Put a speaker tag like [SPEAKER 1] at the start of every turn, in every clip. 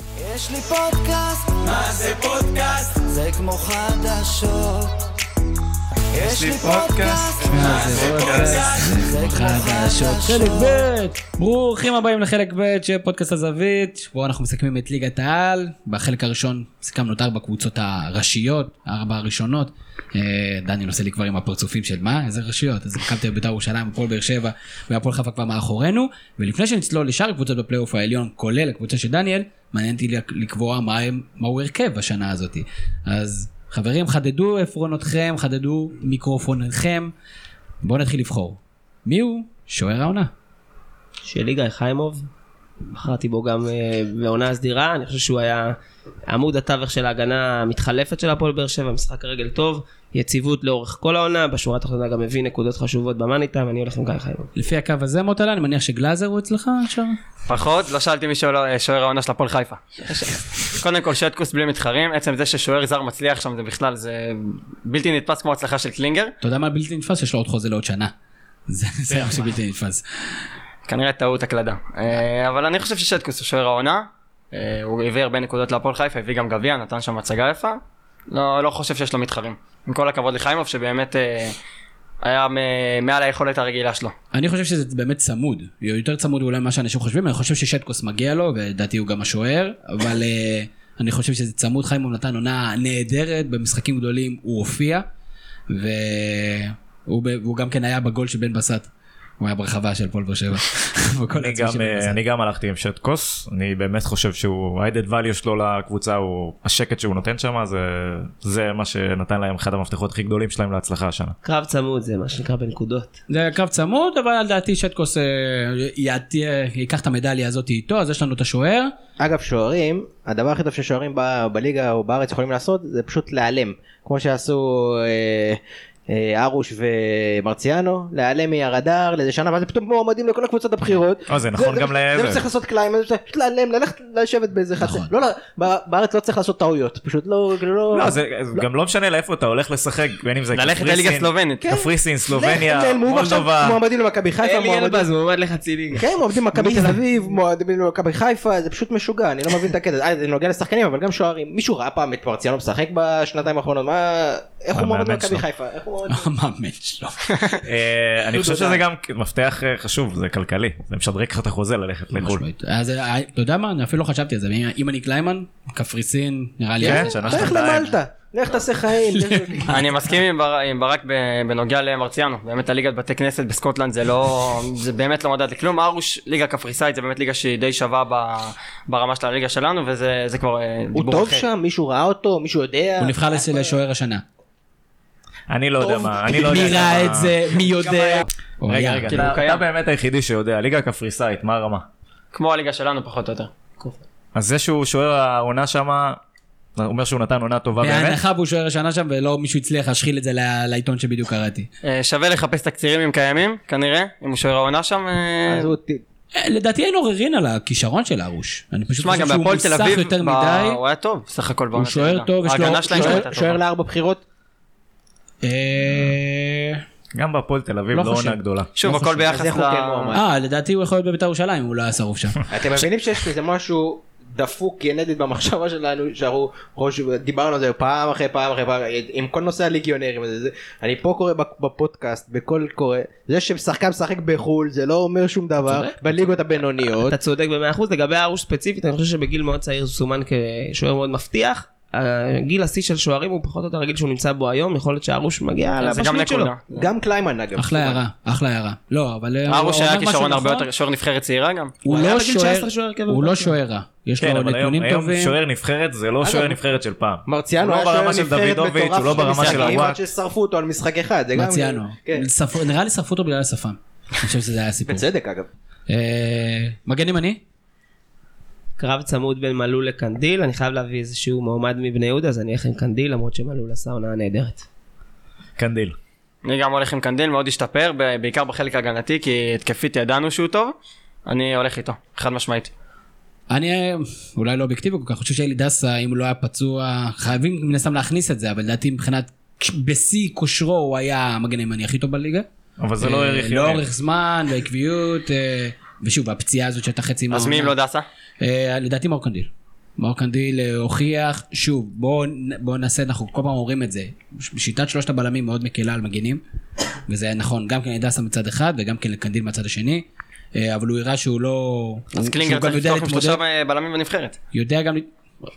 [SPEAKER 1] יש לי פודקאסט,
[SPEAKER 2] מה זה פודקאסט?
[SPEAKER 1] זה כמו חדשות. יש לי
[SPEAKER 3] פודקאסט.
[SPEAKER 1] פודקאסט,
[SPEAKER 2] מה זה פודקאסט?
[SPEAKER 1] זה כמו
[SPEAKER 4] חדשות.
[SPEAKER 1] חדשות.
[SPEAKER 4] חלק ב', ברוכים הבאים לחלק ב' של פודקאסט הזווית, שבו אנחנו מסכמים את ליגת העל. בחלק הראשון סיכמנו את ארבע הקבוצות הראשיות, הארבע הראשונות. אה, דני נושא לי כבר עם הפרצופים של מה? איזה רשויות? אז מכבי תל אביב, בית"ר ירושלים, הפועל באר שבע והפועל חיפה כבר מאחורינו. ולפני שנצלול לשאר הקבוצות בפלייאוף העליון, כולל הקבוצה של דניאל, מעניין אותי לקבוע מה הם- מהו הרכב השנה הזאת. אז חברים, חדדו עפרונותכם, חדדו מיקרופונכם. בואו נתחיל לבחור. מי הוא? שוער העונה.
[SPEAKER 5] שלי גיא חיימוב, בחרתי בו גם אה, בעונה הסדירה, אני חושב שהוא היה עמוד התווך של ההגנה המתחלפת של הפועל באר שבע, משחק רגל טוב, יציבות לאורך כל העונה, בשורה התחתונה גם הביא נקודות חשובות במאני טיים, אני הולך עם גיא חיימוב.
[SPEAKER 4] לפי הקו הזה מוטלה, אני מניח שגלאזר הוא אצלך עכשיו?
[SPEAKER 3] פחות, לא שאלתי מי שוער שוער העונה של הפועל חיפה. קודם כל שטקוס בלי מתחרים, עצם זה ששוער זר מצליח שם זה בכלל, זה בלתי נתפס כמו הצלחה של קלינגר.
[SPEAKER 4] אתה יודע מה בלתי נתפס? שיש לו עוד חוזה לעוד שנה. זה זה מה שבלתי נתפס.
[SPEAKER 3] כנראה טעות הקלדה. אה, אבל אני חושב ששטקוס הוא שוער העונה. אה, הוא הביא הרבה נקודות להפועל חיפה, הביא גם גביע, נתן שם הצגה יפה. לא, לא חושב שיש לו מתחרים. עם כל הכבוד לחיימוב שבאמת אה, היה מ- מעל היכולת הרגילה שלו.
[SPEAKER 4] אני חושב שזה באמת צמוד. יותר צמוד אולי ממה שאנשים חושבים, אני חושב ששטקוס מגיע לו, ולדעתי הוא גם השוער, אבל אה, אני חושב שזה צמוד. חיימוב נתן עונה נהדרת, במשחקים גדולים הוא הופיע, והוא ב- והוא גם כן היה בגול של בן בסט. הוא היה ברחבה של פועל באר שבע. בגול
[SPEAKER 6] אני
[SPEAKER 4] העצמי של
[SPEAKER 6] גם,
[SPEAKER 4] בן
[SPEAKER 6] אה,
[SPEAKER 4] בסט.
[SPEAKER 6] אני גם הלכתי עם שטקוס, אני באמת חושב שהוא, ה-added value שלו לקבוצה הוא השקט שהוא נותן שם, זה, זה מה שנתן להם אחד המפתחות הכי גדולים שלהם להצלחה השנה.
[SPEAKER 5] קרב צמוד זה מה שנקרא בנקודות.
[SPEAKER 4] זה היה קרב צמוד, אבל לדעתי שטקוס אה, יעט- אה, ייקח את המדליה הזאת איתו, אז יש לנו את השוער.
[SPEAKER 7] אגב שוערים הדבר הכי טוב ששוערים ב- בליגה או בארץ יכולים לעשות זה פשוט להיעלם כמו שעשו אה, אה, ארוש ומרציאנו להיעלם מהרדאר לאיזה שנה ואז הם פתאום מועמדים לכל הקבוצות הבכירות.
[SPEAKER 6] אה, זה נכון גם
[SPEAKER 7] זה מה
[SPEAKER 6] לעבר.
[SPEAKER 7] שצריך לעשות קליימן זה פשוט להיעלם ללכת לשבת באיזה חצי.
[SPEAKER 4] נכון.
[SPEAKER 7] לא, לא, ב- בארץ לא צריך לעשות טעויות פשוט לא לא
[SPEAKER 6] לא, זה זה גם לא משנה לאיפה אתה הולך לשחק, בין אם זה
[SPEAKER 3] ללכת
[SPEAKER 6] קפריסין,
[SPEAKER 3] לליגה סלובנית.
[SPEAKER 7] כן.
[SPEAKER 6] קפריסין,
[SPEAKER 7] לך,
[SPEAKER 6] סלובניה,
[SPEAKER 7] נעלמו, ועכשיו
[SPEAKER 6] מולדובה.
[SPEAKER 7] מועמדים למכבי חיפה
[SPEAKER 5] אלי
[SPEAKER 7] מועמדים
[SPEAKER 5] אלבז מועמד לחצי ליגה.
[SPEAKER 7] כן, עובדים במכבי תל אביב, מועדים במכבי חיפה, זה פשוט משוגע, אני לא מבין את הקטע. אה, זה נוגע לשחקנים, אבל גם שוערים. מישהו ראה פעם את מרציאנו משחק בשנתיים האחרונות? מה... איך הוא מועמד
[SPEAKER 6] המאמן
[SPEAKER 7] במכבי
[SPEAKER 6] שלו.
[SPEAKER 7] חיפה? איך הוא מועמד?
[SPEAKER 4] המאמן שלו.
[SPEAKER 6] אה, אני חושב שזה גם מפתח אה, חשוב, זה כלכלי, זה משדרג לך את החוזה ללכת לחו"ל.
[SPEAKER 4] משמעית. אז אה, אתה יודע מה, אני אפילו לא חשבתי על זה, אם- אם אני קליימן, קפריסין, נראה לי.
[SPEAKER 6] כן,
[SPEAKER 4] אז-
[SPEAKER 6] שנה
[SPEAKER 7] לך
[SPEAKER 6] שנתיים.
[SPEAKER 7] למלטה, לך תעשה חיים.
[SPEAKER 3] אני מסכים עם, בר... עם ברק ב- בנוגע למרציאנו, באמת הליגת בתי כנסת בסקוטלנד זה לא, זה באמת לא מדד לכלום, ארוש, ליגה קפריסאית זה באמת ליגה שהיא די שווה ב... ברמה של הליגה שלנו וזה זה כבר אה,
[SPEAKER 7] הוא
[SPEAKER 3] דיבור
[SPEAKER 7] טוב
[SPEAKER 3] אחר.
[SPEAKER 7] שם? מישהו ראה אותו? מישהו יודע?
[SPEAKER 4] הוא נבחר
[SPEAKER 3] אה,
[SPEAKER 4] לש- לשוער השנה.
[SPEAKER 6] אני לא יודע מה, אני לא יודע.
[SPEAKER 4] מי ראה
[SPEAKER 6] כמה-
[SPEAKER 4] את זה? מי יודע? הוא
[SPEAKER 6] רגע,
[SPEAKER 4] היה-
[SPEAKER 6] רגע,
[SPEAKER 3] כאילו,
[SPEAKER 6] אתה-
[SPEAKER 3] הוא קיים.
[SPEAKER 6] אתה באמת היחידי שיודע, הליגה הקפריסאית, מה הרמה?
[SPEAKER 3] כמו הליגה שלנו פחות או יותר.
[SPEAKER 6] אז זה שהוא שוער העונה שמה, אומר שהוא נתן עונה טובה באמת?
[SPEAKER 4] בהנחה והוא שוער השנה שם, ולא מישהו הצליח להשחיל את זה ל- לעיתון שבדיוק קראתי.
[SPEAKER 3] אה, שווה לחפש תקצירים אם קיימים, כנראה, אם הוא שוער העונה שם, אה,
[SPEAKER 7] אז הוא ת-
[SPEAKER 4] אה, לדעתי אין עוררין על הכישרון של הרוש. אני פשוט
[SPEAKER 3] תשמע
[SPEAKER 4] חושב
[SPEAKER 3] גם
[SPEAKER 4] שהוא
[SPEAKER 3] בהפועל תל
[SPEAKER 4] מוסך
[SPEAKER 3] אביב,
[SPEAKER 4] יותר
[SPEAKER 3] ב-
[SPEAKER 4] מדי.
[SPEAKER 3] הוא היה טוב סך הכל בעונה.
[SPEAKER 4] הוא שוער
[SPEAKER 3] שלה.
[SPEAKER 4] טוב, יש לו-
[SPEAKER 3] ההגנה שלהם
[SPEAKER 4] שוער-
[SPEAKER 3] הייתה טובה.
[SPEAKER 7] שוער לארבע בחירות?
[SPEAKER 4] אה,
[SPEAKER 6] גם בהפועל תל אביב
[SPEAKER 4] לא
[SPEAKER 6] לא
[SPEAKER 4] חושב.
[SPEAKER 6] עונה גדולה.
[SPEAKER 3] שוב הכל ביחס
[SPEAKER 7] אז איך הוא כן
[SPEAKER 3] ל...
[SPEAKER 7] מועמד?
[SPEAKER 4] אה, לדעתי הוא יכול להיות בבית"ר ירושלים, הוא לא היה שרוף שם.
[SPEAKER 7] אתם מבינים שיש איזה משהו דפוק גנטית במחשבה שלנו שאנחנו ראש דיברנו על זה פעם אחרי פעם אחרי פעם עם כל נושא הליגיונרים הזה, זה, אני פה קורא בק- בפודקאסט בכל קורא זה ששחקן משחק בחול זה לא אומר שום דבר בליגות הבינוניות
[SPEAKER 5] אתה צודק במאה אחוז, לגבי ארוש ספציפית, אני חושב שבגיל מאוד צעיר הוא סומן כשוער מאוד מבטיח. אה, גיל השיא של שוערים הוא פחות או יותר הגיל שהוא נמצא בו היום, יכול להיות שארוש מגיע
[SPEAKER 3] אה, זה גם
[SPEAKER 5] לבשלות שלו.
[SPEAKER 3] נקודה.
[SPEAKER 7] גם קליימן אגב
[SPEAKER 4] אחלה הערה, אחלה הערה. לא, אבל... אה, הוא-
[SPEAKER 3] ארוש
[SPEAKER 4] הוא
[SPEAKER 3] היה
[SPEAKER 4] אומר משהו
[SPEAKER 3] כישרון הרבה
[SPEAKER 4] נכון.
[SPEAKER 3] יותר, שוער נבחרת צעירה גם.
[SPEAKER 4] הוא
[SPEAKER 5] הוא היה
[SPEAKER 4] לא
[SPEAKER 5] בגיל
[SPEAKER 4] שוער,
[SPEAKER 5] 19 שוער הרכב
[SPEAKER 4] הוא לא
[SPEAKER 5] בבית.
[SPEAKER 4] שוער רע. יש
[SPEAKER 6] כן,
[SPEAKER 4] לו
[SPEAKER 6] אבל היום
[SPEAKER 4] נתונים
[SPEAKER 6] היום
[SPEAKER 4] טובים.
[SPEAKER 6] שוער נבחרת זה לא שוער נבחרת של פעם. הוא
[SPEAKER 7] מרציאנו היה
[SPEAKER 6] לא ברמה
[SPEAKER 7] שוער
[SPEAKER 6] של
[SPEAKER 7] נבחרת
[SPEAKER 6] דוידוביץ', הוא לא
[SPEAKER 7] מטורף
[SPEAKER 6] ברמה של
[SPEAKER 7] במשחקים, עד
[SPEAKER 6] הוואט.
[SPEAKER 7] ששרפו אותו על משחק אחד זה גם
[SPEAKER 4] מרציאנו.
[SPEAKER 7] כן.
[SPEAKER 4] שרפו- נראה לי שרפו אותו בגלל השפם. אני חושב שזה היה הסיפור.
[SPEAKER 7] בצדק אגב
[SPEAKER 4] אה, מגן ימני?
[SPEAKER 5] קרב צמוד בין מלול לקנדיל, אני חייב להביא איזשהו מועמד מבני יהודה, אז אני אלך עם קנדיל, למרות שמלול עשה עונה נהדרת.
[SPEAKER 6] קנדיל.
[SPEAKER 3] אני גם הולך עם קנדיל, מאוד השתפר, ב- בעיקר בחלק ההגנתי, כי התקפית ידענו שהוא טוב. אני הולך איתו, חד משמעית.
[SPEAKER 4] אני אה, אולי לא אובייקטיבי כל כך, חושב שאלי דסה, אם הוא לא היה פצוע, חייבים מן הסתם להכניס את זה, אבל לדעתי מבחינת, בשיא כושרו הוא היה המגן הימני הכי טוב בליגה.
[SPEAKER 6] אבל זה לא
[SPEAKER 4] אה,
[SPEAKER 6] העריך ימים.
[SPEAKER 4] לאורך זמן, בעקביות, אה, ושוב, הפציעה הזאת שהייתה חצי
[SPEAKER 3] אז
[SPEAKER 4] מהעונה.
[SPEAKER 3] מי אם לא דסה?
[SPEAKER 4] אה, לדעתי מאור קנדיל. מרקנדיל הוכיח, שוב, בואו בוא נעשה, אנחנו כל פעם אומרים את זה, ש- שיטת שלושת הבלמים מאוד מקלה על מגינים, וזה היה נכון גם כן לדסה מצד אחד וגם כן לקנדיל מהצד השני, אה, אבל הוא הראה שהוא לא...
[SPEAKER 3] אז
[SPEAKER 4] שהוא
[SPEAKER 3] קלינגר
[SPEAKER 4] גם
[SPEAKER 3] צריך
[SPEAKER 4] יודע
[SPEAKER 3] לפתוח עם
[SPEAKER 4] להתמודד.
[SPEAKER 3] שלושה אה, בלמים בנבחרת.
[SPEAKER 4] יודע גם,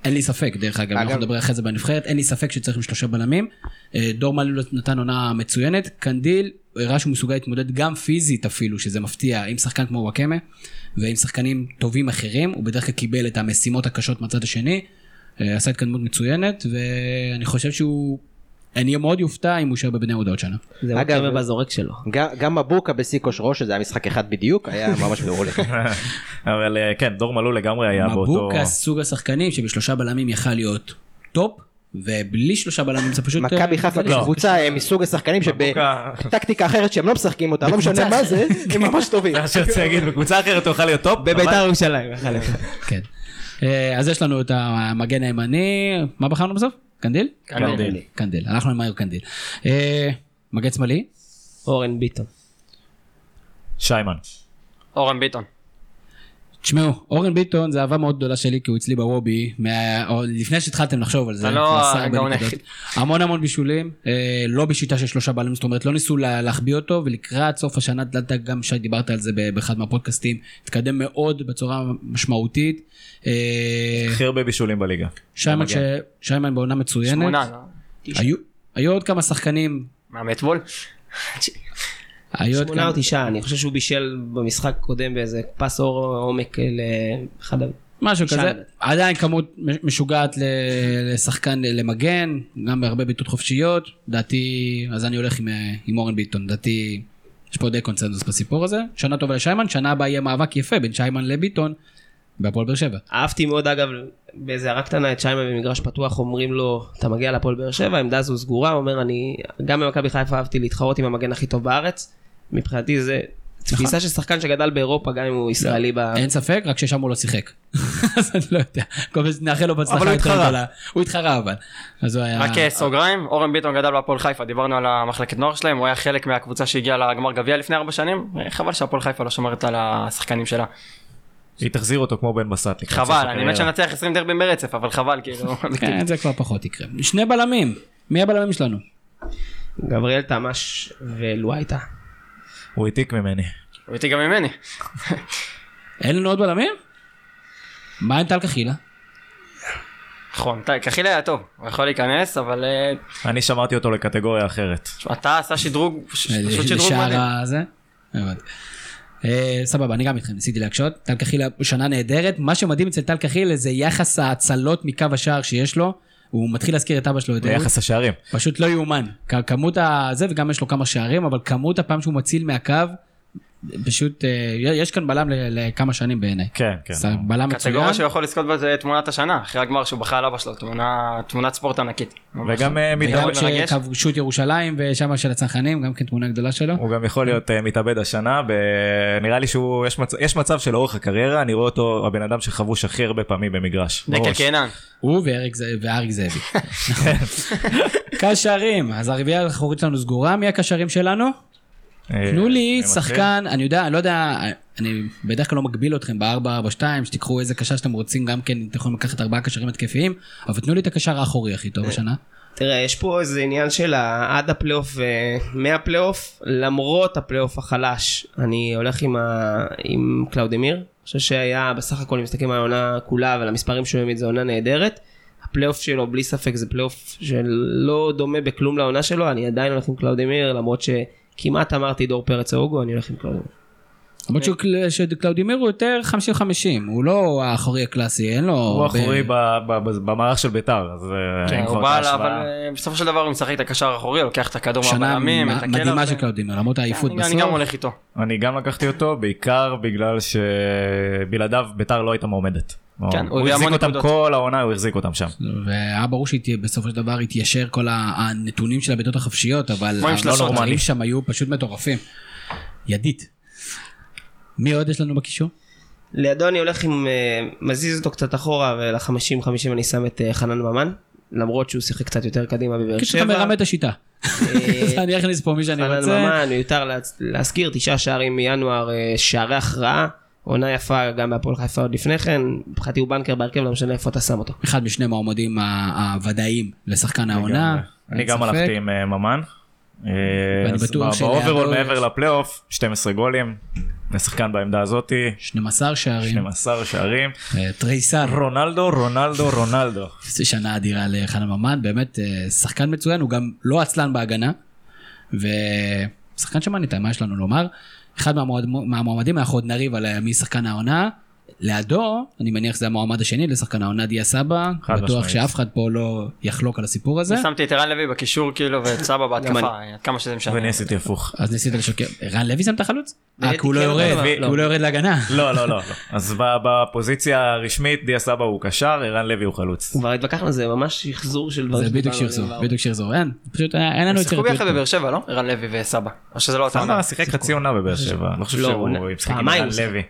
[SPEAKER 4] אין לי ספק דרך אגב, אנחנו
[SPEAKER 7] אגב-
[SPEAKER 4] נדבר אחרי זה בנבחרת, אין לי ספק שצריך עם שלושה בלמים. אה, דור מלול נתן עונה מצוינת, קנדיל הראה שהוא מסוגל להתמודד גם פיזית אפילו, שזה מפתיע, עם שחקן כמו וואקמה ועם שחקנים טובים אחרים, הוא בדרך כלל קיבל את המשימות הקשות מהצד השני, אה, עשה התקדמות מצוינת, ואני חושב שהוא, אני מאוד יופתע אם הוא יישאר בבני יהודה עוד שנה.
[SPEAKER 5] זה
[SPEAKER 7] אגב,
[SPEAKER 5] אוקאמה בזורק שלו.
[SPEAKER 7] גם- גם מבוקה בשיא כושרו שזה היה משחק אחד בדיוק היה ממש מעולה.
[SPEAKER 6] אבל אה, כן, דור מלול לגמרי היה באותו...
[SPEAKER 4] מבוקה סוג השחקנים שבשלושה בלמים יכל להיות טופ, ובלי שלושה בלמים זה פשוט... אה,
[SPEAKER 7] מכבי חיפה
[SPEAKER 4] לא.
[SPEAKER 7] כקבוצה הם מסוג השחקנים
[SPEAKER 6] מבוקה.
[SPEAKER 7] שבטקטיקה אחרת שהם לא משחקים אותה לא משנה מה זה הם ממש טובים.
[SPEAKER 6] זה מה שרציתי להגיד, בקבוצה אחרת הוא יוכל להיות טופ. אבל-
[SPEAKER 5] בביתר ירושלים, בחלק.
[SPEAKER 4] כן. אה, אז יש לנו את המגן הימני, מה בחרנו בסוף? קנדיל?
[SPEAKER 6] קנדיל.
[SPEAKER 4] קנדיל, הלכנו עם מאיר קנדיל. אה, מגן שמאלי,
[SPEAKER 5] אורן ביטון.
[SPEAKER 6] שיימן.
[SPEAKER 3] אורן ביטון.
[SPEAKER 4] תשמעו, אורן ביטון זה אהבה מאוד גדולה שלי כי הוא אצלי בוובי, מה- עוד לפני שהתחלתם לחשוב על זה,
[SPEAKER 3] אתה לא
[SPEAKER 4] כבר עשה הרבה
[SPEAKER 3] הגאון
[SPEAKER 4] נקודות.
[SPEAKER 3] היחיד.
[SPEAKER 4] המון המון בישולים, אה, לא בשיטה של שלושה בלמים, זאת אומרת לא ניסו לה- להחביא אותו, ולקראת סוף השנה, אתה יודע, גם שי דיברת על זה ב- באחד מהפודקאסטים, התקדם מאוד בצורה משמעותית. אה,
[SPEAKER 6] הכי הרבה בישולים בליגה.
[SPEAKER 4] שיימן
[SPEAKER 6] המגן.
[SPEAKER 4] ש- שיימן בעונה מצוינת.
[SPEAKER 3] שמונה. לא?
[SPEAKER 4] היו- היו עוד כמה שחקנים,
[SPEAKER 3] מהמטבול?
[SPEAKER 4] היו עוד
[SPEAKER 5] שמונה
[SPEAKER 4] כמה,
[SPEAKER 5] או תשעה, אני חושב שהוא בישל במשחק הקודם באיזה פס אור עומק לאחד ה...
[SPEAKER 4] משהו כזה,
[SPEAKER 5] תשעה.
[SPEAKER 4] עדיין כמות משוגעת ל- לשחקן למגן, גם בהרבה בעיטות חופשיות, דעתי, אז אני הולך עם, אה, עם אורן ביטון, דעתי, יש פה די קונצנזוס בסיפור הזה, שנה טובה לשיימן, שנה הבאה יהיה מאבק יפה בין שיימן לביטון, בהפועל באר שבע.
[SPEAKER 5] אהבתי מאוד אגב באיזה הערה קטנה את שיימן במגרש פתוח אומרים לו אתה מגיע להפועל באר שבע העמדה הזו סגורה הוא אומר אני גם במכבי חיפה אהבתי להתחרות עם המגן הכי טוב בארץ מבחינתי זה תפיסה של שחקן שגדל באירופה גם אם הוא ישראלי ב...
[SPEAKER 4] אין ספק, רק ששם הוא לא שיחק. אז אני לא יודע, כל פעם נאחל לו בהצלחה.
[SPEAKER 3] אבל הוא
[SPEAKER 4] יותר
[SPEAKER 3] התחרה.
[SPEAKER 4] גדולה. הוא התחרה אבל. אז הוא היה...
[SPEAKER 3] רק אה, סוגריים, אורן ביטון גדל בהפועל חיפה, דיברנו על המחלקת נוער שלהם, הוא היה חלק מהקבוצה שהגיעה לגמר גביע לפני ארבע שנים, אה, חבל שהפועל חיפה לא שומרת על השחקנים שלה.
[SPEAKER 6] היא תחזיר אותו כמו בן בסט. לקראת סוף
[SPEAKER 3] חבל, אני
[SPEAKER 6] הקריירה.
[SPEAKER 3] מת שנצח 20 דרבים ברצף, אבל חבל, כאילו.
[SPEAKER 4] כן, זה כבר פחות יקרה. שני בלמים, מי הבלמים שלנו?
[SPEAKER 5] גבריאל תמש ולואייטה.
[SPEAKER 6] הוא העתיק ממני.
[SPEAKER 3] הוא איתי גם ממני.
[SPEAKER 4] אין לנו עוד בלמים? מה עם טל קחילה?
[SPEAKER 3] נכון, די, קחילה היה טוב, הוא יכול להיכנס, אבל אה,
[SPEAKER 6] אני שמרתי אותו לקטגוריה אחרת.
[SPEAKER 3] תשמע, אתה עשה שדרוג, פש-
[SPEAKER 4] אה,
[SPEAKER 3] פשוט שדרוג מדהים.
[SPEAKER 4] לשער הזה? הבנתי. אה, סבבה, אני גם איתכם, ניסיתי להקשות. טל קחילה שנה נהדרת. מה שמדהים אצל טל קחילה זה יחס ההצלות מקו השער שיש לו. הוא מתחיל להזכיר את אבא שלו, את אהוד.
[SPEAKER 6] ביחס השערים.
[SPEAKER 4] פשוט לא יאומן. כ- כמות ה... זה, וגם יש לו כמה שערים, אבל כמות הפעם שהוא מציל מהקו, פשוט... אה, יש כאן בלם ל- לכמה שנים בעיניי.
[SPEAKER 6] כן, כן.
[SPEAKER 4] זה בלם מצוין.
[SPEAKER 3] קטגוריה שהוא יכול לזכות בה זה תמונת השנה, אחרי הגמר שהוא בכה על אבא שלו, תמונה- תמונת ספורט ענקית. ממש.
[SPEAKER 6] וגם אה, מתאבד-
[SPEAKER 4] וגם
[SPEAKER 3] מאוד מרגש.
[SPEAKER 4] שכבשו את ירושלים ושם של הצנחנים, גם כן תמונה גדולה שלו.
[SPEAKER 6] הוא גם יכול להיות אה, מתאבד השנה, ב- נראה לי שהוא, יש מצ- יש מצב שלאורך הקריירה, אני רואה אותו הבן אדם שחבוש הכי הרבה פעמים במגרש.
[SPEAKER 3] דקל
[SPEAKER 6] בראש.
[SPEAKER 3] קינן.
[SPEAKER 4] הוא ואריק זאב- ואריק זאבי. קשרים, אז הרביעייה האחורית שלנו סגורה, מי הקשרים שלנו?
[SPEAKER 6] אה,
[SPEAKER 4] תנו לי
[SPEAKER 6] אני מתחיל.
[SPEAKER 4] שחקן, אני יודע, אני לא יודע, אני בדרך כלל לא מגביל אתכם ב-442, שתיקחו איזה קשר שאתם רוצים, גם כן אתם יכולים לקחת ארבעה קשרים התקפיים, אבל תנו לי את הקשר האחורי הכי טוב השנה.
[SPEAKER 5] תראה, יש פה איזה עניין של ה- עד הפלייאוף ומהפלייאוף, למרות הפלייאוף החלש, אני הולך עם, ה... עם קלאודמיר. אני חושב שהיה, בסך הכל, אם מסתכלים על העונה כולה ועל המספרים שהוא העמיד, זו עונה נהדרת. הפלייאוף שלו, בלי ספק, זה פלייאוף שלא דומה בכלום לעונה שלו, אני עדיין הולך עם קלאודמיר, למרות שכמעט אמרתי דור פרץ אוגו, אני הולך עם קלאודמיר.
[SPEAKER 4] למרות שהוא- שקלאודימיר הוא יותר 50-50, הוא לא האחורי הקלאסי, אין לו...
[SPEAKER 6] הוא
[SPEAKER 4] הרבה-
[SPEAKER 6] אחורי ב- ב- ב- במערך של ביתר, אז אה,
[SPEAKER 3] כן,
[SPEAKER 6] אין כבר
[SPEAKER 3] הוא
[SPEAKER 6] את
[SPEAKER 3] בא, לה, אבל
[SPEAKER 6] ההשוואה.
[SPEAKER 3] אה, בסופו של דבר הוא משחק את הקשר האחורי, לוקח את הכדור
[SPEAKER 4] שנה
[SPEAKER 3] מהבלמים, את הקלע.
[SPEAKER 4] מדהימה
[SPEAKER 3] הזה.
[SPEAKER 4] של קלאודימיר, למרות העייפות
[SPEAKER 3] אני- אני גם
[SPEAKER 4] בסוף.
[SPEAKER 3] הולך איתו.
[SPEAKER 6] אני גם לקחתי אותו, בעיקר בגלל שבלעדיו ביתר לא הייתה מועמדת.
[SPEAKER 3] כן, הוא
[SPEAKER 6] הוא
[SPEAKER 3] הביא המון
[SPEAKER 6] החזיק אותם
[SPEAKER 3] נקודות.
[SPEAKER 6] כל העונה, הוא החזיק אותם שם.
[SPEAKER 4] והיה ברור שבסופו של דבר התיישר כל ה- הנתונים של הבעיטות החופשיות, אבל
[SPEAKER 3] כמו עם שלשות.
[SPEAKER 4] הנורמלים שם היו פשוט מטורפים. ידית. מי עוד יש לנו בקישור?
[SPEAKER 5] לידו אני הולך עם, אה, מזיז אותו קצת אחורה, ול-50-50 אני שם את אה, חנן ממן, למרות שהוא שיחק קצת יותר קדימה בבאר
[SPEAKER 4] קיצור, אתה
[SPEAKER 5] שבע.
[SPEAKER 4] מרמה את השיטה.
[SPEAKER 5] אה,
[SPEAKER 4] אני אכניס פה מי שאני
[SPEAKER 5] חנן
[SPEAKER 4] רוצה.
[SPEAKER 5] ממן, מיותר להצ- להזכיר, תשעה שערים מינואר, אה, שערי הכרעה. עונה יפה גם בהפועל חיפה עוד לפני כן, מבחינתי הוא בנקר בהרכב, לא משנה איפה אתה שם אותו.
[SPEAKER 4] אחד משני מועמדים ה- הוודאיים לשחקן העונה.
[SPEAKER 6] אני
[SPEAKER 4] אין
[SPEAKER 6] גם
[SPEAKER 4] ספק.
[SPEAKER 6] הלכתי עם אה, ממן. אה,
[SPEAKER 4] ואני
[SPEAKER 6] אז
[SPEAKER 4] בטוח
[SPEAKER 6] בא-
[SPEAKER 4] שלידו
[SPEAKER 6] באוברול
[SPEAKER 4] יש-
[SPEAKER 6] מעבר לפלייאוף, 12 גולים, שחקן בעמדה הזאתי,
[SPEAKER 4] 12 שערים,
[SPEAKER 6] 12 שערים.
[SPEAKER 4] אה, תריסר,
[SPEAKER 6] רונלדו, רונלדו, רונלדו.
[SPEAKER 4] זו שנה אדירה לחנן ממן, באמת אה, שחקן מצוין, הוא גם לא עצלן בהגנה, ושחקן שמנית, מה יש לנו לומר? אחד מהמועד- מהמועמדים, אנחנו עוד נריב על אה, מי שחקן העונה. לידו, אני מניח שזה המועמד השני לשחקן העונה דיה סבא,
[SPEAKER 6] חד
[SPEAKER 4] בטוח
[SPEAKER 6] משמעית.
[SPEAKER 4] שאף אחד פה לא יחלוק על הסיפור הזה.
[SPEAKER 3] שמתי את ערן לוי בקישור כאילו ואת סבא בהתקפה, עד כמה שזה משנה.
[SPEAKER 6] ואני עשיתי הפוך.
[SPEAKER 4] אז ניסית לשקר, רן לוי שם את החלוץ? אה,
[SPEAKER 5] לוי
[SPEAKER 4] כי הוא לא
[SPEAKER 5] כן,
[SPEAKER 4] יורד,
[SPEAKER 5] אבל-
[SPEAKER 4] כי הוא לא יורד להגנה.
[SPEAKER 6] לא, לא, לא. לא. אז ב- בפוזיציה הרשמית, דיה סבא הוא קשר, ערן לוי הוא חלוץ.
[SPEAKER 5] כבר התווכחנו, זה ממש שחזור של דברים.
[SPEAKER 4] זה בדיוק
[SPEAKER 5] שדיברנו
[SPEAKER 4] שרזור,
[SPEAKER 5] עליהם
[SPEAKER 4] בדיוק שרזור, אין, פשוט אה, אין לנו
[SPEAKER 3] שיחקו
[SPEAKER 4] יצירתיות.
[SPEAKER 3] ביחד
[SPEAKER 4] פה.
[SPEAKER 3] בבאר שבע, לא? ערן לוי וסבא. או שזה לא אותה עונה.
[SPEAKER 6] סבא שיחק חצי עונה בבאר שבע. אני לא חושב
[SPEAKER 5] לא,
[SPEAKER 6] שהוא
[SPEAKER 5] עונה-
[SPEAKER 6] ישחק עם
[SPEAKER 5] פעמיים
[SPEAKER 6] ערן
[SPEAKER 5] הוא
[SPEAKER 6] לוי.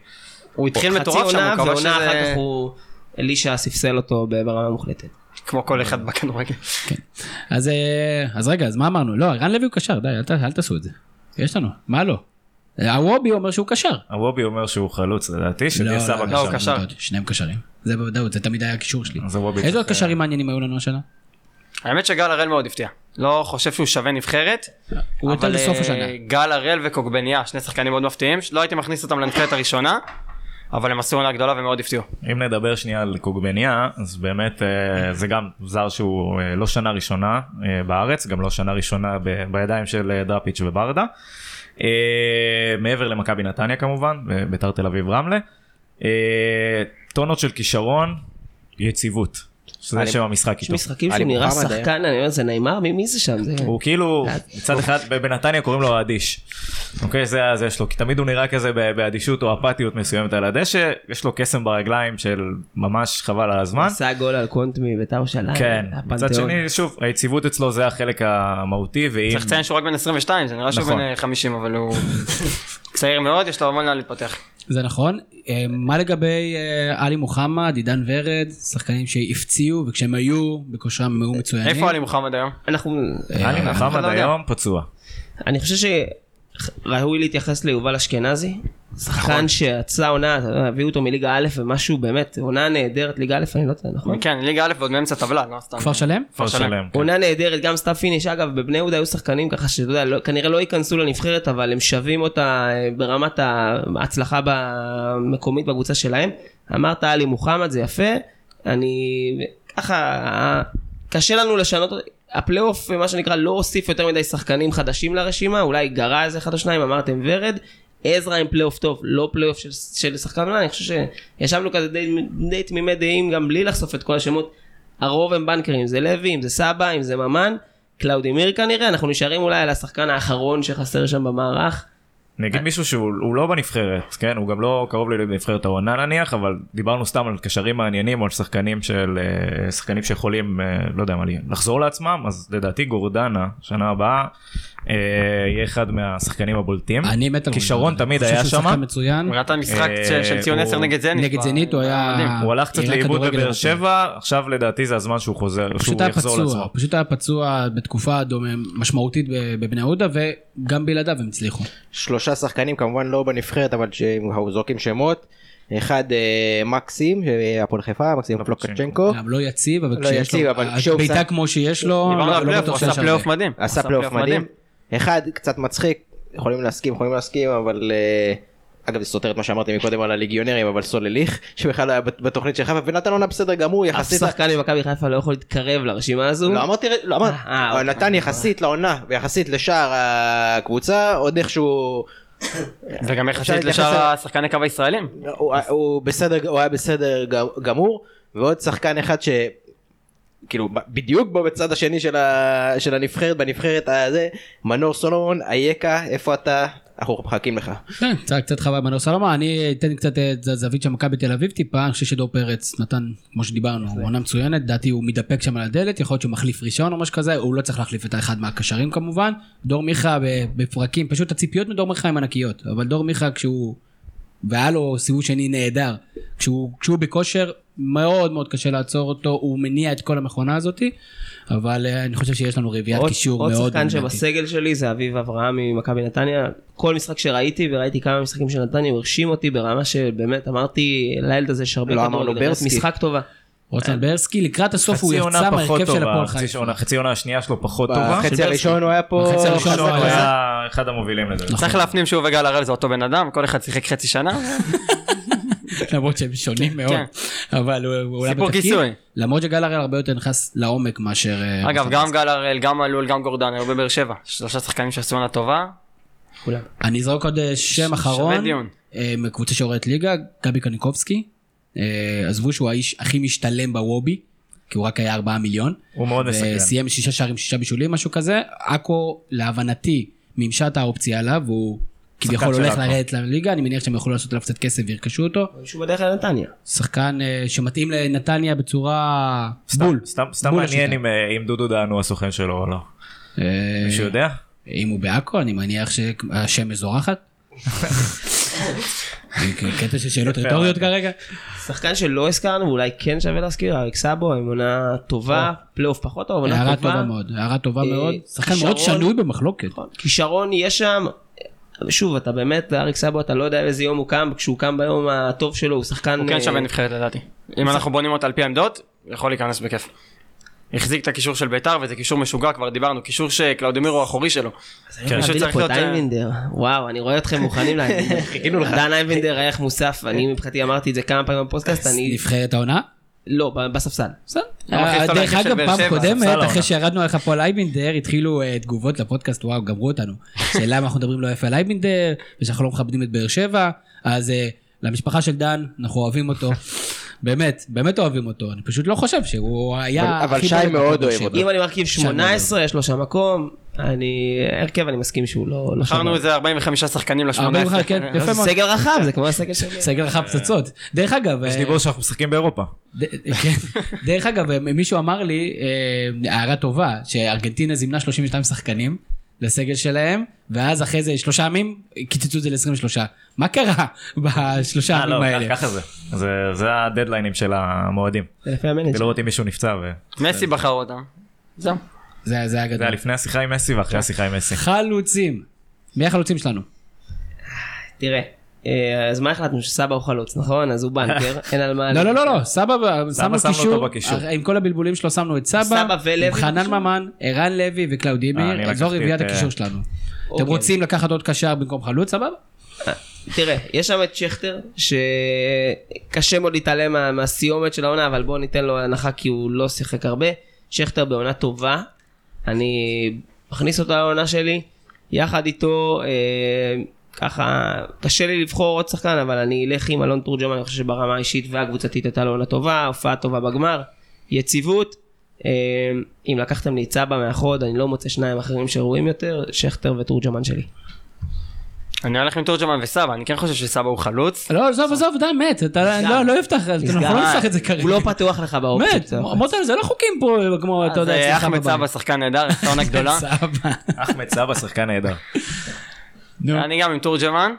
[SPEAKER 3] הוא התחיל מטורף
[SPEAKER 5] חצי
[SPEAKER 3] שם, הוא
[SPEAKER 5] עונה,
[SPEAKER 3] קבע
[SPEAKER 5] ועונה אחר
[SPEAKER 3] שזה
[SPEAKER 5] כך הוא... אלישע ספסל אותו ברמה מוחלטת.
[SPEAKER 3] כמו כל אחד בכדורגל.
[SPEAKER 4] כן. אז אה, אז רגע, אז מה אמרנו? לא, רן לוי הוא קשר, די, אל ת- אל תעשו את זה. יש לנו, מה לא? אה, הוובי אומר שהוא קשר.
[SPEAKER 6] הוובי אומר שהוא חלוץ לדעתי, שדיה סבא
[SPEAKER 3] לא, הוא
[SPEAKER 6] קשר.
[SPEAKER 3] קשר.
[SPEAKER 4] שניהם קשרים. זה בוודאות, זה תמיד היה הקישור שלי.
[SPEAKER 6] אז הוובי
[SPEAKER 4] איזה עוד
[SPEAKER 6] צריך,
[SPEAKER 4] קשרים מעניינים היו לנו השנה?
[SPEAKER 3] האמת שגל הראל מאוד הפתיע. לא חושב שהוא שווה נבחרת.
[SPEAKER 4] הוא יותר
[SPEAKER 3] אבל,
[SPEAKER 4] לסוף
[SPEAKER 3] אה,
[SPEAKER 4] השנה.
[SPEAKER 3] גל הראל וקוגבניה, שני שחקנים מאוד מפתיעים, שלא הייתי מכניס אותם לנבחרת הראשונה, אבל הם עשו עונה גדולה ומאוד הפתיעו.
[SPEAKER 4] כן.
[SPEAKER 6] אם נדבר שנייה על קוגבניה, אז באמת אה, זה גם זר שהוא אה, לא שנה ראשונה אה, בארץ, גם לא שנה ראשונה ב- בידיים של אה, דראפיץ' וברדה. אה, מעבר למכבי נתניה כמובן, ביתר תל אביב רמלה. אה, טונות של כישרון, יציבות. שזה
[SPEAKER 7] אני-
[SPEAKER 6] שם המשחק
[SPEAKER 5] יש
[SPEAKER 6] איתו.
[SPEAKER 5] משחקים
[SPEAKER 7] אני
[SPEAKER 5] שהוא נראה
[SPEAKER 7] מוחמד היום.
[SPEAKER 5] שחקן, אני אומר, זה נעימה? מי מי זה שם? זה-
[SPEAKER 6] הוא כאילו, מצד אחד, בנתניה קוראים לו האדיש. אוקיי, זה זה יש לו, כי תמיד הוא נראה כזה ב- באדישות או אפתיות מסוימת על הדשא, יש לו קסם ברגליים של ממש חבל על הזמן.
[SPEAKER 5] עשה גול על קונט מביתר ירושלים.
[SPEAKER 6] כן,
[SPEAKER 4] אה,
[SPEAKER 5] הפנתיאון.
[SPEAKER 6] מצד שני, שוב, היציבות אצלו זה החלק המהותי, ואם...
[SPEAKER 3] צריך לציין שהוא רק בן 22, זה נראה שהוא
[SPEAKER 6] נכון.
[SPEAKER 3] בן אה, 50, אבל הוא צעיר מאוד, יש לו המון לאן להתפתח.
[SPEAKER 4] זה נכון. אה, מה לגבי אה, עלי מוחמד, עידן ורד, שחקנים שהפציעו, וכשהם היו, בכושרם היו מצוינים.
[SPEAKER 3] איפה עלי מוחמד היום?
[SPEAKER 5] אנחנו...
[SPEAKER 6] אני
[SPEAKER 3] אחד
[SPEAKER 6] מוחמד
[SPEAKER 3] לא יודע.
[SPEAKER 6] היום פצוע.
[SPEAKER 5] אני חושב שראוי להתייחס ליובל אשכנזי. שחקן שיצא עונה, אתה יודע, הביאו אותו מליגה א' ומשהו באמת, עונה נהדרת, ליגה א', אני לא יודע, נכון?
[SPEAKER 3] כן, ליגה א' ועוד מאמצע טבלה, לא סתם.
[SPEAKER 4] כפר שלם?
[SPEAKER 6] כפר שלם. כן.
[SPEAKER 5] עונה נהדרת, גם סתיו פיניש, אגב, בבני יהודה היו שחקנים ככה שאתה יודע, לא, כנראה לא ייכנסו לנבחרת, אבל הם שווים אותה אה, ברמת ההצלחה המקומית בקבוצה שלהם. אמרת עלי מוחמד, זה יפה, אני ככה, אה, קשה לנו לשנות, הפלייאוף, מה שנקרא, לא הוסיף יותר מדי שחקנים חדשים לרשימה, אולי גרע איזה אחד או שניים, אמרתם ורד. עזרא עם פלייאוף טוב, לא פלייאוף של, של שחקן עונה, אני חושב שישבנו כזה די, די תמימי דעים, גם בלי לחשוף את כל השמות. הרוב הם בנקרים, אם זה לוי, אם זה סבא, אם זה ממן, קלאודימיר כנראה, אנחנו נשארים אולי על השחקן האחרון שחסר שם במערך.
[SPEAKER 6] אני אגיד מישהו שהוא הוא לא בנבחרת, כן? הוא גם לא קרוב לנבחרת העונה נניח, אבל דיברנו סתם על קשרים מעניינים או על שחקנים של... אה, שחקנים שיכולים, אה, לא יודע מה, לי- לחזור לעצמם, אז לדעתי גורדנה, שנה הבאה, אה, יהיה אחד מהשחקנים הבולטים.
[SPEAKER 4] אני מת על
[SPEAKER 6] כישרון
[SPEAKER 4] רונדו.
[SPEAKER 6] תמיד
[SPEAKER 4] אני
[SPEAKER 6] היה
[SPEAKER 4] חושב שהוא
[SPEAKER 6] שם.
[SPEAKER 4] שחקן מצוין.
[SPEAKER 3] הוא נתן משחק
[SPEAKER 6] אה,
[SPEAKER 3] ש- של ציון
[SPEAKER 6] הוא-
[SPEAKER 3] 10 נגד זנית.
[SPEAKER 4] נגד
[SPEAKER 3] ב-
[SPEAKER 4] זנית הוא היה...
[SPEAKER 3] מדהים.
[SPEAKER 6] הוא הלך קצת
[SPEAKER 4] הראה
[SPEAKER 6] לאיבוד
[SPEAKER 4] כדורגל
[SPEAKER 6] בבאר
[SPEAKER 4] אירופי.
[SPEAKER 6] שבע, עכשיו לדעתי זה הזמן שהוא חוזר,
[SPEAKER 4] פשוט
[SPEAKER 6] שהוא
[SPEAKER 4] היה
[SPEAKER 6] יחזור
[SPEAKER 4] פצוע,
[SPEAKER 6] לעצמו.
[SPEAKER 4] פשוט היה פצוע בתקופה דומה- משמעותית ב- בבני יהודה וגם בלעדיו הם הצליחו.
[SPEAKER 7] שלושה שחקנים כמובן לא בנבחרת אבל שהם זורקים שמות. אחד אה, מקסים, אה, הפועל חיפה, מקסים פלוקצ'נקו.
[SPEAKER 4] גם לא יציב, אבל
[SPEAKER 7] לא
[SPEAKER 4] כשיש
[SPEAKER 7] יציב,
[SPEAKER 4] לו
[SPEAKER 7] אבל
[SPEAKER 4] אה,
[SPEAKER 7] כשהוא
[SPEAKER 4] בעיטה
[SPEAKER 7] שם-
[SPEAKER 4] כמו שיש לו,
[SPEAKER 3] דיברנו על
[SPEAKER 4] לא- לא
[SPEAKER 3] הפלייאוף, הוא
[SPEAKER 4] בטוח שיש
[SPEAKER 3] עשה
[SPEAKER 4] הרבה.
[SPEAKER 3] פלייאוף מדהים.
[SPEAKER 7] עשה פלייאוף מדהים. אחד קצת מצחיק, יכולים להסכים, יכולים להסכים, אבל... אה, אגב זה סותר את מה שאמרתי מקודם על הליגיונרים אבל סולליך שבכלל לא היה בת- בתוכנית של חיפה ונתן עונה בסדר גמור
[SPEAKER 5] אף
[SPEAKER 7] יחסית. ל-
[SPEAKER 5] שחקן ממכבי חיפה לא יכול להתקרב לרשימה הזו.
[SPEAKER 7] לא אמרתי, לא אמרתי,
[SPEAKER 5] אה,
[SPEAKER 7] אבל
[SPEAKER 5] אוקיי.
[SPEAKER 7] נתן יחסית לעונה ויחסית לשאר הקבוצה עוד איכשהו
[SPEAKER 3] וגם
[SPEAKER 7] אפשר
[SPEAKER 3] יחסית
[SPEAKER 7] להתייחס
[SPEAKER 3] לשאר
[SPEAKER 7] אליו.
[SPEAKER 3] השחקני קו הישראלים.
[SPEAKER 4] נכון.
[SPEAKER 7] הוא- הוא בסדר, הוא היה בסדר ג- גמור, ועוד שחקן אחד ש... כאילו ב- בדיוק בו בצד השני של, ה... של הנבחרת, בנבחרת הזה, מנור סולומון, אייקה, איפה אתה? אנחנו מחכים לך.
[SPEAKER 4] כן, קצת- קצת חבל מנור סלומה, אני אתן קצת את הזווית של מכבי תל אביב טיפה, אני חושב שדור פרץ נתן, כמו שדיברנו, הוא עונה מצוינת, לדעתי הוא מתדפק שם על הדלת, יכול להיות שהוא מחליף ראשון או משהו כזה, הוא לא צריך להחליף את האחד מהקשרים כמובן, דור מיכה ב- בפרקים, פשוט הציפיות מדור מיכה הן ענקיות, אבל דור מיכה כשהוא, והיה לו סיבוב שני נהדר, כשהוא, כשהוא בכושר, מאוד מאוד קשה לעצור אותו, הוא מניע את כל המכונה הזאת, אבל אה, אני חושב שיש לנו רביעיית
[SPEAKER 5] עוד-
[SPEAKER 4] קישור מאוד
[SPEAKER 5] עוד שחקן
[SPEAKER 4] דומיננטית.
[SPEAKER 5] שבסגל שלי זה אביב אברהם ממכבי נתניה. כל משחק שראיתי, וראיתי כמה משחקים של נתניה, הוא הרשים אותי ברמה שבאמת אמרתי, לילד הזה יש הרבה
[SPEAKER 7] לא
[SPEAKER 5] כדורגל,
[SPEAKER 7] אמרנו
[SPEAKER 5] נראית
[SPEAKER 7] ברסקי.
[SPEAKER 5] משחק טובה.
[SPEAKER 4] רוצן ברסקי, לקראת הסוף הוא
[SPEAKER 6] חצי
[SPEAKER 4] יצא
[SPEAKER 6] עונה פחות
[SPEAKER 4] מהרכב של
[SPEAKER 6] טובה,
[SPEAKER 4] הפועל
[SPEAKER 6] חצי
[SPEAKER 4] חיפה.
[SPEAKER 6] עונה- חצי עונה השנייה שלו פחות טובה.
[SPEAKER 7] בחצי הראשון הוא היה פה
[SPEAKER 4] בחצי הראשון
[SPEAKER 6] הראשון
[SPEAKER 4] הוא
[SPEAKER 6] הוא
[SPEAKER 4] היה-
[SPEAKER 6] היה אחד המובילים לזה.
[SPEAKER 3] צריך להפנים שהוא וגל הראל זה אותו בן אדם, כל אחד שיחק חצי שנה.
[SPEAKER 4] למרות שהם שונים מאוד, אבל הוא- הוא עולה
[SPEAKER 3] כן. סיפור כיסוי.
[SPEAKER 4] למרות שגל הראל הרבה יותר נכנס לעומק מאשר... אה,
[SPEAKER 3] אגב,
[SPEAKER 4] רוצן
[SPEAKER 3] גם גל הראל, גם אלול, גם גורדן, היו בבאר שבע. שלושה שחקנים שעשו עונה טובה.
[SPEAKER 4] אני אזרוק עוד אה, שם אחרון,
[SPEAKER 3] דיון.
[SPEAKER 4] אה, מקבוצה שיורדת ליגה, גבי קניקובסקי. אה, עזבו שהוא האיש הכי משתלם בוובי, כי הוא רק היה 4 מיליון.
[SPEAKER 6] הוא מאוד מסקרן.
[SPEAKER 4] סיים שישה שערים, שישה בישולים, משהו כזה. עכו, להבנתי, מימשה את האופציה עליו, והוא כביכול
[SPEAKER 6] של
[SPEAKER 4] הולך
[SPEAKER 6] עכו.
[SPEAKER 4] לרדת לליגה, אני מניח שהם יוכלו לעשות עליו קצת כסף וירכשו אותו.
[SPEAKER 5] שהוא בדרך לנתניה.
[SPEAKER 4] שחקן אה, שמתאים לנתניה בצורה בול.
[SPEAKER 6] סתם סתם
[SPEAKER 4] בול
[SPEAKER 6] מעניין
[SPEAKER 4] השיטה.
[SPEAKER 6] אם, אה, אם דודו דהן הוא הסוכן שלו או לא.
[SPEAKER 4] אה,
[SPEAKER 6] מישהו יודע?
[SPEAKER 4] אם הוא בעכו, אני מניח שהשמש זורחת. קטע של שאלות רטוריות
[SPEAKER 6] אוקיי.
[SPEAKER 4] כרגע.
[SPEAKER 5] שחקן שלא הזכרנו, ואולי כן שווה להזכיר, אריק סאבו, עם עונה טובה, פלייאוף פחות טוב, עונה טובה.
[SPEAKER 4] הערה טובה מאוד, הערה טובה
[SPEAKER 5] אה,
[SPEAKER 4] מאוד. שחקן מאוד
[SPEAKER 5] כישרון.
[SPEAKER 4] שנוי במחלוקת.
[SPEAKER 5] נכון. כישרון יש שם. שוב, אתה באמת, אריק סאבו, אתה לא יודע איזה יום הוא קם, כשהוא קם ביום הטוב שלו, הוא שחקן...
[SPEAKER 3] הוא כן
[SPEAKER 5] אה,
[SPEAKER 3] שווה נבחרת לדעתי. אם אנחנו בונים אותה על פי העמדות, יכול להיכנס בכיף. החזיק את הקישור של ביתר וזה קישור משוגע כבר דיברנו קישור שקלאודימיר הוא האחורי שלו.
[SPEAKER 5] כן,
[SPEAKER 3] מישהו
[SPEAKER 5] להביא
[SPEAKER 3] צריך
[SPEAKER 5] לפה
[SPEAKER 3] להיות,
[SPEAKER 5] את
[SPEAKER 3] אה,
[SPEAKER 5] איינבינדר, וואו, אני רואה אתכם מוכנים לאיינבינדר. חיכינו לך. דן איינבינדר ערך מוסף, אני מבחינתי אמרתי את זה כמה פעמים בפודקאסט, אני...
[SPEAKER 4] נבחרת העונה?
[SPEAKER 5] לא, ב- בספסל.
[SPEAKER 4] בסדר.
[SPEAKER 3] גם אחרי שאתה
[SPEAKER 4] אה, דרך
[SPEAKER 3] בהרכב של
[SPEAKER 4] אגב,
[SPEAKER 3] באר
[SPEAKER 4] פעם
[SPEAKER 3] שבע,
[SPEAKER 4] קודמת,
[SPEAKER 6] ספסל העונה.
[SPEAKER 4] אחרי שירדנו עליך פה על אייבינדר, התחילו אה, תגובות לפודקאסט, וואו, גמרו אותנו. שאלה למה אנחנו מדברים לא יפה על אייבינדר, ושאנחנו לא מכבדים את באר שבע, אז אה, למשפחה של דן, אנחנו אוהבים אותו. באמת, באמת אוהבים אותו. אני פשוט לא חושב שהוא היה...
[SPEAKER 7] אבל- אבל
[SPEAKER 4] הכי
[SPEAKER 7] שי
[SPEAKER 4] בולט
[SPEAKER 7] מאוד
[SPEAKER 4] בבאר
[SPEAKER 7] אוהב
[SPEAKER 4] שבע.
[SPEAKER 7] אותו.
[SPEAKER 5] אם אני מרכיב
[SPEAKER 4] שם מאוד.
[SPEAKER 5] 18, יש לו שם מקום, אני... הרכב, אני מסכים שהוא לא... לא
[SPEAKER 3] בחרנו
[SPEAKER 5] שם.
[SPEAKER 3] איזה 45 שחקנים לשמונה
[SPEAKER 4] אמרו לך,
[SPEAKER 3] עשרה.
[SPEAKER 4] כן, יפה
[SPEAKER 5] זה
[SPEAKER 4] מאוד.
[SPEAKER 5] סגל רחב, זה כמו הסגל שלי.
[SPEAKER 4] סגל רחב פצצות. דרך אגב...
[SPEAKER 6] יש
[SPEAKER 4] אה,
[SPEAKER 6] דיבור שאנחנו משחקים באירופה.
[SPEAKER 4] ד- כן. דרך אגב, מישהו אמר לי, אה, הערה טובה, שארגנטינה זימנה 32 שחקנים לסגל שלהם, ואז אחרי זה שלושה ימים, קיצצו את זה ל-23. מה קרה בשלושה
[SPEAKER 6] אה,
[SPEAKER 4] ימים
[SPEAKER 6] לא,
[SPEAKER 4] האלה?
[SPEAKER 6] ככה זה. זה- זה הדדליינים של המועדים.
[SPEAKER 5] זה לפי
[SPEAKER 6] כדי
[SPEAKER 5] המנג'ר.
[SPEAKER 6] לראות אם מישהו נפצע. ו-
[SPEAKER 3] מסי בחר אותם. זהו.
[SPEAKER 4] זה זה היה
[SPEAKER 6] זה היה
[SPEAKER 4] גדול.
[SPEAKER 6] לפני השיחה עם מסי ואחרי השיחה עם מסי.
[SPEAKER 4] חלוצים. מי החלוצים שלנו?
[SPEAKER 5] תראה, אה, אז מה החלטנו? שסבא הוא חלוץ, נכון? אז הוא בנקר, אין על מה...
[SPEAKER 4] לא, לא, לא, לא, סבא, שמנו
[SPEAKER 6] שמנו
[SPEAKER 4] קישור,
[SPEAKER 6] אותו בקישור?
[SPEAKER 4] אה, עם כל הבלבולים שלו שמנו את סבא,
[SPEAKER 5] סבא ולוי
[SPEAKER 4] עם חנן
[SPEAKER 5] בקישור?
[SPEAKER 4] ממן, ערן לוי
[SPEAKER 6] אה, אני
[SPEAKER 4] וקלאודימיר, זו
[SPEAKER 6] לקחתי
[SPEAKER 4] רביעיית
[SPEAKER 6] את, אה,
[SPEAKER 4] הקישור שלנו. אתם
[SPEAKER 5] אוקיי.
[SPEAKER 4] רוצים לקחת עוד קשר במקום חלוץ, סבבה?
[SPEAKER 5] תראה, יש שם את שכטר, שקשה מאוד להתעלם מה- מהסיומת של העונה, אבל בואו ניתן לו הנחה כי הוא לא שיחק הרבה. שכטר בעונה טובה, אני מכניס אותו לעונה שלי, יחד איתו, אה, ככה, קשה לי לבחור עוד שחקן, אבל אני אלך עם אלון תורג'מן, אני חושב שברמה האישית והקבוצתית הייתה לו עונה טובה, הופעה טובה בגמר, יציבות. אה, אם לקחתם לי את סבא מהחוד, אני לא מוצא שניים אחרים שראויים יותר, שכטר ותורג'מן שלי.
[SPEAKER 3] אני הולך עם תורג'מן וסבא אני כן חושב שסבא הוא חלוץ.
[SPEAKER 4] לא, עזוב, עזוב, די, מת, אתה
[SPEAKER 5] נסגר.
[SPEAKER 4] לא, לא יפתח, אנחנו לא נפתח את זה כרגע.
[SPEAKER 5] הוא לא פתוח לך באופציות.
[SPEAKER 4] מת, מוטל, זה לא חוקים פה כמו, אתה
[SPEAKER 3] אז
[SPEAKER 4] יודע,
[SPEAKER 3] אוקיי, אה,
[SPEAKER 4] אצלך
[SPEAKER 3] אחמד סבא
[SPEAKER 4] בבית.
[SPEAKER 3] שחקן נהדר, עשה עונה גדולה.
[SPEAKER 4] סבא.
[SPEAKER 6] אחמד סבא שחקן נהדר.
[SPEAKER 4] נו,
[SPEAKER 3] אני גם עם תורג'מן.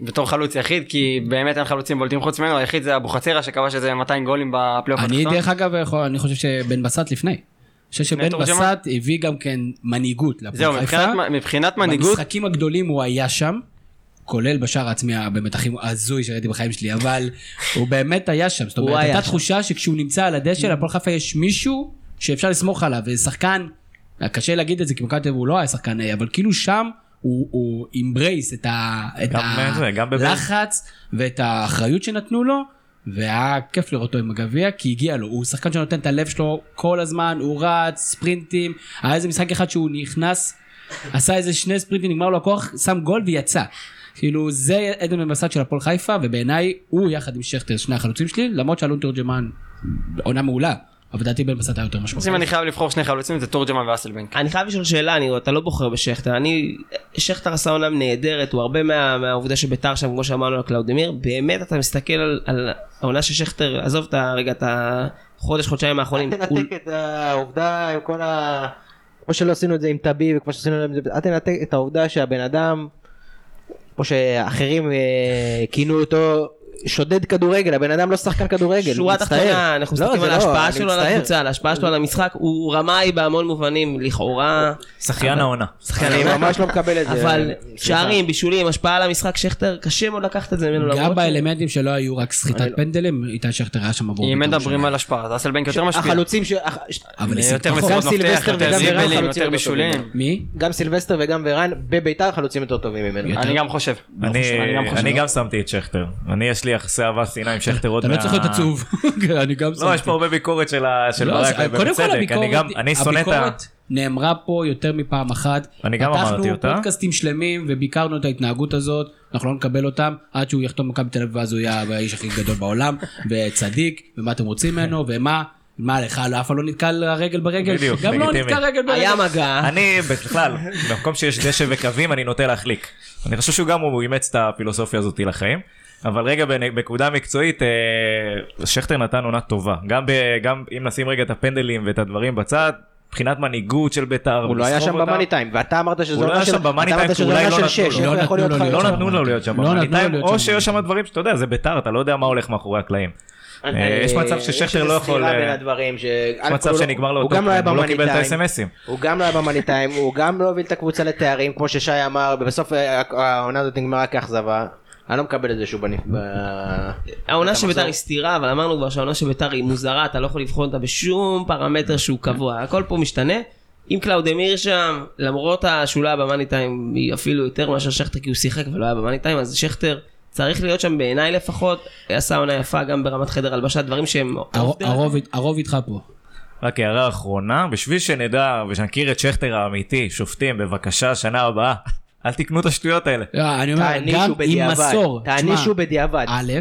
[SPEAKER 3] בתור חלוץ יחיד כי באמת אין חלוצים בולטים חוץ ממנו היחיד זה אבוחצירה שכבש איזה 200 גולים בפלייאוף
[SPEAKER 4] אני
[SPEAKER 3] התחתון.
[SPEAKER 4] דרך אגב, יכול- אני חושב שבן בסט לפני. אני חושב שבן
[SPEAKER 3] תורג'מן?
[SPEAKER 4] בסט הביא גם כן מנהיגות להפועל
[SPEAKER 3] זהו
[SPEAKER 4] חיפה.
[SPEAKER 3] מבחינת- מבחינת מנהיגות
[SPEAKER 4] במשחקים הגדולים הוא היה שם, כולל בשער העצמי באמת הכי הזוי שראיתי בחיים שלי, אבל הוא באמת היה שם. זאת
[SPEAKER 5] הוא
[SPEAKER 4] אומרת,
[SPEAKER 5] היה
[SPEAKER 4] הייתה
[SPEAKER 5] שם. Mm.
[SPEAKER 4] תחושה שכשהוא נמצא על הדשא, להפועל חיפה יש מישהו שאפשר לסמוך עליו, ושחקן, קשה להגיד את זה כי במכבי תל אביב הוא לא היה שחקן, אה, אבל כאילו שם הוא- הוא אמברייס את ה- את
[SPEAKER 6] גם זה, גם בבאר-
[SPEAKER 4] הלחץ ואת האחריות שנתנו לו. והיה כיף לראות אותו עם הגביע כי הגיע לו, הוא שחקן שנותן את הלב שלו כל הזמן, הוא רץ, ספרינטים, היה איזה משחק אחד שהוא נכנס, עשה איזה שני ספרינטים, נגמר לו הכוח, שם גול ויצא. כאילו זה עדן בן בסט של הפועל חיפה ובעיניי הוא יחד עם שכטר שני החלוצים שלי למרות שאלון תורג'מן עונה מעולה אבל לדעתי בן בסט היה יותר
[SPEAKER 3] אז אם
[SPEAKER 4] משמעותי.
[SPEAKER 3] אני חייב לבחור שני חלוצים זה תורג'מן ואסלבנק.
[SPEAKER 5] אני חייב לשאול שאלה, אני, אתה לא בוחר בשכטר, אני, שכטר עשה עונה נהדרת, הוא הרבה מה, מהעובדה שביתר שם, כמו שאמרנו על קלאודמיר, באמת אתה מסתכל על, על העונה של שכטר, עזוב את ה- רגע, את החודש, חודשיים האחרונים, הוא,
[SPEAKER 7] תנתק את העובדה עם כל ה... כמו שלא עשינו את זה עם טבי וכמו שעשינו את זה, אל תנתק את העובדה שהבן אדם, כמו שאחרים אה, כינו אותו, שודד כדורגל, הבן אדם לא שחקן כדורגל,
[SPEAKER 5] שורה
[SPEAKER 7] מצטער.
[SPEAKER 5] תחתונה, אנחנו
[SPEAKER 7] לא,
[SPEAKER 5] מסתכלים
[SPEAKER 7] זה
[SPEAKER 5] על
[SPEAKER 7] לא,
[SPEAKER 5] ההשפעה
[SPEAKER 7] אני
[SPEAKER 5] שלו על
[SPEAKER 7] מצטער.
[SPEAKER 5] הקבוצה, על ההשפעה שלו על המשחק, הוא רמאי בהמון מובנים, לכאורה.
[SPEAKER 6] שחיין העונה.
[SPEAKER 7] אני ממש לא מקבל את זה.
[SPEAKER 5] אבל
[SPEAKER 7] סליחה.
[SPEAKER 5] שערים, בישולים, השפעה על המשחק, שכטר, קשה מאוד לקחת את זה ממנו.
[SPEAKER 4] גם
[SPEAKER 5] למרות
[SPEAKER 4] באלמנטים שלא היו רק
[SPEAKER 7] אני
[SPEAKER 4] סחיטת
[SPEAKER 7] לא-
[SPEAKER 4] פנדלים, איתי שכטר היה שם עבור...
[SPEAKER 3] אם
[SPEAKER 4] ביטול
[SPEAKER 3] מדברים
[SPEAKER 4] שם.
[SPEAKER 3] על השפעה, אז אסלבנק יותר משפיע.
[SPEAKER 7] החלוצים, ש- הח- ש-
[SPEAKER 4] אבל השיג
[SPEAKER 3] יותר
[SPEAKER 4] פחות.
[SPEAKER 3] מסירות
[SPEAKER 7] גם
[SPEAKER 3] מפתח,
[SPEAKER 7] סילבסטר
[SPEAKER 3] יותר
[SPEAKER 7] וגם ורן
[SPEAKER 3] זיבלים,
[SPEAKER 7] חלוצים
[SPEAKER 3] יותר
[SPEAKER 7] יותר
[SPEAKER 3] בישולים.
[SPEAKER 4] מי?
[SPEAKER 7] גם סילבסטר וגם ורן בביתר חלוצים יותר טובים ממנו.
[SPEAKER 3] אני גם חושב.
[SPEAKER 6] אני,
[SPEAKER 3] גם חושב.
[SPEAKER 6] אני גם שמתי את שכטר, אני יש לי יחסי אהבת שנאה עם שכטר עוד
[SPEAKER 4] אתה לא צריך להיות עצוב. אני גם
[SPEAKER 6] לא,
[SPEAKER 4] שמתי.
[SPEAKER 6] יש פה הרבה ביקורת של ה- של
[SPEAKER 4] לא,
[SPEAKER 6] ברק,
[SPEAKER 4] אז קודם כל
[SPEAKER 6] ובצדק, אני גם,
[SPEAKER 4] הביקורת-
[SPEAKER 6] אני שונא את ה...
[SPEAKER 4] הביקורת נאמרה פה יותר מפעם אחת.
[SPEAKER 6] אני גם אמרתי אותה.
[SPEAKER 4] פתחנו פודקאסטים שלמים וביקרנו את ההתנהגות הזאת, אנחנו לא נקבל אותם עד שהוא יחתום מכבי תל אביב ואז הוא יהיה האיש הכי גדול בעולם, וצדיק, ומה אתם רוצים ממנו, ומה, מה לך, לא, אף אחד לא נתקע רגל ברגל,
[SPEAKER 6] בדיוק,
[SPEAKER 4] גם לא
[SPEAKER 6] לגיטימי.
[SPEAKER 4] נתקע רגל
[SPEAKER 5] ש-
[SPEAKER 4] ברגל.
[SPEAKER 5] היה מגע,
[SPEAKER 6] אני בכלל, במקום שיש דשא וקווים אני נוטה להחליק. אני חושב שהוא גם הוא אימץ את הפילוסופיה הזאת לחיים. אבל רגע, בנ- בנקודה מקצועית, אה, שכטר נתן עונה טובה. גם, ב, גם אם נשים רגע את הפנדלים ואת הדברים בצד, מבחינת מנהיגות של בית"ר,
[SPEAKER 7] הוא לא היה
[SPEAKER 6] לסחוב
[SPEAKER 7] שם
[SPEAKER 6] אותם,
[SPEAKER 7] במאני טיים, ואתה אמרת שזו
[SPEAKER 6] הוא לא
[SPEAKER 7] עונה
[SPEAKER 6] היה
[SPEAKER 7] של
[SPEAKER 6] שם במאני
[SPEAKER 7] אתה
[SPEAKER 6] טיים,
[SPEAKER 7] אמרת
[SPEAKER 6] כי
[SPEAKER 7] שזו
[SPEAKER 6] אולי
[SPEAKER 7] עונה
[SPEAKER 6] לא
[SPEAKER 7] של
[SPEAKER 6] נתנו
[SPEAKER 7] שש, איך
[SPEAKER 6] לו.
[SPEAKER 7] הוא
[SPEAKER 4] לא
[SPEAKER 7] יכול
[SPEAKER 4] נתנו
[SPEAKER 7] להיות
[SPEAKER 4] לו
[SPEAKER 7] חלוץ?
[SPEAKER 4] להיות
[SPEAKER 6] לא
[SPEAKER 4] שם
[SPEAKER 6] נתנו לו להיות שם
[SPEAKER 4] לא
[SPEAKER 6] במאני
[SPEAKER 4] נתנו לו
[SPEAKER 6] טיים,
[SPEAKER 4] להיות
[SPEAKER 6] או
[SPEAKER 4] שם
[SPEAKER 6] שיש שם דברים שאתה יודע, זה בית"ר, אתה לא יודע מה הולך מאחורי הקלעים. אה, יש מצב ששכטר לא יכול...
[SPEAKER 7] יש איזה סתירה בין
[SPEAKER 6] אה,
[SPEAKER 7] הדברים ש...
[SPEAKER 6] יש מצב שנגמר לו
[SPEAKER 7] הוא
[SPEAKER 6] אותו,
[SPEAKER 7] גם לא היה
[SPEAKER 6] הוא לא
[SPEAKER 7] במאני
[SPEAKER 6] קיבל את
[SPEAKER 7] טיים.
[SPEAKER 6] ה-SMSים.
[SPEAKER 7] הוא גם לא היה במאניטיים, הוא גם לא הוביל את הקבוצה לתארים, כמו ששי אמר, ובסוף אה, העונה הזאת נגמרה כאכזבה. אני לא מקבל את זה שהוא בנפ... אה,
[SPEAKER 5] העונה של ביתר היא סתירה, אבל אמרנו כבר שהעונה של ביתר היא מוזרה, אתה לא יכול לבחון אותה בשום פרמטר שהוא קבוע, הכל פה משתנה. אם קלאודמיר שם, למרות השולה במאני טיים, היא אפילו יותר מאשר שכטר, כי הוא שיחק ולא היה במאני טיים, אז שכטר צריך להיות שם בעיניי לפחות, עשה עונה יפה גם ברמת חדר הלבשה, דברים שהם...
[SPEAKER 4] הרוב- הרוב- הרוב איתך פה.
[SPEAKER 6] רק הערה אחרונה, בשביל שנדע ושנכיר את שכטר האמיתי, שופטים, בבקשה, שנה הבאה, אל תקנו את השטויות האלה.
[SPEAKER 4] לא, אני אומר,
[SPEAKER 7] תענישו
[SPEAKER 4] גם עם
[SPEAKER 7] בדיעבד.
[SPEAKER 4] מסור.
[SPEAKER 7] תענישו
[SPEAKER 4] תשמע,
[SPEAKER 7] בדיעבד.
[SPEAKER 4] א',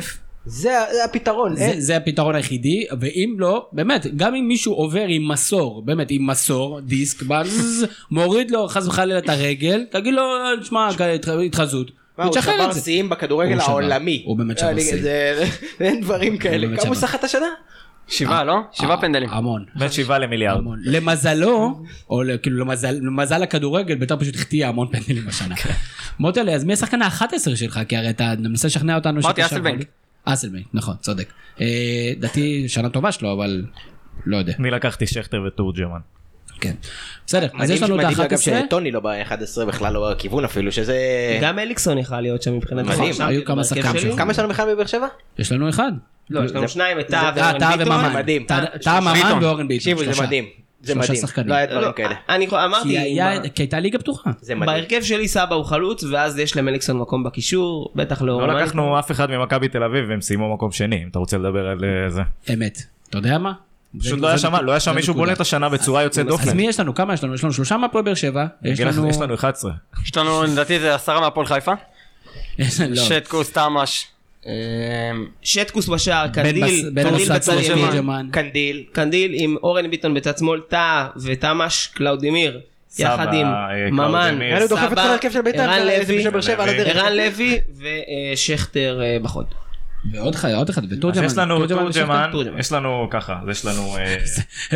[SPEAKER 7] זה זה הפתרון.
[SPEAKER 4] זה,
[SPEAKER 7] אין.
[SPEAKER 4] זה הפתרון היחידי, ואם לא, באמת, גם אם מישהו עובר עם מסור, באמת, עם מסור, דיסק, בז, מוריד לו חס וחלילה את הרגל, תגיד לו, תשמע, התח- התחזות.
[SPEAKER 7] מה, הוא
[SPEAKER 4] תשחרר
[SPEAKER 7] שבר
[SPEAKER 4] את זה.
[SPEAKER 7] שיאים בכדורגל
[SPEAKER 4] הוא שבר.
[SPEAKER 7] העולמי. לא,
[SPEAKER 4] הוא באמת שבר
[SPEAKER 7] אני-
[SPEAKER 4] שיאים.
[SPEAKER 7] זה- אין דברים כאלה.
[SPEAKER 4] באמת
[SPEAKER 7] כמה הוא
[SPEAKER 4] שבר.
[SPEAKER 7] סחט השנה?
[SPEAKER 3] שבעה, לא? שבעה
[SPEAKER 4] אה,
[SPEAKER 3] פנדלים.
[SPEAKER 4] המון.
[SPEAKER 6] בין שבעה למיליארד.
[SPEAKER 4] המון. למזלו, או ל- כאילו למזל, למזל הכדורגל, בית"ר פשוט החטיאה המון פנדלים השנה.
[SPEAKER 3] כן.
[SPEAKER 4] מוטלי, אז מי השחקן ה-11 שלך? כי הרי אתה מנסה לשכנע אותנו
[SPEAKER 3] אמרתי,
[SPEAKER 4] שאתה שם-
[SPEAKER 3] אסלבנק.
[SPEAKER 4] אסלבנק, נכון, צודק. אה, דעתי שנה טובה שלו, אבל לא יודע.
[SPEAKER 6] אני לקחתי שכטר ותורג'מן.
[SPEAKER 4] כן. בסדר, אז יש לנו את
[SPEAKER 7] מדהים אגב
[SPEAKER 4] ה-11.
[SPEAKER 7] שטוני לא ב-11 בכלל לא הכיוון אפילו, שזה...
[SPEAKER 5] גם אליקסון יכל להיות שם מבחינת...
[SPEAKER 7] מדהים,
[SPEAKER 5] השחקן
[SPEAKER 4] היו כמה
[SPEAKER 5] בהרכב
[SPEAKER 4] שחקנים
[SPEAKER 5] שלי.
[SPEAKER 4] שם.
[SPEAKER 7] כמה יש לנו בכלל בבאר שבע?
[SPEAKER 4] יש לנו אחד.
[SPEAKER 5] לא, יש לנו שניים, את טאה
[SPEAKER 4] אה, טאה
[SPEAKER 5] ואורן ביטון. אה,
[SPEAKER 4] וממן.
[SPEAKER 7] מדהים.
[SPEAKER 4] טאה- טאה ממן
[SPEAKER 3] ביטון.
[SPEAKER 4] ואורן ביטון.
[SPEAKER 7] תקשיבו,
[SPEAKER 4] שלושה.
[SPEAKER 7] זה מדהים. זה
[SPEAKER 4] שלושה
[SPEAKER 7] מדהים.
[SPEAKER 4] שחקנים.
[SPEAKER 7] לא היה
[SPEAKER 5] לא,
[SPEAKER 7] דברים כאלה.
[SPEAKER 5] אני אמרתי...
[SPEAKER 4] כי היה-
[SPEAKER 5] מה-
[SPEAKER 4] כי הייתה ליגה פתוחה.
[SPEAKER 7] זה מדהים.
[SPEAKER 5] בהרכב שלי סבא הוא חלוץ, ואז יש למליקסון מקום בקישור, בטח לא...
[SPEAKER 6] לא לקחנו אף אחד ממכבי תל אביב והם סיימו מקום שני, אם אתה רוצה לדבר על אה, זה.
[SPEAKER 4] אמת. אתה יודע מה?
[SPEAKER 6] פשוט
[SPEAKER 4] זה-
[SPEAKER 6] לא היה
[SPEAKER 4] זה
[SPEAKER 6] שם,
[SPEAKER 4] נקודה.
[SPEAKER 6] לא היה שם
[SPEAKER 4] זה
[SPEAKER 6] מישהו
[SPEAKER 4] נקודה.
[SPEAKER 6] בולט השנה בצורה יוצאת דופן.
[SPEAKER 4] אז מי יש לנו? כמה יש לנו? יש לנו שלושה מהפועל באר שבע. יש
[SPEAKER 6] גיל,
[SPEAKER 4] לנו...
[SPEAKER 6] יש לנו 11.
[SPEAKER 3] יש לנו, לדעתי זה עשרה מהפועל חיפה.
[SPEAKER 4] יש לנו- לא.
[SPEAKER 3] שטקוס, תמ"ש. אמ,
[SPEAKER 5] שטקוס בשער,
[SPEAKER 4] בן
[SPEAKER 5] קנדיל,
[SPEAKER 4] בס- בן
[SPEAKER 5] קנדיל
[SPEAKER 4] בסט
[SPEAKER 5] בצד ימין,
[SPEAKER 4] תורג'מן.
[SPEAKER 7] קנדיל.
[SPEAKER 5] קנדיל עם אורן ביטון בצד שמאל, טאה ותמ"ש, קלאודימיר,
[SPEAKER 6] סבא,
[SPEAKER 5] יחד עם
[SPEAKER 6] אה,
[SPEAKER 5] ממן,
[SPEAKER 6] קלאודימיר.
[SPEAKER 7] היה לו דוחף את כל
[SPEAKER 5] סבא,
[SPEAKER 7] ההרכב של בית"ר.
[SPEAKER 5] ערן
[SPEAKER 7] זה- זה
[SPEAKER 5] לוי,
[SPEAKER 7] בשביל באר שבע על הדרך.
[SPEAKER 5] ערן לוי ושכטר אה, בחוד.
[SPEAKER 4] ועוד אחד, עוד אחד,
[SPEAKER 6] אז
[SPEAKER 4] ותורג'מן.
[SPEAKER 6] יש לנו
[SPEAKER 4] תורג'מן ושכטר.
[SPEAKER 6] תורג'מן,
[SPEAKER 5] תורג'מן.
[SPEAKER 6] יש לנו ככה, אז יש לנו... אה,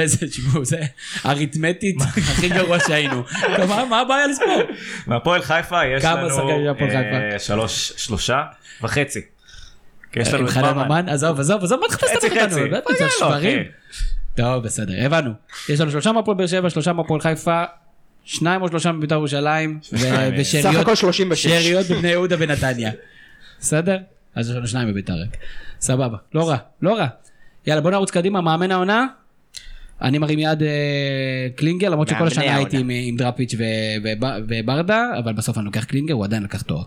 [SPEAKER 4] איזה שיבוב, זה אריתמטית הכי גרוע שהיינו. כלומר, מה הבעיה לספור?
[SPEAKER 6] מהפועל חיפה יש
[SPEAKER 4] כמה
[SPEAKER 6] לנו...
[SPEAKER 4] שחקנים של הפועל
[SPEAKER 6] אה,
[SPEAKER 4] חיפה? אה,
[SPEAKER 6] שלוש, שלושה וחצי. כי יש
[SPEAKER 4] עם
[SPEAKER 6] לנו את
[SPEAKER 4] חנן
[SPEAKER 6] ממן.
[SPEAKER 4] ממן? עזוב, עזוב, עזוב, מה אתה חושב
[SPEAKER 6] חצי חצי.
[SPEAKER 4] אותנו? באמת, זה
[SPEAKER 6] רגע, לא,
[SPEAKER 4] שברים.
[SPEAKER 6] אחי.
[SPEAKER 4] טוב, בסדר, הבנו. יש לנו שלושה מהפועל באר שבע, שלושה מהפועל חיפה, שניים או שלושה מבית"ר ירושלים, ו-
[SPEAKER 6] שניים, אה.
[SPEAKER 4] ושאריות-
[SPEAKER 7] סך הכל 36.
[SPEAKER 4] שאריות בבני יהודה ונתניה. בסדר? אז יש לנו שניים בבית"ר. רק. סבבה, לא רע, לא רע. יאללה, בוא נרוץ קדימה, מאמן העונה. אני מרים יד אה, קלינגר, למרות שכל
[SPEAKER 7] מאמני
[SPEAKER 4] השנה
[SPEAKER 7] העונה.
[SPEAKER 4] הייתי עם- עם דראפיץ' ו- וב- וברדה, אבל בסוף אני לוקח קלינגר, הוא עדיין לקח תואר.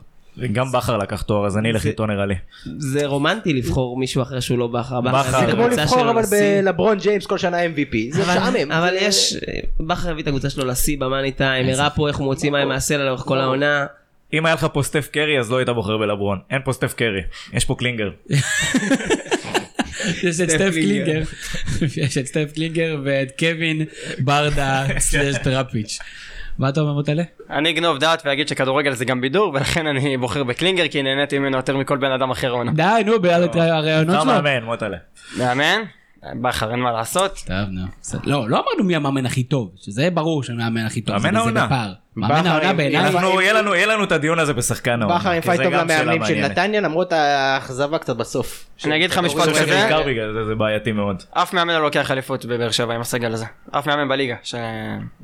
[SPEAKER 6] גם בכר לקח תואר, אז אני אלך איתו נראה לי.
[SPEAKER 5] זה רומנטי לבחור מישהו אחר שהוא לא בכר. בכר
[SPEAKER 6] בכר.
[SPEAKER 5] הביא את
[SPEAKER 7] זה כמו
[SPEAKER 5] הקבוצה שלו
[SPEAKER 7] לבחור אבל
[SPEAKER 5] לשיא.
[SPEAKER 7] בלברון ג'יימס כל שנה MVP. זה
[SPEAKER 5] אבל-
[SPEAKER 7] משעמם.
[SPEAKER 5] אבל
[SPEAKER 7] זה-
[SPEAKER 5] יש, אה, בכר הביא את הקבוצה שלו לשיא במאני טיים, הראה פה איך הוא מוציא מים מהסלע לאורך
[SPEAKER 7] לא
[SPEAKER 5] כל העונה.
[SPEAKER 6] אם היה לך פה סטף קרי אז לא היית בוחר בלברון. אין פה סטף קרי, יש פה
[SPEAKER 4] לא,
[SPEAKER 6] קלינגר.
[SPEAKER 4] יש את סטף קלינגר, יש את סטף קלינגר ואת קווין ברדה סלש טראפיץ'. מה אתה אומר מוטלה?
[SPEAKER 3] אני אגנוב דעת ואגיד שכדורגל זה גם בידור, ולכן אני בוחר בקלינגר, כי נהניתי ממנו יותר מכל בן אדם אחר העונה.
[SPEAKER 4] די נו, בעד הרעיונות
[SPEAKER 6] אתה
[SPEAKER 4] שלו.
[SPEAKER 6] מאמן, מוטלה.
[SPEAKER 3] מאמן? בכר, אין מה לעשות.
[SPEAKER 4] טוב, נו, בסדר. לא, לא אמרנו מי המאמן הכי טוב, שזה ברור שהמאמן הכי טוב.
[SPEAKER 6] מאמן
[SPEAKER 4] זה- זה
[SPEAKER 6] העונה. נכון.
[SPEAKER 4] בפער. מאמן
[SPEAKER 7] בכר
[SPEAKER 4] העונה
[SPEAKER 7] עם-
[SPEAKER 4] בעיניי.
[SPEAKER 7] עם-
[SPEAKER 6] אנחנו, יהיה לנו, יהיה לנו את הדיון הזה בשחקן העונה.
[SPEAKER 7] בכר עם
[SPEAKER 6] כי
[SPEAKER 7] פייט
[SPEAKER 6] זה
[SPEAKER 7] טוב
[SPEAKER 6] גם שאלה
[SPEAKER 7] למאמנים של
[SPEAKER 6] מעניינת.
[SPEAKER 7] נתניה למרות האכזבה קצת בסוף. אה,
[SPEAKER 3] אני אגיד לך משפט
[SPEAKER 6] אני חושב
[SPEAKER 3] כזה,
[SPEAKER 6] שבעיקר בגלל זה זה בעייתי מאוד.
[SPEAKER 3] אף מאמן לא לוקח אליפות בבאר שבע עם הסגל הזה. אף מאמן בליגה. ש...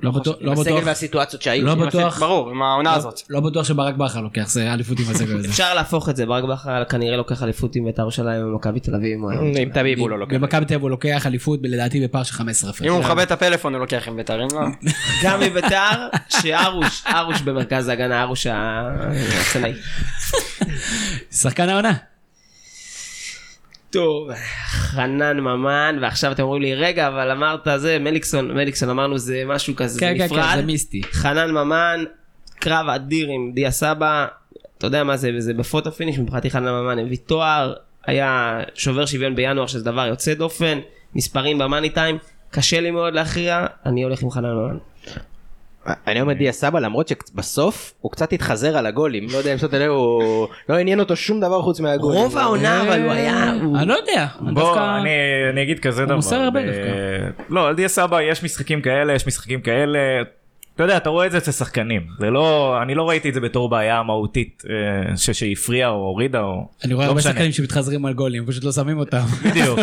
[SPEAKER 4] לא בטוח- לא
[SPEAKER 5] הסגל
[SPEAKER 4] בטוח-
[SPEAKER 5] והסיטואציות שהיו.
[SPEAKER 4] לא בטוח-
[SPEAKER 3] ברור, עם העונה הזאת.
[SPEAKER 4] לא בטוח שברק בכר לוקח זה אליפות עם הסגל הזה.
[SPEAKER 5] אפשר להפוך את זה, ברק בכר כנראה לוקח אליפות עם בית"ר ירושלים ומכבי תל אביב. אם הוא היה לוקח.
[SPEAKER 7] עם תביב הוא לא לוקח.
[SPEAKER 4] במכבי תל אביב הוא לוקח אליפות לדעתי בפער של 15 הפרש.
[SPEAKER 3] אם הוא מכבה את הפלאפון הוא לוקח עם בית"ר, אם לא...
[SPEAKER 5] גם מבית"ר, שארוש, ארוש במרכז ההגנה, ארוש הצנאי.
[SPEAKER 4] שחקן העונה.
[SPEAKER 5] טוב, חנן ממן, ועכשיו אתם אומרים לי, רגע, אבל אמרת זה, מליקסון, מליקסון, אמרנו זה משהו כזה, זה
[SPEAKER 4] כן, כן,
[SPEAKER 5] נפרד.
[SPEAKER 4] כן, זה מיסטי.
[SPEAKER 5] חנן ממן, קרב אדיר עם דיה סבא, אתה יודע מה זה, זה בפוטו פיניש, מבחינתי חנן ממן הביא תואר, היה שובר שוויון בינואר, שזה דבר יוצא דופן, מספרים במאני טיים, קשה לי מאוד להכריע, אני הולך עם חנן ממן.
[SPEAKER 7] אני אומר דיה סבא למרות שבסוף הוא קצת התחזר על הגולים לא יודע אם שמת לב הוא לא עניין אותו שום דבר חוץ מהגולים. אה,
[SPEAKER 5] רוב העונה, אבל הוא היה... הוא-
[SPEAKER 4] אני לא יודע. אני
[SPEAKER 6] בוא,
[SPEAKER 4] דווקא-
[SPEAKER 6] אני, אני אגיד כזה דבר.
[SPEAKER 4] מוסר הרבה
[SPEAKER 6] ב-
[SPEAKER 4] דווקא.
[SPEAKER 6] לא, על דיה סבא יש משחקים כאלה, יש משחקים כאלה. אתה יודע, אתה רואה את זה אצל שחקנים. זה לא, אני לא ראיתי את זה בתור בעיה מהותית אה, ש- שהפריעה או הורידה או...
[SPEAKER 4] אני רואה
[SPEAKER 6] לא
[SPEAKER 4] הרבה
[SPEAKER 6] משנה.
[SPEAKER 4] שחקנים שמתחזרים על גולים, פשוט לא שמים אותם.
[SPEAKER 6] בדיוק.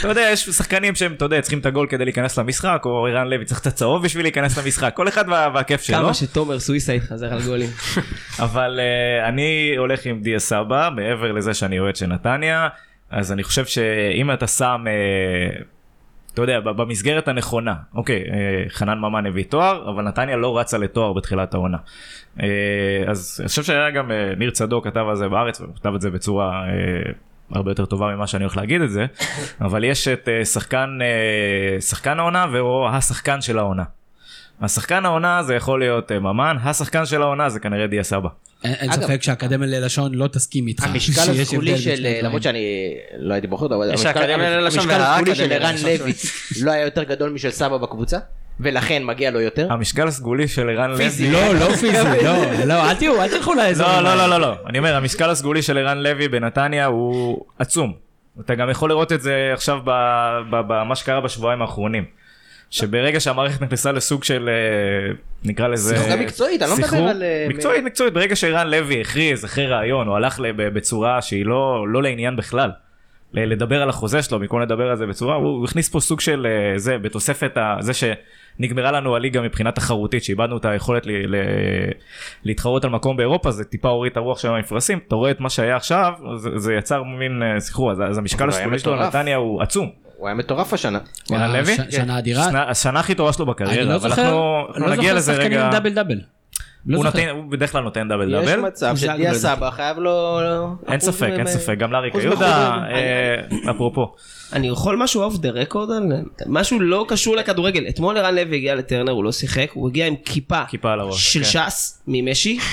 [SPEAKER 6] אתה יודע, יש שחקנים שהם, אתה יודע, צריכים את הגול כדי להיכנס למשחק, או ערן לוי צריך את הצהוב בשביל להיכנס למשחק. כל אחד וה- והכיף שלו.
[SPEAKER 5] כמה שתומר סוויסה התחזר על גולים.
[SPEAKER 6] אבל uh, אני הולך עם דיה סבא, מעבר לזה שאני אוהד של נתניה, אז אני חושב שאם אתה שם, uh, אתה יודע, ב- במסגרת הנכונה, אוקיי, uh, חנן ממן הביא תואר, אבל נתניה לא רצה לתואר בתחילת העונה. Uh, אז אני חושב שהיה גם uh, ניר צדוק כתב על זה בארץ, הוא כתב את זה בצורה... Uh, הרבה יותר טובה ממה שאני הולך להגיד את זה, אבל יש את אה, שחקן, אה, שחקן העונה ואו השחקן של העונה. השחקן העונה זה יכול להיות אה, ממן, השחקן של העונה זה כנראה דיה סבא.
[SPEAKER 4] אין- אין
[SPEAKER 7] אגב-
[SPEAKER 4] ספק שהאקדמיה ללשון לא תסכים איתך.
[SPEAKER 7] המשקל
[SPEAKER 4] שיש
[SPEAKER 7] הסגולי
[SPEAKER 4] הבדל בין
[SPEAKER 7] של
[SPEAKER 4] שני הדברים.
[SPEAKER 7] למרות שאני לא הייתי בוחר אותו אבל
[SPEAKER 3] יש
[SPEAKER 7] המשקל-
[SPEAKER 3] האקדמיה ללשון
[SPEAKER 7] המשקל הסגולי של
[SPEAKER 3] והאקדמיה
[SPEAKER 7] ערן
[SPEAKER 3] ללשון.
[SPEAKER 7] לוי לא היה יותר גדול משל סבא בקבוצה ולכן מגיע לו יותר.
[SPEAKER 6] המשקל הסגולי של ערן לוי...
[SPEAKER 4] לא, לא פיזי, לא, לא, אל תהיו, אל תלכו לאזור.
[SPEAKER 6] לא, לא, לא, לא, לא. אני אומר, המשקל הסגולי של ערן לוי בנתניה הוא עצום. אתה גם יכול לראות את זה עכשיו ב- ב- במה שקרה בשבועיים האחרונים. שברגע שהמערכת נכנסה לסוג של, אה, נקרא לזה...
[SPEAKER 7] שיחוק מקצועית, אני לא מדבר
[SPEAKER 6] שיחוק.
[SPEAKER 7] על, אה,
[SPEAKER 6] מקצועית, מקצועית. ברגע שערן לוי הכריז אחרי ראיון, הוא הלך לב- בצורה שהיא לא לא לעניין בכלל. ל- לדבר על החוזה שלו במקום לדבר על זה בצורה הוא הוא הכניס פה סוג של אה, זה בתוספת ה- זה שנגמרה לנו הליגה מבחינה תחרותית שאיבדנו את היכולת ל- ל- להתחרות על מקום באירופה זה טיפה הוריד את הרוח של המפרשים אתה רואה את מה שהיה עכשיו זה- זה יצר מין אה, סחרור אז- אז המשקל
[SPEAKER 7] זה היה
[SPEAKER 6] הסגולי שלו
[SPEAKER 7] מטורף.
[SPEAKER 6] נתניה הוא עצום.
[SPEAKER 7] הוא היה מטורף השנה.
[SPEAKER 4] וואלה,
[SPEAKER 6] ערן לוי?
[SPEAKER 4] ש- שנה אדירה.
[SPEAKER 6] שנה- השנה הכי טובה שלו
[SPEAKER 4] אני
[SPEAKER 6] בקריירה
[SPEAKER 4] לא
[SPEAKER 6] אבל
[SPEAKER 4] זוכר,
[SPEAKER 6] אנחנו אנחנו
[SPEAKER 4] לא
[SPEAKER 6] נגיע
[SPEAKER 4] זוכר
[SPEAKER 6] לזה
[SPEAKER 4] שחקנים עם
[SPEAKER 6] רגע.
[SPEAKER 4] דאבל דאבל. לא
[SPEAKER 6] הוא
[SPEAKER 4] זוכר.
[SPEAKER 6] נותן- הוא בדרך כלל נותן דאבל
[SPEAKER 7] יש
[SPEAKER 6] דאבל.
[SPEAKER 7] מצב שדיה סבא חייב לו...
[SPEAKER 6] אין
[SPEAKER 7] אחוז
[SPEAKER 6] ספק, אין
[SPEAKER 7] מ-
[SPEAKER 6] ספק, גם לאריק
[SPEAKER 7] אחוז
[SPEAKER 6] יהודה,
[SPEAKER 7] מהחוזרים.
[SPEAKER 6] אה, אפרופו.
[SPEAKER 5] אני יכול משהו אוף דה רקורד על משהו לא קשור לכדורגל. אתמול ערן לוי הגיע לטרנר, הוא לא שיחק, הוא הגיע עם כיפה.
[SPEAKER 6] כיפה על הראש,
[SPEAKER 5] של
[SPEAKER 6] כן.
[SPEAKER 5] ש"ס, ממשי.
[SPEAKER 6] כן,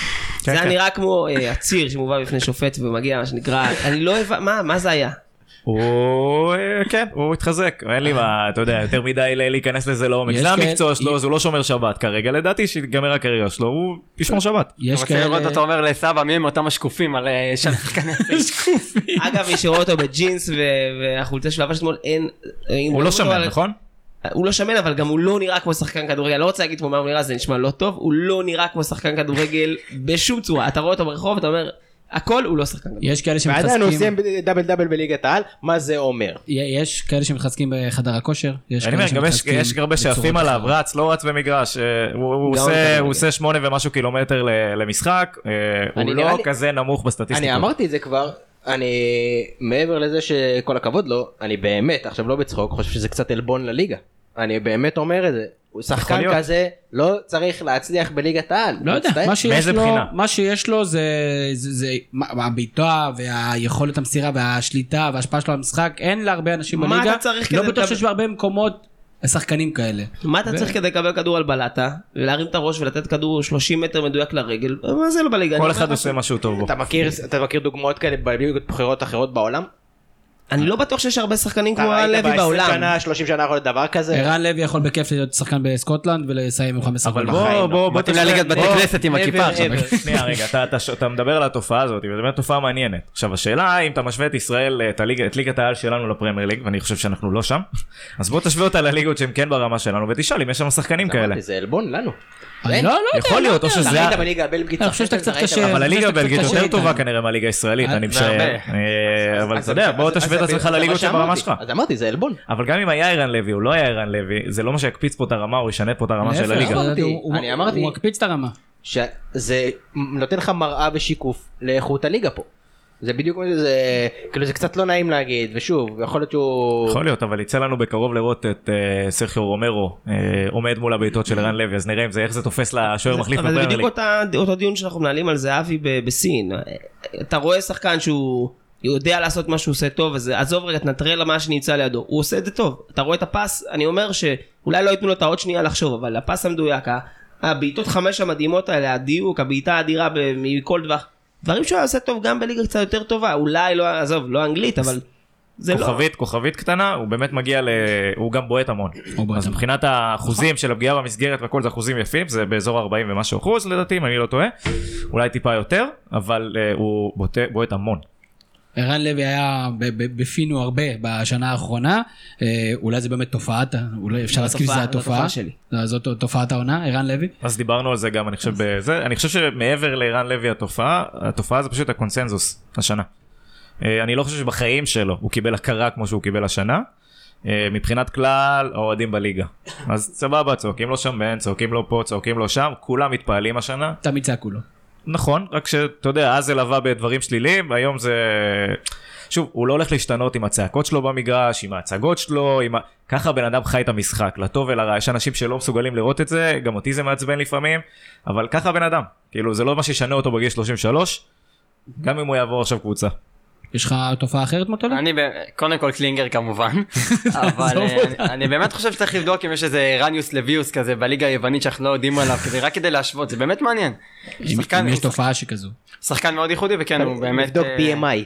[SPEAKER 5] זה היה
[SPEAKER 6] כן.
[SPEAKER 5] נראה כמו אה, עציר שמובא בפני שופט ומגיע, מה שנקרא, אני לא הבנתי, מה, מה זה היה?
[SPEAKER 6] הוא, אה, כן, הוא התחזק, אין לי מה, אתה יודע, יותר מדי ל- להיכנס לזה לעומק.
[SPEAKER 4] יש
[SPEAKER 6] זה
[SPEAKER 4] כאלה-
[SPEAKER 6] המקצוע שלו, אז הוא לא שומר שבת כרגע, לדעתי שיגמר הקריירה שלו, הוא ישמור שבת.
[SPEAKER 4] יש
[SPEAKER 3] רוצה לראות
[SPEAKER 4] כאלה...
[SPEAKER 3] אותו אומר לסבא מי הם אותם השקופים על אה, שם שחקני
[SPEAKER 5] אגב, מי שרואה אותו בג'ינס ו- והחולצה שהוא לבש אתמול, אין... אם
[SPEAKER 6] הוא
[SPEAKER 5] רואים
[SPEAKER 6] לא
[SPEAKER 5] אותו
[SPEAKER 6] שמן,
[SPEAKER 5] על-
[SPEAKER 6] נכון?
[SPEAKER 5] הוא לא שמן, אבל גם הוא לא נראה כמו שחקן כדורגל. לא רוצה להגיד כמו מה הוא נראה, זה נשמע לא טוב. הוא לא נראה כמו שחקן כדורגל בשום צורה. אתה רואה אותו ברחוב, אתה אומר, הכל הוא לא שחקן כדורגל.
[SPEAKER 4] יש כאלה
[SPEAKER 7] ועדיין הוא
[SPEAKER 4] שמתחזקים,
[SPEAKER 7] סיים ב- דאבל דאבל בליגת העל, מה זה אומר?
[SPEAKER 4] יש כאלה שמתחזקים בחדר הכושר, יש
[SPEAKER 6] אני אומר,
[SPEAKER 4] כאלה
[SPEAKER 6] גם יש-
[SPEAKER 4] שמתחזקים
[SPEAKER 6] יש הרבה שעפים
[SPEAKER 4] בצורות
[SPEAKER 6] עליו,
[SPEAKER 4] אחרות.
[SPEAKER 6] רץ, לא רץ במגרש, אה, הוא- הוא
[SPEAKER 5] גאון
[SPEAKER 6] עושה-
[SPEAKER 5] כדורגל.
[SPEAKER 6] הוא עושה שמונה ומשהו קילומטר ל- למשחק, אה,
[SPEAKER 7] אני-
[SPEAKER 6] הוא
[SPEAKER 7] נראה
[SPEAKER 6] לא
[SPEAKER 7] לי-
[SPEAKER 6] כזה נמוך בסטטיסטיקות.
[SPEAKER 7] אני אמרתי את זה כבר, אני מעבר לזה שכל הכבוד לו, אני באמת, עכשיו לא בצחוק, חושב שזה קצת עלבון לליגה. אני באמת אומר את זה. הוא שחקן
[SPEAKER 6] להיות.
[SPEAKER 7] כזה לא צריך להצליח בליגת העל.
[SPEAKER 4] לא יודע,
[SPEAKER 7] מצטער.
[SPEAKER 4] מה שיש
[SPEAKER 6] מאיזה
[SPEAKER 4] לו,
[SPEAKER 6] בחינה?
[SPEAKER 4] מה שיש לו זה, זה, זה מה- הביטוח והיכולת המסירה והשליטה וההשפעה שלו על המשחק, אין להרבה אנשים
[SPEAKER 5] מה
[SPEAKER 4] בליגה,
[SPEAKER 5] אתה צריך
[SPEAKER 4] לא
[SPEAKER 5] כדי
[SPEAKER 4] בטוח
[SPEAKER 5] לקבל-
[SPEAKER 4] שיש בהרבה מקומות שחקנים כאלה.
[SPEAKER 5] מה אתה צריך כדי לקבל כדור על בלטה, ולהרים את הראש ולתת כדור 30 מטר מדויק לרגל? מה זה לא בליגה? אני
[SPEAKER 6] כל
[SPEAKER 5] אומר
[SPEAKER 6] אחד
[SPEAKER 5] לך,
[SPEAKER 6] עושה מה שהוא טוב בו.
[SPEAKER 7] אתה מכיר, אתה מכיר דוגמאות כאלה בליגות בחירות אחרות בעולם?
[SPEAKER 5] אני לא בטוח שיש הרבה שחקנים
[SPEAKER 7] אתה
[SPEAKER 5] כמו
[SPEAKER 7] ראית
[SPEAKER 5] הלוי
[SPEAKER 7] ב-עשרים
[SPEAKER 5] בעולם.
[SPEAKER 7] שנה, 30 שנה יכול להיות דבר כזה?
[SPEAKER 4] ערן לוי יכול בכיף להיות שחקן בסקוטלנד ולסיים עם 15
[SPEAKER 6] אבל
[SPEAKER 4] גולים.
[SPEAKER 6] בוא, בוא, בוא
[SPEAKER 3] לא. מתאים
[SPEAKER 6] תשווה-
[SPEAKER 3] לליגת בתי
[SPEAKER 6] בוא,
[SPEAKER 3] כנסת עם הכיפה
[SPEAKER 6] ever,
[SPEAKER 3] עכשיו.
[SPEAKER 6] ever. שנייה, רגע, אתה- אתה ש- אתה מדבר על התופעה הזאת, וזו באמת תופעה מעניינת. עכשיו, השאלה אם אתה משווה את ישראל, אה, את הליגה- את ליגת העל שלנו לפרמייר ליג, ואני חושב שאנחנו לא שם, אז בוא תשווה אותה לליגות שהן כן ברמה שלנו, ותשאל אם יש שם שחקנים כאלה.
[SPEAKER 7] אמרתי, זה עלבון לנו.
[SPEAKER 4] אני לא, לא יודע.
[SPEAKER 6] יכול להיות, או שזה...
[SPEAKER 7] ראית בליגה הבלגית?
[SPEAKER 4] אני חושב שאתה
[SPEAKER 7] שחקתם,
[SPEAKER 4] קצת
[SPEAKER 7] ראית?
[SPEAKER 4] קשה.
[SPEAKER 7] אבל-
[SPEAKER 6] אבל הליגה
[SPEAKER 4] קצת
[SPEAKER 6] הבלגית
[SPEAKER 4] קשה
[SPEAKER 6] יותר טובה
[SPEAKER 4] איתם.
[SPEAKER 6] כנראה מהליגה הישראלית, אני משער.
[SPEAKER 3] הרבה.
[SPEAKER 6] אה, אבל
[SPEAKER 7] אז-
[SPEAKER 6] אתה יודע,
[SPEAKER 7] אז-
[SPEAKER 6] בוא
[SPEAKER 7] אז-
[SPEAKER 6] תשווה את
[SPEAKER 7] אז-
[SPEAKER 6] עצמך
[SPEAKER 7] אז-
[SPEAKER 6] לליגות
[SPEAKER 7] אז אמרתי,
[SPEAKER 6] שברמה שלך.
[SPEAKER 7] אז אמרתי, זה עלבון.
[SPEAKER 6] אבל גם אם היה ערן לוי, הוא לא היה ערן לוי, זה לא מה שיקפיץ פה את הרמה או ישנה פה את הרמה של
[SPEAKER 4] להפך,
[SPEAKER 6] הליגה.
[SPEAKER 4] הוא-
[SPEAKER 7] אמרתי,
[SPEAKER 4] הוא-
[SPEAKER 7] אני אמרתי.
[SPEAKER 4] הוא מקפיץ את הרמה.
[SPEAKER 7] שזה נותן לך מראה ושיקוף לאיכות הליגה פה. זה בדיוק מה שזה, כאילו זה קצת לא נעים להגיד, ושוב, יכול להיות שהוא...
[SPEAKER 6] יכול להיות, אבל יצא לנו בקרוב לראות את אה, סרחיו רומרו אה, עומד מול הבעיטות של ערן לוי, אז נראה אם זה, איך זה תופס לשוער מחליף
[SPEAKER 5] אבל זה
[SPEAKER 6] בפרמייר
[SPEAKER 5] בדיוק
[SPEAKER 6] ליג.
[SPEAKER 5] אותה- אותו דיון שאנחנו מנהלים על זהבי ב- בסין. אתה רואה שחקן שהוא יודע לעשות מה שהוא עושה טוב, אז עזוב רגע, תנטרל מה שנמצא לידו. הוא עושה את זה טוב. אתה רואה את הפס, אני אומר שאולי לא ייתנו לו את העוד שנייה לחשוב, אבל הפס המדויק, ה- הבעיטות חמש המדהימות האלה, הדיוק, הבעיטה האדירה ב- מכל טווח. דברים שהוא היה עושה טוב גם בליגה קצת יותר טובה, אולי לא, עזוב, לא אנגלית, אבל זה לא...
[SPEAKER 6] כוכבית, כוכבית קטנה, הוא באמת מגיע ל... הוא גם בועט המון.
[SPEAKER 4] הוא בועט
[SPEAKER 6] אז
[SPEAKER 4] המון.
[SPEAKER 6] מבחינת האחוזים של הפגיעה במסגרת והכל זה אחוזים יפים, זה באזור 40 ומשהו אחוז לדעתי, אם אני לא טועה, אולי טיפה יותר, אבל אה, הוא בוט- בועט המון.
[SPEAKER 4] ערן לוי היה ב- ב- בפינו הרבה בשנה האחרונה, אה, אולי זה באמת תופעת, אולי אפשר
[SPEAKER 5] זו
[SPEAKER 4] להסכים שזה
[SPEAKER 5] התופעה- זו
[SPEAKER 4] התופעה.
[SPEAKER 5] התופעה שלי.
[SPEAKER 4] לא, זאת תופעת העונה, ערן לוי.
[SPEAKER 6] אז דיברנו על זה גם, אני חושב, בזה. אני חושב שמעבר לערן לוי התופעה, התופעה זה פשוט הקונסנזוס השנה. אה, אני לא חושב שבחיים שלו הוא קיבל הכרה כמו שהוא קיבל השנה, אה, מבחינת כלל האוהדים בליגה. אז סבבה, צועקים לו שם בן, צועקים לו פה, צועקים לו שם, כולם מתפעלים השנה.
[SPEAKER 4] תמיד צעקו לו.
[SPEAKER 6] נכון, רק שאתה יודע, אז זה לווה בדברים שליליים, היום זה... שוב, הוא לא הולך להשתנות עם הצעקות שלו במגרש, עם ההצגות שלו, עם ה... ככה בן אדם חי את המשחק, לטוב ולרע, יש אנשים שלא מסוגלים לראות את זה, גם אותי זה מעצבן לפעמים, אבל ככה בן אדם, כאילו זה לא מה שישנה אותו בגיל 33, גם אם הוא יעבור עכשיו קבוצה.
[SPEAKER 4] יש לך תופעה אחרת מוטולה?
[SPEAKER 3] אני ב- קודם כל קלינגר כמובן, אבל
[SPEAKER 4] עזוב
[SPEAKER 3] אה, אני- אני באמת חושב שצריך לבדוק אם יש איזה רניוס לביוס כזה בליגה היוונית שאנחנו לא יודעים עליו, כדי- רק כדי להשוות, זה באמת מעניין.
[SPEAKER 4] אם
[SPEAKER 3] שחקן-
[SPEAKER 4] אם יש תופעה שכזו.
[SPEAKER 3] שחקן מאוד ייחודי וכן הוא באמת...
[SPEAKER 7] נבדוק
[SPEAKER 3] אה,
[SPEAKER 7] BMI.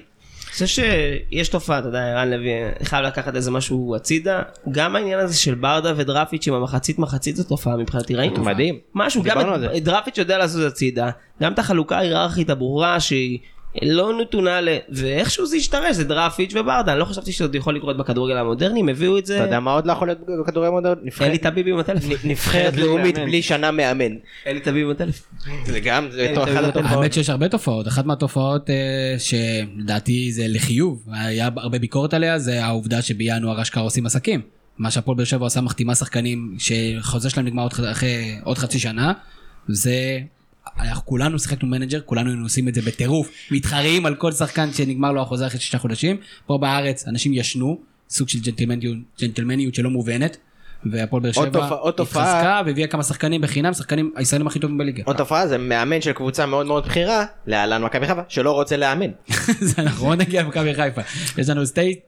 [SPEAKER 5] זה שיש תופעה, אתה יודע, ערן לוי חייב לקחת איזה משהו הצידה. גם העניין הזה של ברדה ודרפיץ' עם המחצית מחצית זו תופעה מבחינתי, ראינו.
[SPEAKER 7] מדהים.
[SPEAKER 5] משהו, גם
[SPEAKER 7] דיברנו על
[SPEAKER 5] את-
[SPEAKER 7] זה.
[SPEAKER 5] את דרפיץ' יודע לעשות הצידה, גם את החלוקה ההיררכית הברורה שהיא לא נתונה ל... ואיכשהו זה השתרש, זה דרפיץ' וברדה, אני לא חשבתי שזה עוד יכול לקרות בכדורגל המודרני, הם הביאו את זה.
[SPEAKER 7] אתה יודע מה עוד לא יכול להיות בכדורי מודעות?
[SPEAKER 5] אלי טביבי עם הטלפון.
[SPEAKER 7] נבחרת
[SPEAKER 3] בלי
[SPEAKER 7] לאומית
[SPEAKER 3] מאמן.
[SPEAKER 7] בלי שנה מאמן.
[SPEAKER 5] אלי טביבי עם הטלפון.
[SPEAKER 7] זה גם, זה
[SPEAKER 5] אלי
[SPEAKER 7] אותו
[SPEAKER 5] טביב
[SPEAKER 7] אחד
[SPEAKER 5] בטלפון.
[SPEAKER 7] התופעות.
[SPEAKER 4] האמת שיש הרבה תופעות, אחת מהתופעות אה, שלדעתי זה לחיוב, היה הרבה ביקורת עליה, זה העובדה שבינואר אשכרה עושים עסקים. מה שהפועל באר שבע עושה מחתימה שחקנים שחוזה שלהם נגמר עוד, ח- אחרי עוד חצי שנה, זה... אנחנו כולנו שיחקנו מנג'ר, כולנו היינו עושים את זה בטירוף, מתחרים על כל שחקן שנגמר לו החוזה אחרי שישה חודשים. פה בארץ אנשים ישנו, סוג של ג'נטלמניות, ג'נטלמניות שלא מובנת, והפועל באר
[SPEAKER 7] עוד
[SPEAKER 4] שבע
[SPEAKER 7] תופעה- עוד תופעה-
[SPEAKER 4] התחזקה והביאה כמה שחקנים בחינם, שחקנים הישראלים הכי טובים בליגה.
[SPEAKER 7] עוד תופעה זה מאמן של קבוצה מאוד מאוד בכירה, להלן מכבי חיפה, שלא רוצה לאמן. אה,
[SPEAKER 4] זה אנחנו עוד נגיע למכבי חיפה. יש לנו סטייט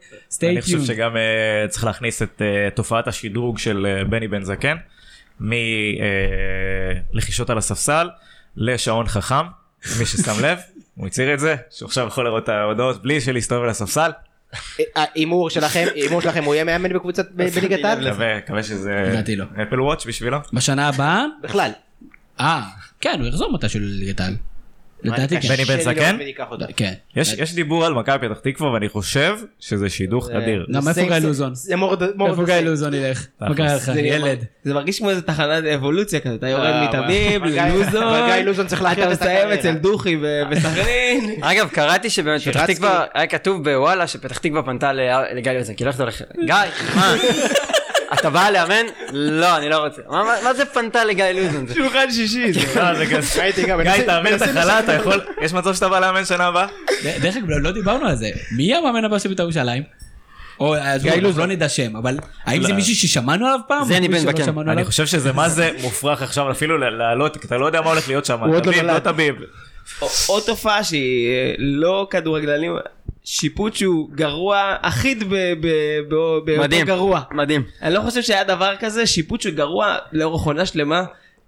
[SPEAKER 6] אני חושב
[SPEAKER 4] טיון.
[SPEAKER 6] שגם אה, צריך להכניס את אה, תופעת השדרוג של אה, בני בן זקן, מלחישות על הספסל לשעון חכם, מי ששם לב, הוא הצהיר את זה, שהוא עכשיו יכול לראות את ההודעות בלי שלהסתובב על הספסל,
[SPEAKER 7] ההימור שלכם, ההימור שלכם הוא יהיה מאמן בקבוצת, ב- בליגת העל?
[SPEAKER 6] מקווה מקווה שזה
[SPEAKER 4] לדעתי לא.
[SPEAKER 6] אפל וואץ' בשבילו.
[SPEAKER 4] בשנה הבאה,
[SPEAKER 7] בכלל.
[SPEAKER 4] אה, כן, הוא יחזור מתישהו לליגת העל. לדעתי
[SPEAKER 7] קשה
[SPEAKER 6] בני
[SPEAKER 7] לי
[SPEAKER 6] בן
[SPEAKER 7] לראות
[SPEAKER 6] זקן?
[SPEAKER 7] מי ייקח אותו.
[SPEAKER 4] כן. כן.
[SPEAKER 6] יש יש דיבור על מכבי פתח תקווה ואני חושב שזה שידוך אדיר.
[SPEAKER 4] גם איפה
[SPEAKER 7] זה- לא-
[SPEAKER 4] גיא
[SPEAKER 7] זה-
[SPEAKER 4] לוזון?
[SPEAKER 7] זה more the- more
[SPEAKER 4] איפה
[SPEAKER 7] the
[SPEAKER 4] גיא
[SPEAKER 7] same.
[SPEAKER 4] לוזון ילך? מה קרה לך,
[SPEAKER 5] זה נראה-
[SPEAKER 4] ילד?
[SPEAKER 5] זה מרגיש כמו איזה תחנת אבולוציה כזה, אתה יורד
[SPEAKER 7] אה,
[SPEAKER 5] מתביב
[SPEAKER 7] אבל גיא-
[SPEAKER 5] ללוזון,
[SPEAKER 7] אבל גיא לוזון צריך להחיות
[SPEAKER 5] אתה
[SPEAKER 7] את הקריירה.
[SPEAKER 5] מסיים אצל דוכי ו- בסכנין.
[SPEAKER 3] אגב קראתי שבאמת פתח
[SPEAKER 7] שרצקי-
[SPEAKER 3] תקווה היה כתוב בוואלה שפתח תקווה פנתה ל- לגיא יוזן כאילו איך אתה הולך גיא מה אתה בא לאמן לא אני לא רוצה מה- מה- מה זה פנתה לגיא לוזון זה-
[SPEAKER 5] שולחן שישי.
[SPEAKER 6] לא, זה כזה-
[SPEAKER 7] הייתי גם,
[SPEAKER 6] גיא
[SPEAKER 7] מנסים-
[SPEAKER 6] תעביר את
[SPEAKER 7] מנסים
[SPEAKER 6] החלה אתה יכול יש מצב שאתה בא לאמן שנה הבאה?
[SPEAKER 4] ד- דרך אגב, לא- לא דיברנו על זה. מי יהיה המאמן הבא של בית"ר ירושלים? או, אז בואו, לא נדע שם, אבל האם זה מישהו ששמענו עליו פעם?
[SPEAKER 3] זה אני
[SPEAKER 4] מישהו
[SPEAKER 3] בן
[SPEAKER 4] שלא
[SPEAKER 3] זקן.
[SPEAKER 4] שמענו
[SPEAKER 6] אני
[SPEAKER 4] עליו?
[SPEAKER 6] חושב שזה מה זה מופרך עכשיו אפילו ל- לעלות כי אתה לא יודע מה הולך להיות שם.
[SPEAKER 7] הוא עוד לא
[SPEAKER 6] תביב, לא
[SPEAKER 7] נולד.
[SPEAKER 6] תביב.
[SPEAKER 5] עוד תופעה שהיא אה, לא כדורגלנים, שיפוט שהוא גרוע, אחיד ב- ב- ב- באותו
[SPEAKER 3] מדהים
[SPEAKER 5] גרוע.
[SPEAKER 3] מדהים
[SPEAKER 5] אני לא חושב שהיה דבר כזה, שיפוט שהוא גרוע לאורך עונה שלמה.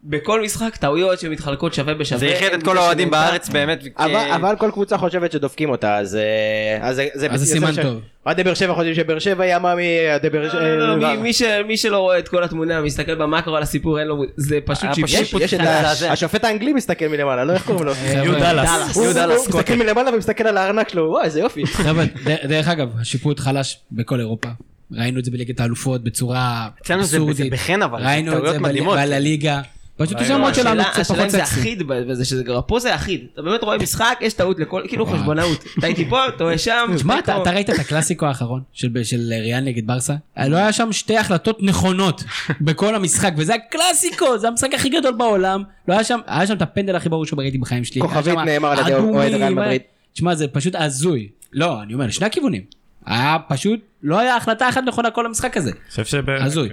[SPEAKER 5] בכל משחק טעויות שמתחלקות שווה בשווה.
[SPEAKER 3] זה יחד את
[SPEAKER 5] אין
[SPEAKER 3] כל
[SPEAKER 5] זה
[SPEAKER 3] האוהדים
[SPEAKER 5] שנמצא.
[SPEAKER 3] בארץ באמת.
[SPEAKER 7] אבל,
[SPEAKER 3] אה,
[SPEAKER 7] אבל כל קבוצה חושבת שדופקים אותה, אז אה, אז זה-
[SPEAKER 4] אז זה סימן
[SPEAKER 7] ש-
[SPEAKER 4] טוב.
[SPEAKER 7] אוהדי באר שבע חושבים שבאר שבע היא אה, עממי, אוהדי באר
[SPEAKER 5] לא, לא, לא,
[SPEAKER 7] שבע...
[SPEAKER 5] מי- מי ש- מי שלא רואה את כל התמונה מסתכל במקרו על הסיפור אין לו מ- זה פשוט
[SPEAKER 3] היה
[SPEAKER 5] שיפוט.
[SPEAKER 3] פשוט
[SPEAKER 7] יש יש את ה- השופט האנגלי מסתכל מלמעלה, לא איך קוראים לו?
[SPEAKER 4] חבר'ה,
[SPEAKER 5] דאלאס.
[SPEAKER 7] הוא
[SPEAKER 5] יהודה
[SPEAKER 7] הוא
[SPEAKER 5] לסקוטי.
[SPEAKER 7] מסתכל מלמעלה ומסתכל על הארנק שלו, וואי איזה יופי.
[SPEAKER 4] חבר'ה, ד- דרך אגב, השיפוט חלש בכל אירופה. ראינו את זה בליגת האלופות בצורה
[SPEAKER 3] אצלנו זה- זה
[SPEAKER 4] אבסורדית.
[SPEAKER 3] בחן, אבל, זה
[SPEAKER 4] ראינו את
[SPEAKER 3] טעויות
[SPEAKER 4] זה
[SPEAKER 3] מדהימות.
[SPEAKER 4] בליגה, לליגה. פשוט השמות שלנו
[SPEAKER 5] השאלה-
[SPEAKER 4] קצת
[SPEAKER 5] השאלה
[SPEAKER 4] פחות
[SPEAKER 5] אם זה
[SPEAKER 4] סקסי.
[SPEAKER 5] אחיד בזה שזה גרוע, פה זה אחיד, אתה באמת רואה משחק, יש טעות לכל, כאילו חשבונאות, טעיתי פה, טועה שם,
[SPEAKER 4] תשמע, אתה
[SPEAKER 5] פתאום-
[SPEAKER 4] אתה ראית את הקלאסיקו האחרון של- של ריאל נגד ברסה? לא היה שם שתי החלטות נכונות בכל המשחק, וזה הקלאסיקו, זה המשחק הכי גדול בעולם. לא היה שם, היה שם את הפנדל הכי ברור שראיתי בחיים שלי. היה
[SPEAKER 7] כוכבית
[SPEAKER 4] שם
[SPEAKER 7] נאמר על ידי
[SPEAKER 4] אדומים,
[SPEAKER 7] אוהד ריאל
[SPEAKER 4] היה-
[SPEAKER 7] מדריד.
[SPEAKER 4] תשמע, זה פשוט הזוי. לא, אני אומר, לשני הכיוונים. היה פשוט, לא היה החלטה אחת נכונה כל המשחק הזה.
[SPEAKER 6] חושב שב...
[SPEAKER 4] הזוי.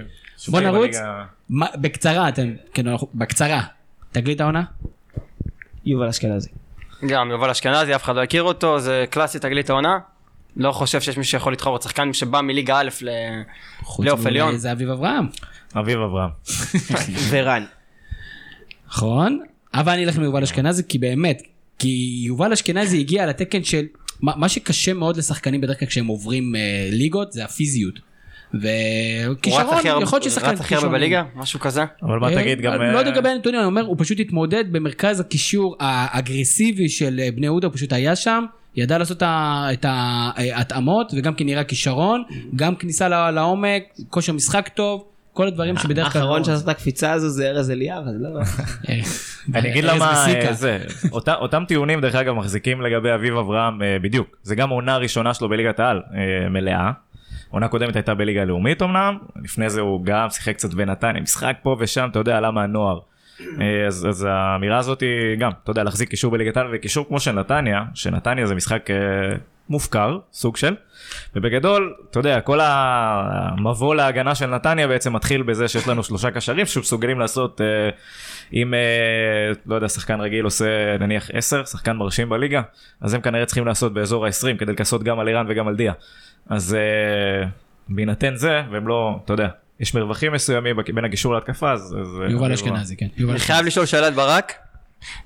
[SPEAKER 4] בוא
[SPEAKER 6] שבליגה-
[SPEAKER 4] נרוץ.
[SPEAKER 6] אה,
[SPEAKER 4] מה- בקצרה, אתם, כן, אנחנו- בקצרה. תגלית העונה?
[SPEAKER 5] יובל אשכנזי.
[SPEAKER 3] גם יובל אשכנזי, אף אחד לא הכיר אותו, זה קלאסי תגלית העונה. לא חושב שיש מי שיכול לדחוף עוד שחקן שבא מליגה א' ל...
[SPEAKER 4] חוץ אה,
[SPEAKER 3] לאוף
[SPEAKER 4] מאולי
[SPEAKER 3] עליון.
[SPEAKER 4] זה אביב אברהם.
[SPEAKER 6] אביב אברהם.
[SPEAKER 7] ורן.
[SPEAKER 4] נכון, אבל אני אלך עם יובל אשכנזי כי באמת, כי יובל אשכנזי הגיע לתקן של, מה, מה שקשה מאוד לשחקנים בדרך כלל כשהם עוברים אה, ליגות זה הפיזיות.
[SPEAKER 3] הוא רץ
[SPEAKER 4] וכישרון,
[SPEAKER 3] הכי הרבה-
[SPEAKER 4] יכול להיות
[SPEAKER 3] הוא
[SPEAKER 4] ששחקן
[SPEAKER 3] רץ הכי הרבה
[SPEAKER 4] כישרון.
[SPEAKER 3] בליגה, משהו כזה.
[SPEAKER 6] אבל מה תגיד גם...
[SPEAKER 4] אני לא יודע
[SPEAKER 6] אה,
[SPEAKER 4] לגבי הנתונים, אני אומר, הוא פשוט התמודד במרכז הקישור האגרסיבי של אה, בני יהודה, הוא פשוט היה שם, ידע לעשות את ה- את ההתאמות, וגם כן נראה כישרון, גם כניסה לא- לעומק, כושר משחק טוב, כל הדברים שבדרך כלל...
[SPEAKER 5] האחרון
[SPEAKER 4] לא-
[SPEAKER 5] שעשה את הקפיצה הזו זה ארז אליהו, אז לא...
[SPEAKER 6] אני אגיד
[SPEAKER 4] ארז
[SPEAKER 6] למה
[SPEAKER 4] מסיקה.
[SPEAKER 6] אה, זה, אותה- אותם טיעונים דרך אגב מחזיקים לגבי אביב אברהם אה, בדיוק, זה גם העונה הראשונה שלו בליגת העל אה, מלאה. עונה קודמת הייתה בליגה הלאומית אמנם, לפני זה הוא גם שיחק קצת בנתניה, משחק פה ושם, אתה יודע, עלה מהנוער. אה, אז, אז האמירה הזאת היא גם, אתה יודע, להחזיק קישור בליגת העל וקישור כמו של נתניה, שנתניה זה משחק אה, מופקר, סוג של, ובגדול, אתה יודע, כל המבוא להגנה של נתניה בעצם מתחיל בזה שיש לנו שלושה קשרים שמסוגלים לעשות, אה, אם, אה, לא יודע, שחקן רגיל עושה נניח 10, שחקן מרשים בליגה, אז הם כנראה צריכים לעשות באזור ה-20 כדי לכסות גם על איראן וגם על דיה. אז אה, בהינתן זה, והם לא, אתה יודע, יש מרווחים מסוימים בק- בין הגישור להתקפה, אז... אז, אה,
[SPEAKER 4] יובל
[SPEAKER 6] אביב
[SPEAKER 4] אשכנזי, כן. יובל
[SPEAKER 3] אני חייב לשאול שאלת ברק.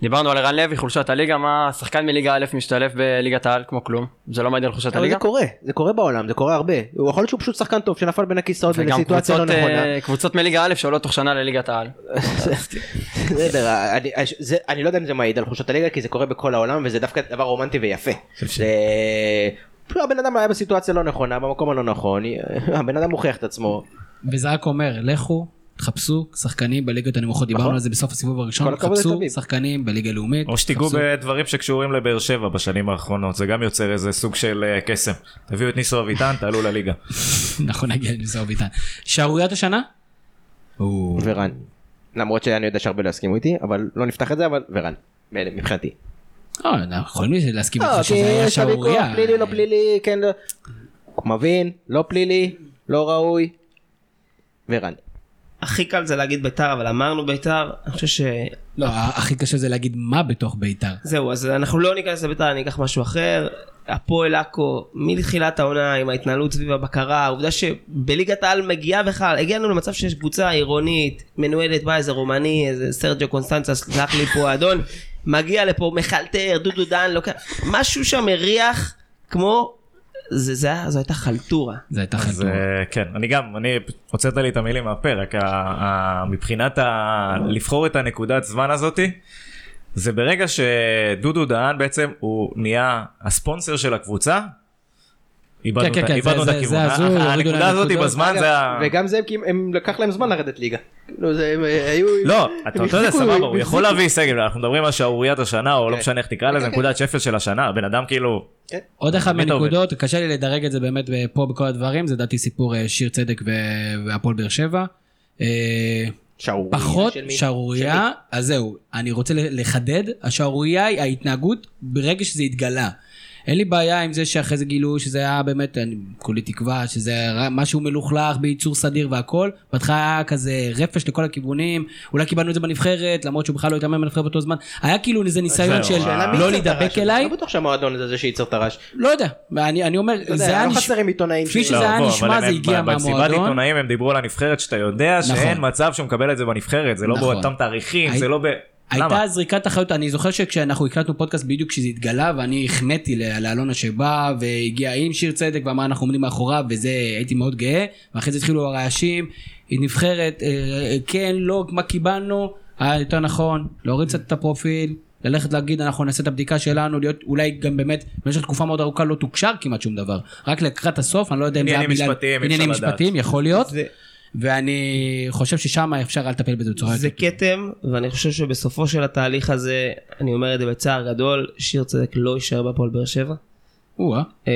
[SPEAKER 3] דיברנו על ערן לוי, חולשת הליגה, מה שחקן מליגה א' משתלב בליגת העל כמו כלום? זה לא מעיד על חולשת
[SPEAKER 7] אבל זה
[SPEAKER 3] הליגה?
[SPEAKER 7] קורה, זה קורה בעולם, זה קורה הרבה. הוא יכול להיות שהוא פשוט שחקן טוב שנפל בין הכיסאות
[SPEAKER 3] וגם
[SPEAKER 7] ולסיטואציה לא
[SPEAKER 3] קבוצות, אה,
[SPEAKER 7] נכונה.
[SPEAKER 3] קבוצות מליגה א' שעולות תוך שנה לליגת העל.
[SPEAKER 7] בסדר, אני- זה- אני לא יודע אם זה מעיד על חולשות הליגה כי זה קורה בכל העולם וזה דווקא דבר רומנטי ויפה. זה- לא, הבן אדם היה בסיטואציה לא נכונה, במקום הלא נכון, הבן אדם מוכיח את עצמו.
[SPEAKER 4] וזה רק אומר, לכו, תחפשו שחקנים בליגות הנמוכות, דיברנו
[SPEAKER 7] נכון.
[SPEAKER 4] על זה בסוף הסיבוב
[SPEAKER 7] כל
[SPEAKER 4] הראשון,
[SPEAKER 7] הכבוד
[SPEAKER 4] חפשו
[SPEAKER 7] לתמיד.
[SPEAKER 4] שחקנים בליגה לאומית.
[SPEAKER 6] או שתיגעו
[SPEAKER 4] חפשו.
[SPEAKER 6] בדברים שקשורים לבאר שבע בשנים האחרונות, זה גם יוצר איזה סוג של אה, קסם. תביאו את ניסו אביטן, תעלו לליגה.
[SPEAKER 4] נכון, נגיע לניסו ביטן. שערוריית השנה?
[SPEAKER 7] ורן. למרות שאני יודע שהרבה לא יסכימו איתי, אבל לא נפתח את זה, אבל ורן. מבחינתי.
[SPEAKER 4] לא, אנחנו יכולים להסכים
[SPEAKER 7] לא,
[SPEAKER 4] איתך
[SPEAKER 7] כי
[SPEAKER 4] שזה היה
[SPEAKER 7] יש לי
[SPEAKER 4] שערורייה.
[SPEAKER 7] ויכוח, פלילי, לא פלילי, כן, לא. מבין, לא פלילי, לא ראוי. ורן.
[SPEAKER 5] הכי קל זה להגיד ביתר, אבל אמרנו ביתר, אני חושב ש...
[SPEAKER 4] לא, הכי קשה זה להגיד מה בתוך בית"ר.
[SPEAKER 5] זהו, אז אנחנו לא ניכנס לביתר, אני אקח משהו אחר. הפועל עכו, מתחילת העונה עם ההתנהלות סביב הבקרה, העובדה שבליגת העל מגיעה בכלל, הגענו למצב שיש קבוצה עירונית, מנוהלת בא איזה רומני, איזה סרג'ו קונסטנצה, סלח לי פה האדון, מגיע לפה, מחלטר, דודו דן, לוקח, משהו שם מריח כמו, זה, זה, היה- זו הייתה חלטורה.
[SPEAKER 4] זה הייתה
[SPEAKER 6] אז
[SPEAKER 4] חלטורה.
[SPEAKER 6] אה, כן, אני גם, אני, הוצאת לי את המילים מהפה, רק ה- ה- מבחינת ה- לבחור את הנקודת זמן הזאתי, זה ברגע שדודו דהן בעצם הוא נהיה הספונסר של הקבוצה. איבדנו
[SPEAKER 4] כן, כן,
[SPEAKER 6] את ה-
[SPEAKER 4] כן,
[SPEAKER 6] איבדנו את
[SPEAKER 4] זה- זה-
[SPEAKER 6] הכיוון.
[SPEAKER 4] זה הזוי,
[SPEAKER 6] ה-
[SPEAKER 4] הורידו
[SPEAKER 6] הנקודה
[SPEAKER 4] להם
[SPEAKER 6] הזאת
[SPEAKER 4] נקודות.
[SPEAKER 6] בזמן
[SPEAKER 7] אגב,
[SPEAKER 6] זה ה...
[SPEAKER 7] וגם זה כי הם- הם לקח להם זמן לרדת ליגה. כאילו, זה, הם, אה, היו...
[SPEAKER 6] לא,
[SPEAKER 7] הם
[SPEAKER 6] אתה אתה יודע,
[SPEAKER 7] החזיקו-
[SPEAKER 6] סבבה, הוא
[SPEAKER 7] הם
[SPEAKER 6] יכול
[SPEAKER 7] החזיקו.
[SPEAKER 6] להביא סגל, אנחנו מדברים על שערוריית השנה, או לא
[SPEAKER 7] כן.
[SPEAKER 6] משנה איך תקרא לזה, נקודת שפל של השנה, הבן אדם כאילו,
[SPEAKER 4] עוד אחד
[SPEAKER 6] מי אתה עובד?
[SPEAKER 4] מהנקודות, קשה לי לדרג את זה באמת אה, פה בכל הדברים, זה לדעתי סיפור אה, שיר צדק ו- והפועל באר שבע. אה,
[SPEAKER 7] שערורייה
[SPEAKER 4] פחות
[SPEAKER 7] של מי? של
[SPEAKER 4] שערורייה, אז זהו, אני רוצה ל- לחדד, השערורייה היא ההתנהגות ברגע שזה התגלה. אין לי בעיה עם זה שאחרי זה גילו שזה היה באמת, אני כולי תקווה, שזה היה משהו מלוכלך בייצור סדיר והכל. בהתחלה היה כזה רפש לכל הכיוונים, אולי קיבלנו את זה בנבחרת, למרות שהוא בכלל לא התאמן בנבחרת באותו זמן. היה כאילו איזה ניסיון של
[SPEAKER 7] השאלה מי
[SPEAKER 4] לא
[SPEAKER 7] ייצר את הרעש
[SPEAKER 4] להידבק
[SPEAKER 7] הזה.
[SPEAKER 4] אליי,
[SPEAKER 7] לא בטוח שהמועדון הזה זה שייצר את הרעש.
[SPEAKER 4] לא יודע, אני אני אומר,
[SPEAKER 7] יודע,
[SPEAKER 4] זה היה
[SPEAKER 7] לא
[SPEAKER 4] נש-
[SPEAKER 7] חסרים עיתונאים
[SPEAKER 4] כפי
[SPEAKER 7] ש-
[SPEAKER 4] שזה היה
[SPEAKER 6] לא, בוא, אבל
[SPEAKER 4] נשמע, זה
[SPEAKER 6] הם-
[SPEAKER 4] הגיע
[SPEAKER 6] במסיבת
[SPEAKER 4] מהמועדון.
[SPEAKER 6] עיתונאים הם דיברו על הנבחרת שאתה יודע
[SPEAKER 4] נכון.
[SPEAKER 6] שאין מצב שהוא מקבל את זה בנבחרת, זה לא
[SPEAKER 4] נכון.
[SPEAKER 6] באותם תאריכים,
[SPEAKER 4] הי-
[SPEAKER 6] זה לא ב... למה?
[SPEAKER 4] הייתה זריקת אחריות, אני זוכר שכשאנחנו הקלטנו פודקאסט בדיוק כשזה התגלה ואני החמאתי ל- לאלונה שבאה והגיעה עם שיר צדק ואמרה אנחנו עומדים מאחוריו וזה הייתי מאוד גאה ואחרי זה התחילו הרעשים, היא נבחרת, אה, אה, כן, לא, מה קיבלנו, היה יותר נכון, להוריד קצת את הפרופיל, ללכת להגיד אנחנו נעשה את הבדיקה שלנו, להיות אולי גם באמת במשך תקופה מאוד ארוכה לא תוקשר כמעט שום דבר, רק לקראת הסוף, אני לא יודע אם זה היה
[SPEAKER 6] עניינים
[SPEAKER 4] בגלל
[SPEAKER 6] משפטיים, אי אפשר
[SPEAKER 4] עניינים
[SPEAKER 6] לדעת.
[SPEAKER 4] משפטיים, יכול להיות,
[SPEAKER 5] זה-
[SPEAKER 4] ואני חושב ששם אפשר היה לטפל בזה בצורה
[SPEAKER 5] זה
[SPEAKER 4] יותר טובה.
[SPEAKER 5] כתם, ואני חושב שבסופו של התהליך הזה, אני אומר את זה בצער גדול, שיר צדק לא יישאר בהפועל באר שבע.
[SPEAKER 4] או-אה.
[SPEAKER 5] אה,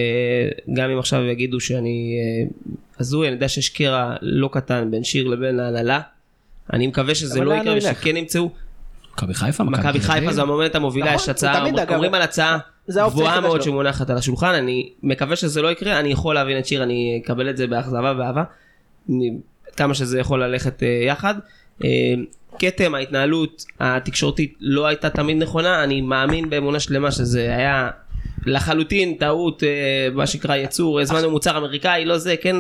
[SPEAKER 5] גם אם עכשיו יגידו שאני אה, הזוי, אני יודע שיש קרע לא קטן בין שיר לבין ההנהלה. אני מקווה שזה
[SPEAKER 7] אבל
[SPEAKER 5] לא
[SPEAKER 7] לאן
[SPEAKER 5] יקרה
[SPEAKER 7] הוא ילך?
[SPEAKER 5] ושכן ימצאו.
[SPEAKER 4] מכבי חיפה,
[SPEAKER 5] מכבי
[SPEAKER 4] תל אביב.
[SPEAKER 5] חיפה זו המומנת המובילה,
[SPEAKER 7] נכון,
[SPEAKER 5] יש הצעה,
[SPEAKER 7] הוא תמיד,
[SPEAKER 5] אומר-
[SPEAKER 7] אגב,
[SPEAKER 5] אומרים על הצעה
[SPEAKER 7] זה האופציה
[SPEAKER 5] גבוהה
[SPEAKER 7] היחידה
[SPEAKER 5] מאוד
[SPEAKER 7] שלו.
[SPEAKER 5] שמונחת על השולחן, אני מקווה שזה לא יקרה, אני יכול להבין את שיר, אני אקבל את זה באכזבה ואהבה, מ- כמה שזה יכול ללכת אה, יחד. אה, כתם, ההתנהלות התקשורתית לא הייתה תמיד נכונה, אני מאמין באמונה שלמה שזה היה לחלוטין טעות, אה, מה שנקרא יצור, הזמנו מוצר אמריקאי, לא זה, כן.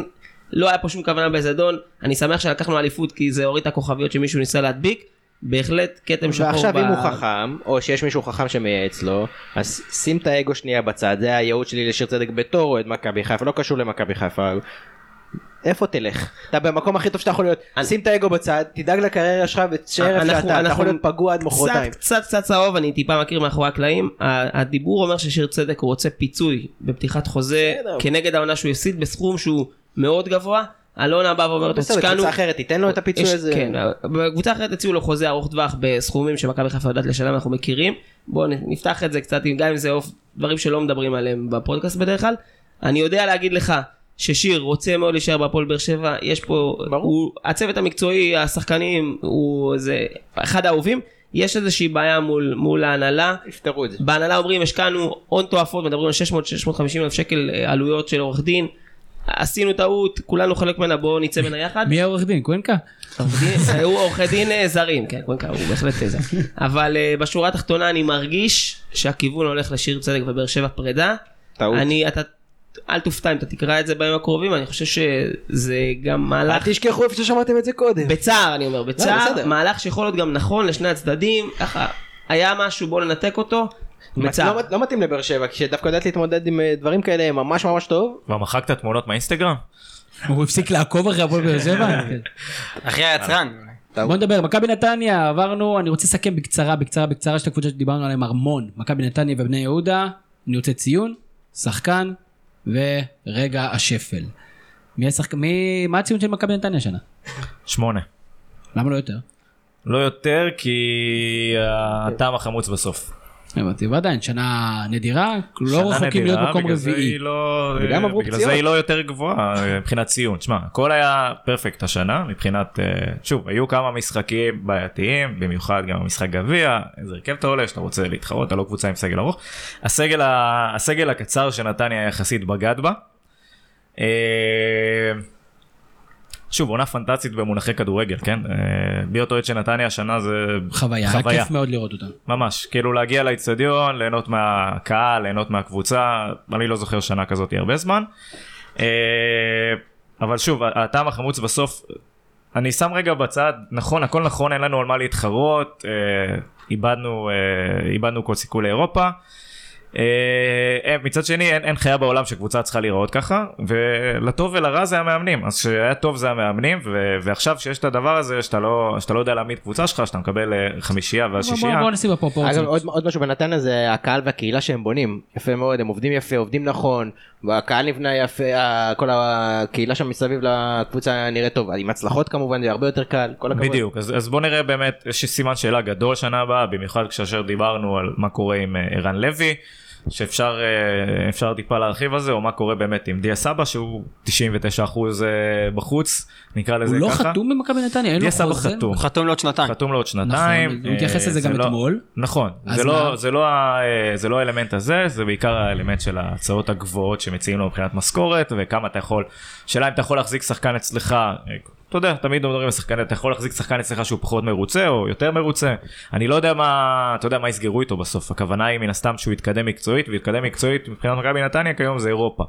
[SPEAKER 5] לא היה פה שום כוונה בזדון, אני שמח שלקחנו אליפות כי זה הוריד את הכוכביות שמישהו ניסה להדביק, בהחלט כתם שחור.
[SPEAKER 7] ועכשיו אם
[SPEAKER 5] ב-
[SPEAKER 7] הוא חכם, או שיש מישהו חכם שמייעץ לו, אז שים את האגו שנייה בצד, זה הייעוד שלי לשיר צדק בתור אוהד מכבי חיפה, לא קשור למכבי חיפה. איפה תלך? אתה במקום הכי טוב שאתה יכול להיות,
[SPEAKER 5] אני-
[SPEAKER 7] שים את האגו בצד, תדאג לקריירה שלך ותשאר איפה
[SPEAKER 5] אנחנו-
[SPEAKER 7] שאתה, אתה
[SPEAKER 5] אנחנו-
[SPEAKER 7] יכול להיות פגוע עד מחרתיים.
[SPEAKER 5] קצת קצת קצת צהוב אני טיפה מכיר מאחורי הקלעים ה- הדיבור אומר ששיר צדק הוא רוצה פיצוי בפתיחת חוזה
[SPEAKER 7] בסדר.
[SPEAKER 5] כנגד העונה שהוא הפסיד בסכום שהוא מאוד גבוה אלונה באה ואומרת לו
[SPEAKER 7] בסדר,
[SPEAKER 5] השקענו
[SPEAKER 7] קבוצה אחרת, תיתן לו את הפיצוי
[SPEAKER 5] יש-
[SPEAKER 7] הזה.
[SPEAKER 5] כן, בקבוצה אחרת הציעו לו חוזה ארוך טווח בסכומים שמכבי חיפה יודעת לשלם אנחנו מכירים בואו נ- נפתח את זה קצת עם- גם אם זה אוף דברים שלא מדברים עליהם בפודקאסט בדרך כלל אני יודע להגיד לך ששיר רוצה מאוד להישאר בהפועל באר שבע יש פה הוא, הצוות המקצועי השחקנים הוא זה אחד האהובים יש איזושהי בעיה מול, מול ההנהלה
[SPEAKER 7] יפתרו את זה.
[SPEAKER 5] בהנהלה אומרים השקענו הון תועפות מדברים על 600-650 אלף שקל אה, עלויות של עורך דין עשינו טעות כולנו חלק ממנה בואו נצא ממנה יחד
[SPEAKER 4] מי העורך דין? קוינקה?
[SPEAKER 5] עורך דין- היו עורכי דין אה, זרים, כן, קוונקה הוא בהחלט אה, זר. אבל אה, בשורה התחתונה אני מרגיש שהכיוון הולך לשיר צדק ובאר שבע פרידה.
[SPEAKER 7] טעות.
[SPEAKER 5] אני, אתה, אל תופתע אם אתה תקרא את זה בימים הקרובים, אני חושב שזה גם
[SPEAKER 7] אל
[SPEAKER 5] מהלך,
[SPEAKER 7] תשכחו איפה ששמעתם את זה קודם.
[SPEAKER 5] בצער אני אומר, בצער,
[SPEAKER 7] בסדר.
[SPEAKER 5] מהלך שיכול להיות גם נכון לשני הצדדים, ככה, היה משהו בוא ננתק אותו, בצער.
[SPEAKER 7] לא מת- לא מתאים לבאר שבע, כשדווקא יודעת להתמודד עם אה, דברים כאלה ממש ממש טוב.
[SPEAKER 6] כבר מחקת תמונות מהאינסטגרם?
[SPEAKER 4] הוא הפסיק לעקוב אחרי הפועל באר שבע? כן.
[SPEAKER 3] אחי היצרן. אולי.
[SPEAKER 4] בוא נדבר, מכבי נתניה, עברנו, אני רוצה לסכם בקצרה, בקצרה, בקצרה, שתי קבוצות שדיברנו עליהן המון, מכבי נתניה ובני יהודה, אני רוצה ציון, שחקן, ורגע השפל. מי השחק... מי... מה הציון של מכבי נתניה השנה?
[SPEAKER 6] שמונה.
[SPEAKER 4] למה לא אה, יותר?
[SPEAKER 6] לא יותר כי הטעם החמוץ בסוף.
[SPEAKER 4] הבנתי, ועדיין, שנה נדירה,
[SPEAKER 6] שנה
[SPEAKER 4] לא רחוקים
[SPEAKER 6] נדירה,
[SPEAKER 4] להיות מקום
[SPEAKER 6] בגלל זה
[SPEAKER 4] רביעי.
[SPEAKER 6] היא לא-
[SPEAKER 7] וגם עברו
[SPEAKER 6] בגלל זה
[SPEAKER 7] פציעות.
[SPEAKER 6] היא לא יותר גבוהה אה, מבחינת ציון. שמע, הכל היה פרפקט השנה מבחינת, אה, שוב, היו כמה משחקים בעייתיים, במיוחד גם המשחק גביע, איזה הרכב אתה עולה, שאתה רוצה להתחרות, אתה לא קבוצה עם סגל ארוך. הסגל, ה- הסגל הקצר שנתניה יחסית בגד בה. אה, שוב, עונה פנטסטית במונחי כדורגל, כן? אה, להיות אוהד של נתניה השנה זה
[SPEAKER 4] חוויה, היה כיף מאוד לראות אותם.
[SPEAKER 6] ממש, כאילו להגיע לאיצטדיון, ליהנות מהקהל, ליהנות מהקבוצה, אני לא זוכר שנה כזאת הרבה זמן. אה, אבל שוב, הטעם החמוץ בסוף, אני שם רגע בצד, נכון, הכל נכון, אין לנו על מה להתחרות, אה, איבדנו, אה, איבדנו כל סיכוי לאירופה. אה, אה, מצד שני אין, אין חיה בעולם שקבוצה צריכה להיראות ככה ולטוב ולרע זה המאמנים אז שהיה טוב זה המאמנים ו, ועכשיו שיש את הדבר הזה שאתה לא, שאתה לא יודע להעמיד קבוצה שלך שאתה מקבל אה, חמישייה
[SPEAKER 4] בוא-
[SPEAKER 6] והשישייה.
[SPEAKER 4] בוא- בוא נשים
[SPEAKER 6] אוקיי.
[SPEAKER 7] אגב
[SPEAKER 4] בפרופורציות.
[SPEAKER 7] עוד- עוד משהו בנתניה זה הקהל והקהילה שהם בונים. יפה מאוד, הם עובדים יפה, עובדים נכון, הקהל נבנה יפה, ה- כל הקהילה שם מסביב לקבוצה נראית טוב. עם הצלחות כמובן זה הרבה יותר קל, כל הכבוד.
[SPEAKER 6] בדיוק, אז, אז בוא נראה באמת, יש סימן שאלה גדול שנה הבאה, במיוחד כאשר דיברנו על מה קורה עם אה, ערן לוי, שאפשר אה, אפשר טיפה להרחיב על זה, או מה קורה באמת עם דיה סבא, שהוא 99% אה, בחוץ, נקרא לזה
[SPEAKER 4] הוא לא
[SPEAKER 6] ככה.
[SPEAKER 4] חתום במכבי נתניה, אין לו
[SPEAKER 6] דיה סבא
[SPEAKER 4] חוזה.
[SPEAKER 6] חתום.
[SPEAKER 3] חתום לעוד שנתיים.
[SPEAKER 6] חתום לעוד שנתיים.
[SPEAKER 4] נכון, הוא התייחס
[SPEAKER 6] אה,
[SPEAKER 4] לזה
[SPEAKER 6] זה
[SPEAKER 4] גם
[SPEAKER 6] לא-
[SPEAKER 4] אתמול.
[SPEAKER 6] נכון,
[SPEAKER 4] אז
[SPEAKER 6] זה
[SPEAKER 4] מה?
[SPEAKER 6] לא, זה, לא, ה- אה, זה לא האלמנט הזה, זה בעיקר האלמנט של ההצעות הגבוהות שמציעים לו מבחינת משכורת, וכמה אתה יכול, שאלה אם אתה יכול להחזיק שחקן אצלך, אה, אתה יודע, תמיד אומרים לשחקן, אתה יכול להחזיק שחקן אצלך שהוא פחות מרוצה או יותר מרוצה, אני לא יודע מה, אתה יודע מה יסגרו איתו בסוף, הכוונה היא מן הסתם שהוא יתקדם מקצועית, ויתקדם מקצועית מבחינת מכבי נתניה כיום זה אירופה.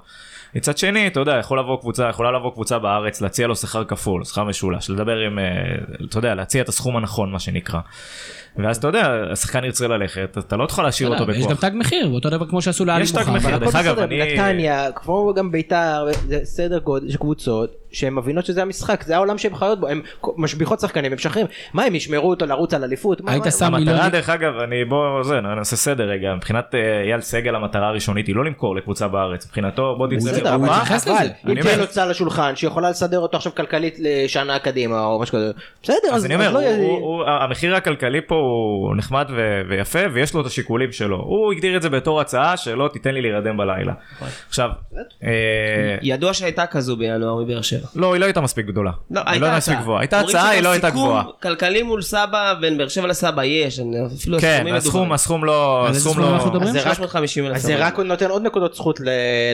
[SPEAKER 6] מצד שני, אתה יודע, יכול לבוא קבוצה, יכולה לבוא קבוצה בארץ, להציע לו שכר כפול, שכר משולש, לדבר עם, אה, אתה יודע, להציע את הסכום הנכון, מה שנקרא. ואז אתה יודע, השחקן ירצה ללכת, אז אתה לא תוכל להשאיר אותו
[SPEAKER 4] אבל יש גם
[SPEAKER 6] בכוח.
[SPEAKER 4] תג מחיר, אותו דבר כמו שעשו לאלי
[SPEAKER 6] יש תג
[SPEAKER 4] מוחמד.
[SPEAKER 6] מחיר.
[SPEAKER 7] אבל
[SPEAKER 6] כן, דרך
[SPEAKER 7] הכל
[SPEAKER 6] אגב,
[SPEAKER 7] בסדר,
[SPEAKER 6] אני-
[SPEAKER 7] נתניה, כמו גם ביתר, זה סדר גודל של קבוצות שהן מבינות שזה המשחק, זה העולם שהן חיות בו, הן משביחות שחקנים, הן משחררים, מה הם ישמרו אותו לרוץ על אליפות? מה-
[SPEAKER 4] היית
[SPEAKER 7] מה-
[SPEAKER 4] שם מיליון...
[SPEAKER 6] המטרה דרך אגב, אני בוא, זה, נעשה סדר רגע, מבחינת אה, אייל סגל המטרה הראשונית היא לא למכור לקבוצה בארץ, מבחינתו בוא תצא
[SPEAKER 7] בסדר, אבל
[SPEAKER 4] הוא
[SPEAKER 6] לאירופה,
[SPEAKER 4] התייחס
[SPEAKER 7] אבל
[SPEAKER 4] לזה.
[SPEAKER 7] אם
[SPEAKER 6] אני
[SPEAKER 7] תהיה
[SPEAKER 6] אומר-
[SPEAKER 7] לו צהל לשולחן שיכולה לסדר אותו עכשיו כלכלית לשנה קדימה או משהו כזה,
[SPEAKER 6] כן.
[SPEAKER 7] בסדר,
[SPEAKER 6] אז אני אומר,
[SPEAKER 7] לא
[SPEAKER 6] הוא-
[SPEAKER 7] יהיה-
[SPEAKER 6] הוא- הוא- המחיר הכלכלי פה הוא נחמד ו- ויפה ויש לו את השיקולים שלו, הוא הגדיר את זה בתור הצעה שלא תיתן לי להירדם בלילה. עכשיו, אה,
[SPEAKER 5] ידוע שהייתה כזו בינואר מבאר שבע.
[SPEAKER 6] לא היא לא הייתה מספיק גדולה,
[SPEAKER 5] לא,
[SPEAKER 6] היא
[SPEAKER 5] הייתה
[SPEAKER 6] לא הייתה מספיק
[SPEAKER 5] הצעה.
[SPEAKER 6] גבוהה, הייתה
[SPEAKER 5] אומרים
[SPEAKER 6] הצעה היא לא הייתה
[SPEAKER 5] סיכום
[SPEAKER 6] גבוהה.
[SPEAKER 5] כלכלי מול סבא, בין באר שבע לסבא יש, אני- אפילו
[SPEAKER 6] כן,
[SPEAKER 5] הסכומים
[SPEAKER 6] הסכום
[SPEAKER 5] מדוברים.
[SPEAKER 6] הסכום לא,
[SPEAKER 4] על איזה
[SPEAKER 6] הסכום
[SPEAKER 4] סכום אנחנו
[SPEAKER 6] לא,
[SPEAKER 4] מדברים?
[SPEAKER 5] אז זה
[SPEAKER 7] אז זה רק-
[SPEAKER 5] 350 אלף.
[SPEAKER 7] אז זה רק נותן עוד נקודות זכות ל-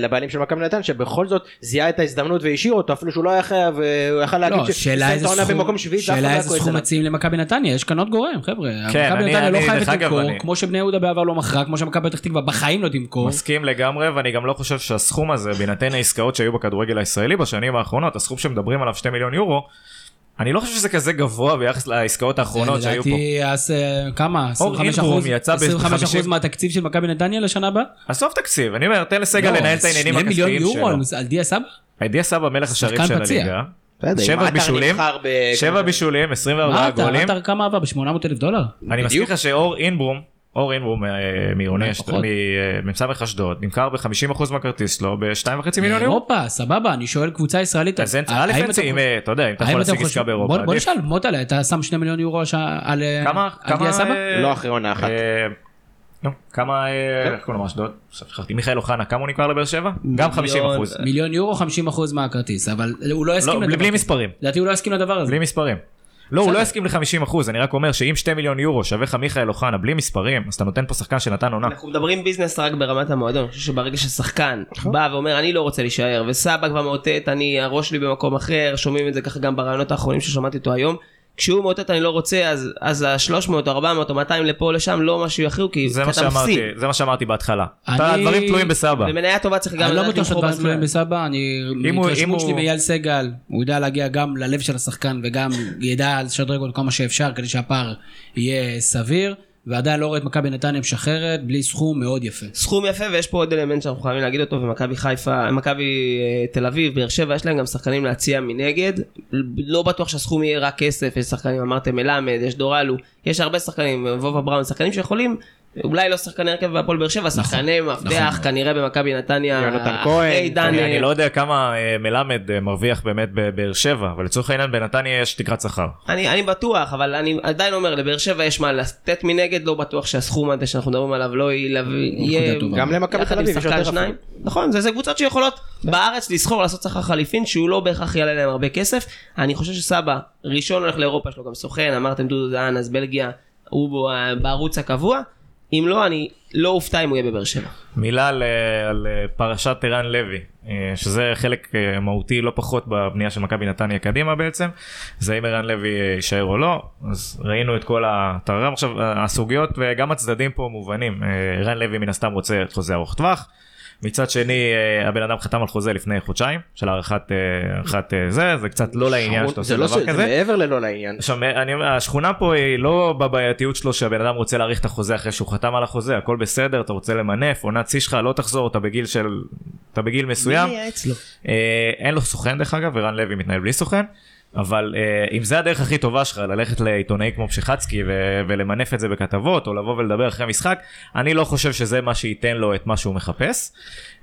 [SPEAKER 7] לבעלים של מכבי נתן שבכל זאת זיהה את ההזדמנות והשאיר אותו אפילו שהוא לא היה חייב והוא יכל להגיד
[SPEAKER 4] לא, שאלה איזה
[SPEAKER 7] העונה
[SPEAKER 4] סכום,
[SPEAKER 7] במקום שביעי זה אף אחד לא
[SPEAKER 4] שאלה
[SPEAKER 7] היה
[SPEAKER 4] איזה
[SPEAKER 7] כועס
[SPEAKER 4] סכום
[SPEAKER 7] עליו.
[SPEAKER 4] מציעים למכבי נתניה, יש כאן עוד גורם, חבר'ה.
[SPEAKER 6] כן,
[SPEAKER 4] מכבי
[SPEAKER 6] אני-
[SPEAKER 4] נתניה לא
[SPEAKER 6] אני-
[SPEAKER 4] חייבת
[SPEAKER 6] דרך אגב,
[SPEAKER 4] למכור,
[SPEAKER 6] אני-
[SPEAKER 4] כמו שבני יהודה בעבר לא מכרה, כמו שמכבי פתח תקווה בחיים לא תמכור.
[SPEAKER 6] מסכים לגמרי, ואני גם לא חושב שהסכום הזה, בהינתן העסקאות שהיו בכדורגל הישראלי בשנים האחרונות, הסכום שמדברים עליו 2 מיליון יורו, אני לא חושב שזה כזה גבוה ביחס לעסקאות האחרונות שהיו פה.
[SPEAKER 4] לדעתי, אז אה, כמה? 25
[SPEAKER 6] אינברום
[SPEAKER 4] אחוז?
[SPEAKER 6] יצא ב-
[SPEAKER 4] 25 אחוז
[SPEAKER 6] 50.
[SPEAKER 4] מהתקציב של מכבי נתניה לשנה הבאה?
[SPEAKER 6] עזוב תקציב, אני אומר, תן לסגל
[SPEAKER 4] לא,
[SPEAKER 6] לנהל את העניינים
[SPEAKER 4] שני מיליון
[SPEAKER 6] הכספיים
[SPEAKER 4] יורו
[SPEAKER 6] שלו.
[SPEAKER 4] על- על דיה סבא?
[SPEAKER 6] אדיה סבא מלך השערים
[SPEAKER 4] שחקן
[SPEAKER 6] של
[SPEAKER 4] פציע.
[SPEAKER 6] הליגה.
[SPEAKER 5] לא
[SPEAKER 7] בסדר, אם
[SPEAKER 6] שבע
[SPEAKER 7] עטר
[SPEAKER 6] בישולים,
[SPEAKER 7] נבחר ב-
[SPEAKER 6] שבע בישולים, 24
[SPEAKER 4] מה אתה,
[SPEAKER 6] גולים.
[SPEAKER 4] עטר כמה עבר? ב-800 אלף דולר?
[SPEAKER 6] אני מזכיר לך שאור אינברום, אור אינברום אה, מעירוני
[SPEAKER 4] אולי
[SPEAKER 6] אשדוד,
[SPEAKER 4] פחות.
[SPEAKER 6] מ- אה, מס"ך אשדוד, נמכר ב-50% מהכרטיס שלו ב-2.5 מיליון יורו.
[SPEAKER 4] אירופה, סבבה, אני שואל קבוצה ישראלית.
[SPEAKER 6] אז אין,
[SPEAKER 4] האם
[SPEAKER 6] א',
[SPEAKER 4] אתה
[SPEAKER 6] אין זה,
[SPEAKER 4] חושב-
[SPEAKER 6] אם, אה, אתה יודע, אם אתה
[SPEAKER 4] האם
[SPEAKER 6] יכול
[SPEAKER 4] אתם
[SPEAKER 6] להשיג
[SPEAKER 4] חושבים-
[SPEAKER 6] עסקה באירופה,
[SPEAKER 4] בוא- בוא
[SPEAKER 6] עדיף.
[SPEAKER 4] נשאל, מוטלה, אתה שם 2 מיליון יורו הש- על אה,
[SPEAKER 6] כמה,
[SPEAKER 4] על
[SPEAKER 6] כמה,
[SPEAKER 4] דיה סבא?
[SPEAKER 6] אה,
[SPEAKER 7] לא אחרי עונה אחת.
[SPEAKER 6] אה, לא, כמה, אה, איך קוראים לו אשדוד? עכשיו שכחתי, מיכאל אוחנה, כמה הוא נמכר לבאר שבע? גם 50 אחוז.
[SPEAKER 4] מיליון יורו 50 אחוז מהכרטיס, אבל הוא לא יסכים
[SPEAKER 6] לא,
[SPEAKER 4] לדבר
[SPEAKER 6] בלי
[SPEAKER 4] הזה.
[SPEAKER 6] מספרים,
[SPEAKER 4] לדעתי הוא לא יסכים לדבר הזה.
[SPEAKER 6] בלי מספרים. לא, הוא לא יסכים ל-50 אחוז, אני רק אומר שאם 2 מיליון יורו שווה לך מיכאל אוחנה בלי מספרים, אז אתה נותן פה שחקן שנתן עונה.
[SPEAKER 7] נכון.
[SPEAKER 5] אנחנו מדברים ביזנס רק ברמת המועדון, אני חושב שברגע ששחקן
[SPEAKER 6] נכון.
[SPEAKER 5] בא ואומר אני לא רוצה להישאר, וסבא כבר מאותת, אני הראש שלי במקום אחר, שומעים את זה ככה גם ברעיונות האחרונים ששמעתי אותו היום, כשהוא מאותת אני לא רוצה, אז- אז ה-300 או 400 או 200 לפה או לשם לא משהו יכריעו, כי
[SPEAKER 6] זה
[SPEAKER 5] אתה
[SPEAKER 6] מה שאמרתי,
[SPEAKER 5] מפסיד.
[SPEAKER 6] זה מה שאמרתי בהתחלה.
[SPEAKER 4] אני-
[SPEAKER 6] אתה- הדברים תלויים בסבא.
[SPEAKER 5] במניה טובה צריך גם
[SPEAKER 4] אני לא
[SPEAKER 5] לדעת
[SPEAKER 4] בטוח
[SPEAKER 5] למכור
[SPEAKER 4] שהדברים
[SPEAKER 5] בזמן.
[SPEAKER 4] תלויים בסבא, אני...
[SPEAKER 6] אם הוא- אם
[SPEAKER 4] מהתרשמות
[SPEAKER 6] הוא-
[SPEAKER 4] שלי מאייל סגל, הוא יודע להגיע גם ללב של השחקן וגם ידע לשדרג אותו כמה שאפשר כדי שהפער יהיה סביר, ועדיין לא רואה את מכבי נתניה משחררת בלי סכום מאוד יפה.
[SPEAKER 5] סכום יפה ויש פה עוד אלמנט שאנחנו חייבים להגיד אותו ומכבי חיפה, מכבי אה, תל אביב, באר שבע, יש להם גם שחקנים להציע מנגד. לא בטוח שהסכום יהיה רק כסף, יש שחקנים, אמרתם מלמד, יש דורלו, יש הרבה שחקנים, וובה בראון, שחקנים שיכולים, אולי לא שחקני הרכב בהפועל באר שבע, שחקני מפתח, כנראה במכבי נתניה,
[SPEAKER 7] יונתן
[SPEAKER 5] אחרי
[SPEAKER 7] כהן,
[SPEAKER 5] דן,
[SPEAKER 6] אני
[SPEAKER 5] אה,
[SPEAKER 6] אני לא יודע כמה אה, מלמד אה, מרוויח באמת בבאר שבע, אבל לצורך העניין בנתניה יש תקרת שכר.
[SPEAKER 5] אני, אני בטוח, אבל אני עדיין אומר, לבאר שבע יש מה לתת מנגד, לא בטוח שהסכום הזה שאנחנו מדברים עליו לא יהיה... יהיה-
[SPEAKER 4] טובה.
[SPEAKER 7] גם למכבי
[SPEAKER 6] אה,
[SPEAKER 5] יחד
[SPEAKER 7] תל
[SPEAKER 5] עם
[SPEAKER 7] אביב יש
[SPEAKER 5] שחקן
[SPEAKER 7] יותר
[SPEAKER 5] שניים.
[SPEAKER 7] שניים.
[SPEAKER 5] נכון, זה, זה קבוצות שיכולות בארץ לסחור, לעשות שכר חליפין, שהוא לא בהכרח יעלה להם הרבה כסף. אני חושב שסבא, ראשון הולך לאירופה, יש לו גם סוכן, אמרתם דודו דהן, אז בלגיה, הוא בו, אה, בערוץ הקבוע. אם לא, אני לא אופתע אם הוא יהיה בבאר שבע.
[SPEAKER 6] מילה על, אה, על אה, פרשת ערן לוי, אה, שזה חלק אה, מהותי לא פחות בבנייה של מכבי נתניה קדימה בעצם, זה אם ערן לוי אה, יישאר או לא, אז ראינו את כל הטררם, עכשיו אה, הסוגיות וגם הצדדים פה מובנים, אה, ערן לוי מן הסתם רוצה את חוזה ארוך טווח. מצד שני אה, הבן אדם חתם על חוזה לפני חודשיים של הארכת אה, הארכת, אה, זה זה קצת לא לעניין שאתה עושה
[SPEAKER 7] זה לא
[SPEAKER 6] דבר
[SPEAKER 7] ש- זה
[SPEAKER 6] כזה.
[SPEAKER 7] מעבר ללא לעניין.
[SPEAKER 6] עכשיו, אני אומר, השכונה פה היא לא בבעייתיות שלו שהבן אדם רוצה להאריך את החוזה אחרי שהוא חתם על החוזה, הכל בסדר, אתה רוצה למנף, עונת שיא שלך, לא תחזור, אתה בגיל של... אתה בגיל מסוים. אה, אין לו סוכן דרך אגב, ערן לוי מתנהל בלי סוכן, אבל אה, אם זה הדרך הכי טובה שלך, ללכת לעיתונאי כמו פשיחצקי ו- ולמנף את זה בכתבות, או לבוא ולדבר אחרי משחק, אני לא חושב שזה מה שייתן לו את מה שהוא מחפש.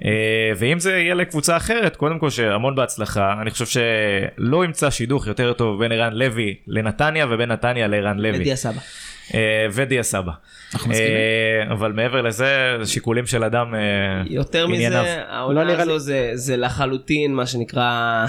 [SPEAKER 6] אה, ואם זה יהיה לקבוצה אחרת, קודם כל שהמון בהצלחה, אני חושב שלא ימצא שידוך יותר טוב בין ערן לוי לנתניה ובין נתניה לערן לוי.
[SPEAKER 5] לדיה סבא.
[SPEAKER 6] אה, ודיה סבא.
[SPEAKER 4] אנחנו מסכימים.
[SPEAKER 6] אה, אבל מעבר לזה, זה שיקולים של אדם אה,
[SPEAKER 5] יותר
[SPEAKER 6] ענייניו.
[SPEAKER 5] מזה, העונה
[SPEAKER 7] לא נראה
[SPEAKER 5] הזו זה, זה לחלוטין מה שנקרא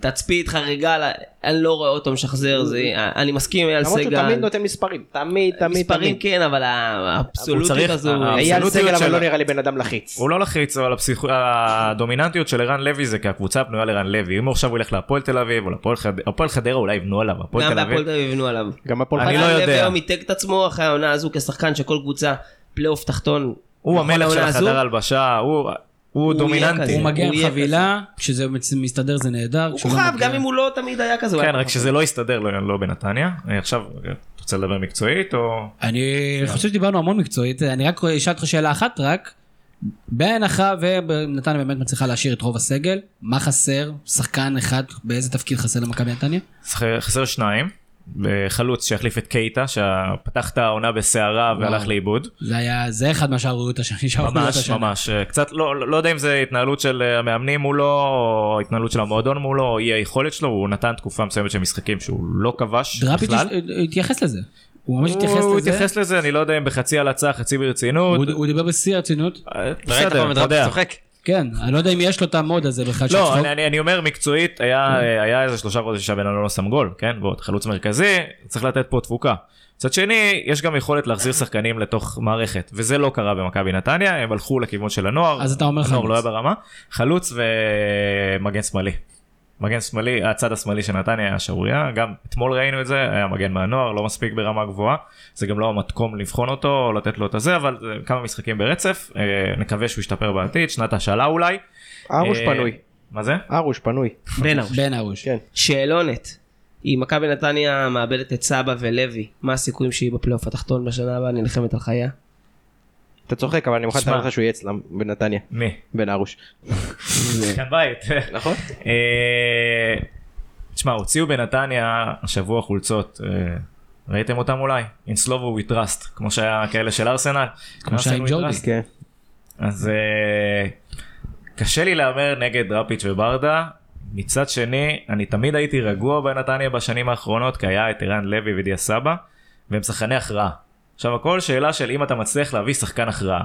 [SPEAKER 5] תצפית חריגה, ל- אני לא רואה אותו משחזר, זה, אני מסכים עם אייל
[SPEAKER 7] למרות שהוא תמיד
[SPEAKER 5] סגל.
[SPEAKER 7] נותן מספרים, תמיד, תמיד,
[SPEAKER 5] מספרים
[SPEAKER 7] תמיד.
[SPEAKER 5] כן, אבל האבסולוטית
[SPEAKER 6] צריך-
[SPEAKER 5] הזו,
[SPEAKER 6] ה-
[SPEAKER 7] אייל
[SPEAKER 6] האבסולוטיות
[SPEAKER 7] סגל אבל
[SPEAKER 6] שלה.
[SPEAKER 7] לא נראה לי בן אדם לחיץ.
[SPEAKER 6] הוא לא לחיץ, אבל הפסיכו... הדומיננטיות של ערן לוי זה כי הקבוצה פנויה לערן לוי. אם עכשיו הוא ילך להפועל תל אביב או להפועל חד... הפועל חדרה, אולי יבנו עליו, הפועל
[SPEAKER 5] גם
[SPEAKER 6] תל
[SPEAKER 5] בהפועל
[SPEAKER 6] אביב.
[SPEAKER 5] תל אביב יבנו עליו.
[SPEAKER 7] גם הפועל
[SPEAKER 6] אני
[SPEAKER 7] חיפה.
[SPEAKER 6] לא
[SPEAKER 5] רן לוי
[SPEAKER 6] יודע.
[SPEAKER 5] היום היתק את עצמו אחרי העונה הזו כשחקן שכל קבוצה פלייאוף תחתון.
[SPEAKER 6] הוא
[SPEAKER 5] נכון
[SPEAKER 6] המלך של
[SPEAKER 5] לעונה
[SPEAKER 6] החדר
[SPEAKER 5] הזו,
[SPEAKER 6] הלבשה, הוא, הוא
[SPEAKER 5] הוא יהיה
[SPEAKER 6] דומיננטי.
[SPEAKER 5] כזה.
[SPEAKER 4] הוא מגיע
[SPEAKER 5] הוא
[SPEAKER 4] עם
[SPEAKER 5] יהיה
[SPEAKER 4] חבילה, כשזה מצ- מסתדר זה נהדר.
[SPEAKER 5] הוא
[SPEAKER 4] כשלא
[SPEAKER 5] כוכב,
[SPEAKER 4] מגיע-
[SPEAKER 5] גם אם הוא לא תמיד היה כזה. הוא
[SPEAKER 6] כן,
[SPEAKER 5] היה
[SPEAKER 6] רק
[SPEAKER 5] כוכב.
[SPEAKER 6] שזה לא הסתדר לו לא בנתניה. אה, עכשיו, אה, אתה רוצה לדבר מקצועית או...
[SPEAKER 4] אני חושב שדיברנו המון מקצועית, אני רק אשאל אותך שאלה אחת רק. בהנחה ונתניה באמת מצליחה להשאיר את רוב הסגל, מה חסר? שחקן אחד, באיזה תפקיד חסר למכבי נתניה?
[SPEAKER 6] חסר- חסר שניים. אה, חלוץ שיחליף את קייטה, שפתח את העונה בסערה והלך לאיבוד.
[SPEAKER 4] זה היה, זה אחד מהשערוריות השנה. שערוריות
[SPEAKER 6] ממש
[SPEAKER 4] השנה.
[SPEAKER 6] ממש אה, קצת לא לא- לא יודע אם זה התנהלות של אה, המאמנים מולו או התנהלות של המועדון מולו או אי היכולת שלו הוא נתן תקופה מסוימת של משחקים שהוא לא כבש
[SPEAKER 4] דראפיץ'
[SPEAKER 6] בכלל.
[SPEAKER 4] הש- התייחס לזה. הוא ממש התייחס
[SPEAKER 6] הוא
[SPEAKER 4] לזה.
[SPEAKER 6] התייחס לזה אני לא יודע אם בחצי הלצה חצי ברצינות.
[SPEAKER 4] הוא- הוא דיבר בשיא הרצינות.
[SPEAKER 6] אה,
[SPEAKER 3] ראית
[SPEAKER 6] בסדר,
[SPEAKER 3] פעם את
[SPEAKER 6] אתה יודע.
[SPEAKER 3] רפי צוחק?
[SPEAKER 4] כן, אני לא יודע אם יש לו את המוד הזה בכלל של
[SPEAKER 6] לא,
[SPEAKER 4] צחוק.
[SPEAKER 6] אני, אני, אני אומר מקצועית, היה,
[SPEAKER 4] כן.
[SPEAKER 6] אה, היה איזה שלושה חודשים שהבן אדם לא שם גול, כן? ועוד חלוץ מרכזי, צריך לתת פה תפוקה. מצד שני, יש גם יכולת להחזיר שחקנים לתוך מערכת, וזה לא קרה במכבי נתניה, הם הלכו לכיוון של הנוער.
[SPEAKER 4] אז אתה אומר
[SPEAKER 6] הנוער
[SPEAKER 4] חלוץ.
[SPEAKER 6] לא היה ברמה. חלוץ ומגן שמאלי. מגן שמאלי, הצד השמאלי של נתניה היה שערורייה, גם אתמול ראינו את זה, היה מגן מהנוער, לא מספיק ברמה גבוהה, זה גם לא המתקום לבחון אותו, או לתת לו את הזה, אבל אה, כמה משחקים ברצף, אה, נקווה שהוא ישתפר בעתיד, שנת השאלה אולי.
[SPEAKER 7] ארוש
[SPEAKER 6] אה,
[SPEAKER 7] פנוי.
[SPEAKER 6] מה זה?
[SPEAKER 7] ארוש פנוי.
[SPEAKER 5] בן ארוש.
[SPEAKER 4] בן ארוש.
[SPEAKER 7] כן.
[SPEAKER 5] שאלונת. אם מכבי נתניה מאבדת את סבא ולוי, מה הסיכויים שהיא בפלייאוף התחתון בשנה הבאה נלחמת על חייה?
[SPEAKER 6] כן.
[SPEAKER 7] אתה צוחק אבל אני מוכן
[SPEAKER 6] שמע.
[SPEAKER 7] לתאר לך שהוא יהיה אצלם בנתניה.
[SPEAKER 6] מי?
[SPEAKER 7] בן ארוש.
[SPEAKER 6] כאן בית.
[SPEAKER 7] נכון.
[SPEAKER 6] אה, תשמע, הוציאו בנתניה השבוע חולצות, אה, ראיתם אותם אולי? In Slovo we trust, כמו שהיה כאלה של ארסנל.
[SPEAKER 4] כמו שהיה עם
[SPEAKER 6] Arsenal we
[SPEAKER 4] ג'ורדי.
[SPEAKER 6] trust.
[SPEAKER 7] כן.
[SPEAKER 6] אז אה, קשה לי להמר נגד דראפיץ' וברדה. מצד שני, אני תמיד הייתי רגוע בנתניה בשנים האחרונות, כי היה את ערן לוי ודיה סבא, והם שחקני הכרעה. עכשיו הכל שאלה של אם אתה מצליח להביא שחקן הכרעה.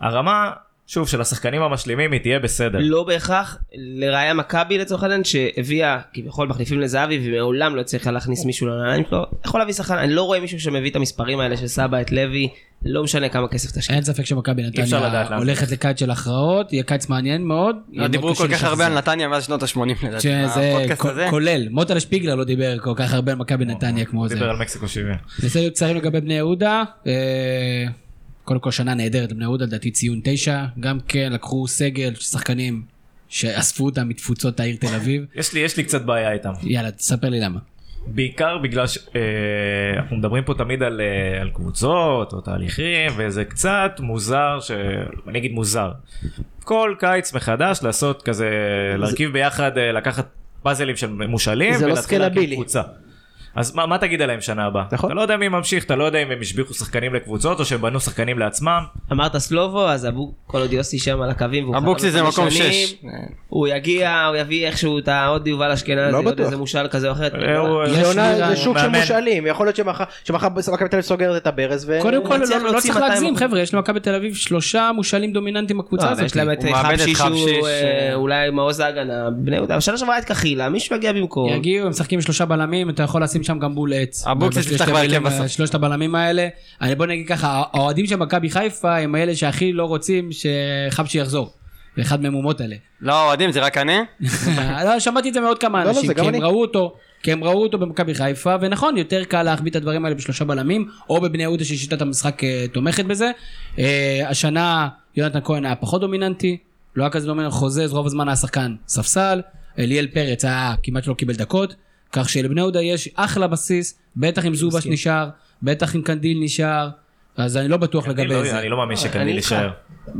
[SPEAKER 6] הרמה, שוב, של השחקנים המשלימים היא תהיה בסדר.
[SPEAKER 5] לא בהכרח, לראיה מכבי לצורך העניין שהביאה כביכול מחליפים לזהבי ומעולם לא הצליחה להכניס מישהו לנעליים שלו, יכול להביא שחקן, אני לא רואה מישהו שמביא את המספרים האלה של סבא, את לוי, לא משנה כמה כסף תשקיע.
[SPEAKER 4] אין ספק שמכבי
[SPEAKER 6] אפשר לדעת לאן
[SPEAKER 4] נתניה
[SPEAKER 6] זה
[SPEAKER 4] הולכת לקיץ של הכרעות, יהיה קיץ מעניין מאוד. יהיה
[SPEAKER 3] לא
[SPEAKER 4] מאוד
[SPEAKER 3] דיברו
[SPEAKER 4] קשה
[SPEAKER 3] כל כך הרבה
[SPEAKER 4] לשחזר.
[SPEAKER 3] על נתניה מאז שנות ה-80 לדעתי.
[SPEAKER 4] שזה
[SPEAKER 3] הפודקאסט
[SPEAKER 4] כ-
[SPEAKER 3] הזה.
[SPEAKER 4] כולל, מוטל שפיגלר לא דיבר כל כך הרבה על מכבי נתניה כמו זה.
[SPEAKER 6] לא, דיבר על מקסיקו 70.
[SPEAKER 4] נעשה להיות קצרים לגבי בני יהודה. אה, קודם כל שנה נהדרת לבני יהודה, לדעתי ציון תשע. גם כן לקחו סגל, של שחקנים שאספו אותם מתפוצות העיר תל אביב.
[SPEAKER 6] יש לי, יש לי קצת בעיה איתם.
[SPEAKER 4] יאללה, תספר לי למה.
[SPEAKER 6] בעיקר בגלל שאנחנו מדברים פה תמיד על, אה, על קבוצות או תהליכים וזה קצת מוזר, ש... אני אגיד מוזר. כל קיץ מחדש לעשות כזה, להרכיב ביחד, אה, לקחת פאזלים של מושאלים
[SPEAKER 7] זה לא
[SPEAKER 6] ולהתחיל להרכיב
[SPEAKER 7] סקלבילי.
[SPEAKER 6] קבוצה. אז מה, מה תגיד עליהם שנה הבאה?
[SPEAKER 7] נכון.
[SPEAKER 6] אתה לא יודע מי ממשיך, אתה לא יודע אם הם השביחו שחקנים לקבוצות או שהם בנו שחקנים לעצמם.
[SPEAKER 5] אמרת סלובו, אז אבו, כל עוד יוסי שם על הקווים והוא
[SPEAKER 3] אבוקסיס זה
[SPEAKER 5] חתם לחמש
[SPEAKER 3] מקום
[SPEAKER 5] שנים,
[SPEAKER 3] 6.
[SPEAKER 5] הוא יגיע, הוא יביא איכשהו את העוד יובל אשכנזי,
[SPEAKER 7] לא
[SPEAKER 5] עוד
[SPEAKER 7] בטוח.
[SPEAKER 5] איזה מושל כזה או אחר.
[SPEAKER 6] אה, הוא-
[SPEAKER 4] יש
[SPEAKER 7] זה עונה-
[SPEAKER 4] שמירה,
[SPEAKER 7] זה שוק של
[SPEAKER 6] מאמן.
[SPEAKER 7] מושאלים, יכול להיות שמחר שמחר מכבי תל אביב סוגרת את הברז ו...
[SPEAKER 4] קודם כל,
[SPEAKER 5] מצליח
[SPEAKER 4] לא- לא
[SPEAKER 5] להוציא
[SPEAKER 4] צריך
[SPEAKER 5] 200.
[SPEAKER 4] להגזים, חבר'ה, יש למכבי תל אביב שלושה מושאלים דומיננטיים בקבוצה
[SPEAKER 5] לא, אבל
[SPEAKER 4] הזאת.
[SPEAKER 5] יש להם את
[SPEAKER 3] הוא מאבד את
[SPEAKER 5] חבשי
[SPEAKER 3] חבשי,
[SPEAKER 5] שהוא אה,
[SPEAKER 3] ש-
[SPEAKER 5] אולי מעוז ההגנה, בני יהודה, בשנה שעברה היה את קחילה, מישהו יגיע במקום.
[SPEAKER 4] יגיעו, הם משחקים עם שלושה בלמים, אתה יכול לשים שם גם בול עץ.
[SPEAKER 3] אבוקסיס
[SPEAKER 4] בשלושת
[SPEAKER 3] יפתח בהרכב
[SPEAKER 4] הבלמים-
[SPEAKER 3] בסוף.
[SPEAKER 4] שלושת הבלמים האלה. אני בוא נגיד ככה, האוהדים של מכבי חיפה הם אלה שהכי לא רוצים שחבשי יחזור. ואחד מהם הוא מוטלה.
[SPEAKER 3] לא האוהדים זה רק אני.
[SPEAKER 4] לא, שמעתי את זה מעוד כמה
[SPEAKER 7] לא, לא,
[SPEAKER 4] אנשים,
[SPEAKER 7] זה
[SPEAKER 4] כי
[SPEAKER 7] גם
[SPEAKER 4] הם
[SPEAKER 7] אני.
[SPEAKER 4] ראו אותו, כי הם ראו אותו במכבי חיפה, ונכון, יותר קל להחביא את הדברים האלה בשלושה בלמים, או בבני יהודה ששיטת המשחק אה, תומכת בזה. אה, השנה יונתן כהן היה פחות דומיננטי, לא היה כזה דומיננטי, חוזז, רוב הזמן היה שחקן ספסל, אליאל פרץ היה כמעט שלא קיבל דקות, כך שלבני יהודה יש אחלה בסיס, בטח אם זובש נשאר, בטח אם קנדיל נשאר, אז אני לא בטוח
[SPEAKER 6] אני
[SPEAKER 4] לגבי
[SPEAKER 6] לא- אני
[SPEAKER 4] זה.
[SPEAKER 6] לא
[SPEAKER 7] אה,
[SPEAKER 6] מאמין
[SPEAKER 5] אני
[SPEAKER 6] שקנדיל
[SPEAKER 5] איתך.
[SPEAKER 6] יישאר.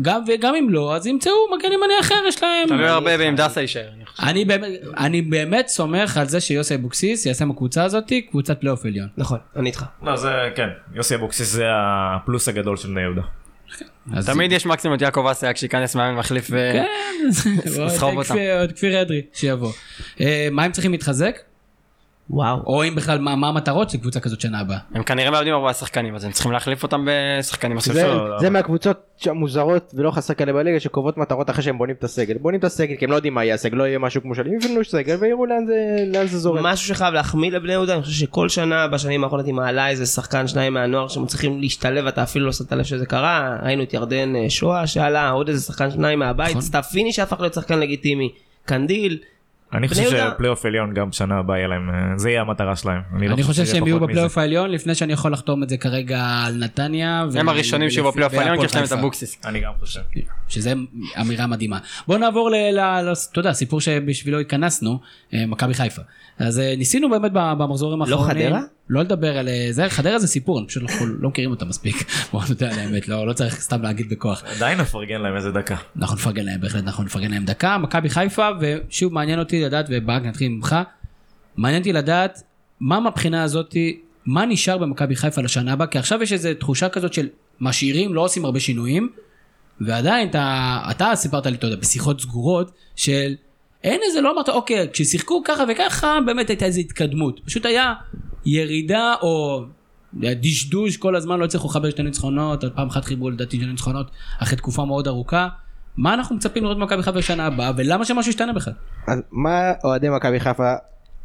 [SPEAKER 4] גם וגם אם לא, אז ימצאו מגן ימני אחר, יש להם...
[SPEAKER 3] תלוי הרבה
[SPEAKER 7] לא
[SPEAKER 3] באם דסה יישאר. אני חושב.
[SPEAKER 4] אני באמת, אני באמת סומך על זה שיוסי אבוקסיס יעשה מהקבוצה הזאת קבוצת פלייאוף עליון.
[SPEAKER 5] נכון, אני איתך.
[SPEAKER 6] לא, זה כן, יוסי אבוקסיס זה הפלוס הגדול של בני יהודה.
[SPEAKER 4] אז-
[SPEAKER 3] תמיד יש מקסימום את יעקב אסייג שייכנס מאמן מחליף ו...
[SPEAKER 7] כן.
[SPEAKER 4] ועוד
[SPEAKER 3] לסחוב אותם.
[SPEAKER 4] כפיר- עוד כפיר אדרי שיבוא. אה, מה הם צריכים להתחזק?
[SPEAKER 5] וואו.
[SPEAKER 4] או אם בכלל מה מה המטרות של קבוצה כזאת שנה הבאה.
[SPEAKER 3] הם כנראה מאבדים ארבעה שחקנים, אז הם צריכים להחליף אותם בשחקנים
[SPEAKER 7] זה,
[SPEAKER 3] אחרים.
[SPEAKER 7] זה מהקבוצות המוזרות ולא חסר כאלה בליגה שקובעות מטרות אחרי שהם בונים את הסגל. בונים את הסגל כי הם לא יודעים מה יהיה הסגל, לא יהיה משהו כמו שלי, יבנו סגל ויראו לאן זה, לאן זה זורם.
[SPEAKER 5] משהו שחייב להחמיא לבני יהודה, אני חושב שכל שנה, בשנים האחרונות היא מעלה איזה שחקן שניים מהנוער שמצליחים להשתלב, אתה אפילו לא שמת לב שזה קרה, ראינו את ירדן אה, שואה שעלה, עוד איזה שחקן שניים מהבית,
[SPEAKER 4] נכון.
[SPEAKER 5] סתיו פיני שהפך להיות שחקן לגיטימי, קנדיל,
[SPEAKER 6] אני חושב
[SPEAKER 5] יהודה-
[SPEAKER 6] שפלייאוף עליון גם שנה הבאה יהיה להם, אה, זה יהיה המטרה שלהם. לא
[SPEAKER 4] אני חושב
[SPEAKER 6] שזה
[SPEAKER 4] שהם
[SPEAKER 6] יהיה
[SPEAKER 4] יהיו
[SPEAKER 6] פחות מזה.
[SPEAKER 4] בפלייאוף העליון לפני שאני יכול לחתום את זה כרגע על נתניה. ו-
[SPEAKER 3] הם הראשונים שיהיו בפלייאוף העליון כי יש להם את
[SPEAKER 4] והפועל
[SPEAKER 3] אבוקסיס.
[SPEAKER 6] אני גם חושב.
[SPEAKER 4] שזה אמירה מדהימה. בואו נעבור ל... ל- ל- אתה יודע, סיפור שבשבילו התכנסנו, אה, מכבי חיפה. אז אה, ניסינו באמת ב- במחזורים האחרונים.
[SPEAKER 5] חדרה?
[SPEAKER 4] לא לדבר על אה, זה, חדרה זה סיפור, אני פשוט לא, לא מכירים אותה מספיק. בואו נודה על האמת, לא, לא צריך סתם להגיד בכוח.
[SPEAKER 6] עדיין נפרגן להם איזה דקה.
[SPEAKER 4] אנחנו נפרגן להם בהחלט, אנחנו נפרגן להם דקה. מכבי חיפה, ושוב מעניין אותי לדעת, וברק נתחיל ממך, מעניין אותי לדעת מה מבחינה הזאתי, מה נשאר במכבי חיפה לשנה הבאה, כי עכשיו יש איזו תחושה כזאת של משאירים, לא עושים הרבה שינויים, ועדיין אתה, אתה סיפרת לי, אתה יודע, בשיחות סגורות, של אין איזה, לא אמרת, אוקיי, כששיחקו ככה וככה, באמת הייתה איזו התקדמות. פשוט היה ירידה או דשדוש כל הזמן, לא הצליחו לחבר שתי ניצחונות, עוד פעם אחת חיברו לדעתי שתי ניצחונות, אחרי תקופה מאוד ארוכה. מה אנחנו מצפים לראות במכבי חיפה בשנה הבאה, ולמה שמשהו ישתנה בכלל?
[SPEAKER 7] אז מה אוהדי מכבי חיפה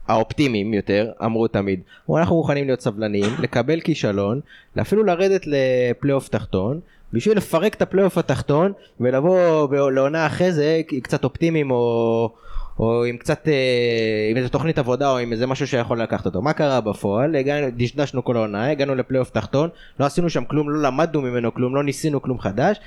[SPEAKER 7] האופטימיים יותר אמרו תמיד "הוא, אנחנו מוכנים להיות סבלניים לקבל כישלון אפילו לרדת לפלייאוף תחתון בשביל לפרק את הפלייאוף התחתון ולבוא ב- לעונה אחרי זה כ- קצת אופטימיים או, או עם קצת אה, עם איזה תוכנית עבודה או עם איזה משהו שיכול לקחת אותו מה קרה בפועל הגענו דשדשנו כל העונה הגענו לפלייאוף תחתון לא עשינו שם כלום לא למדנו ממנו כלום לא ניסינו כלום חדש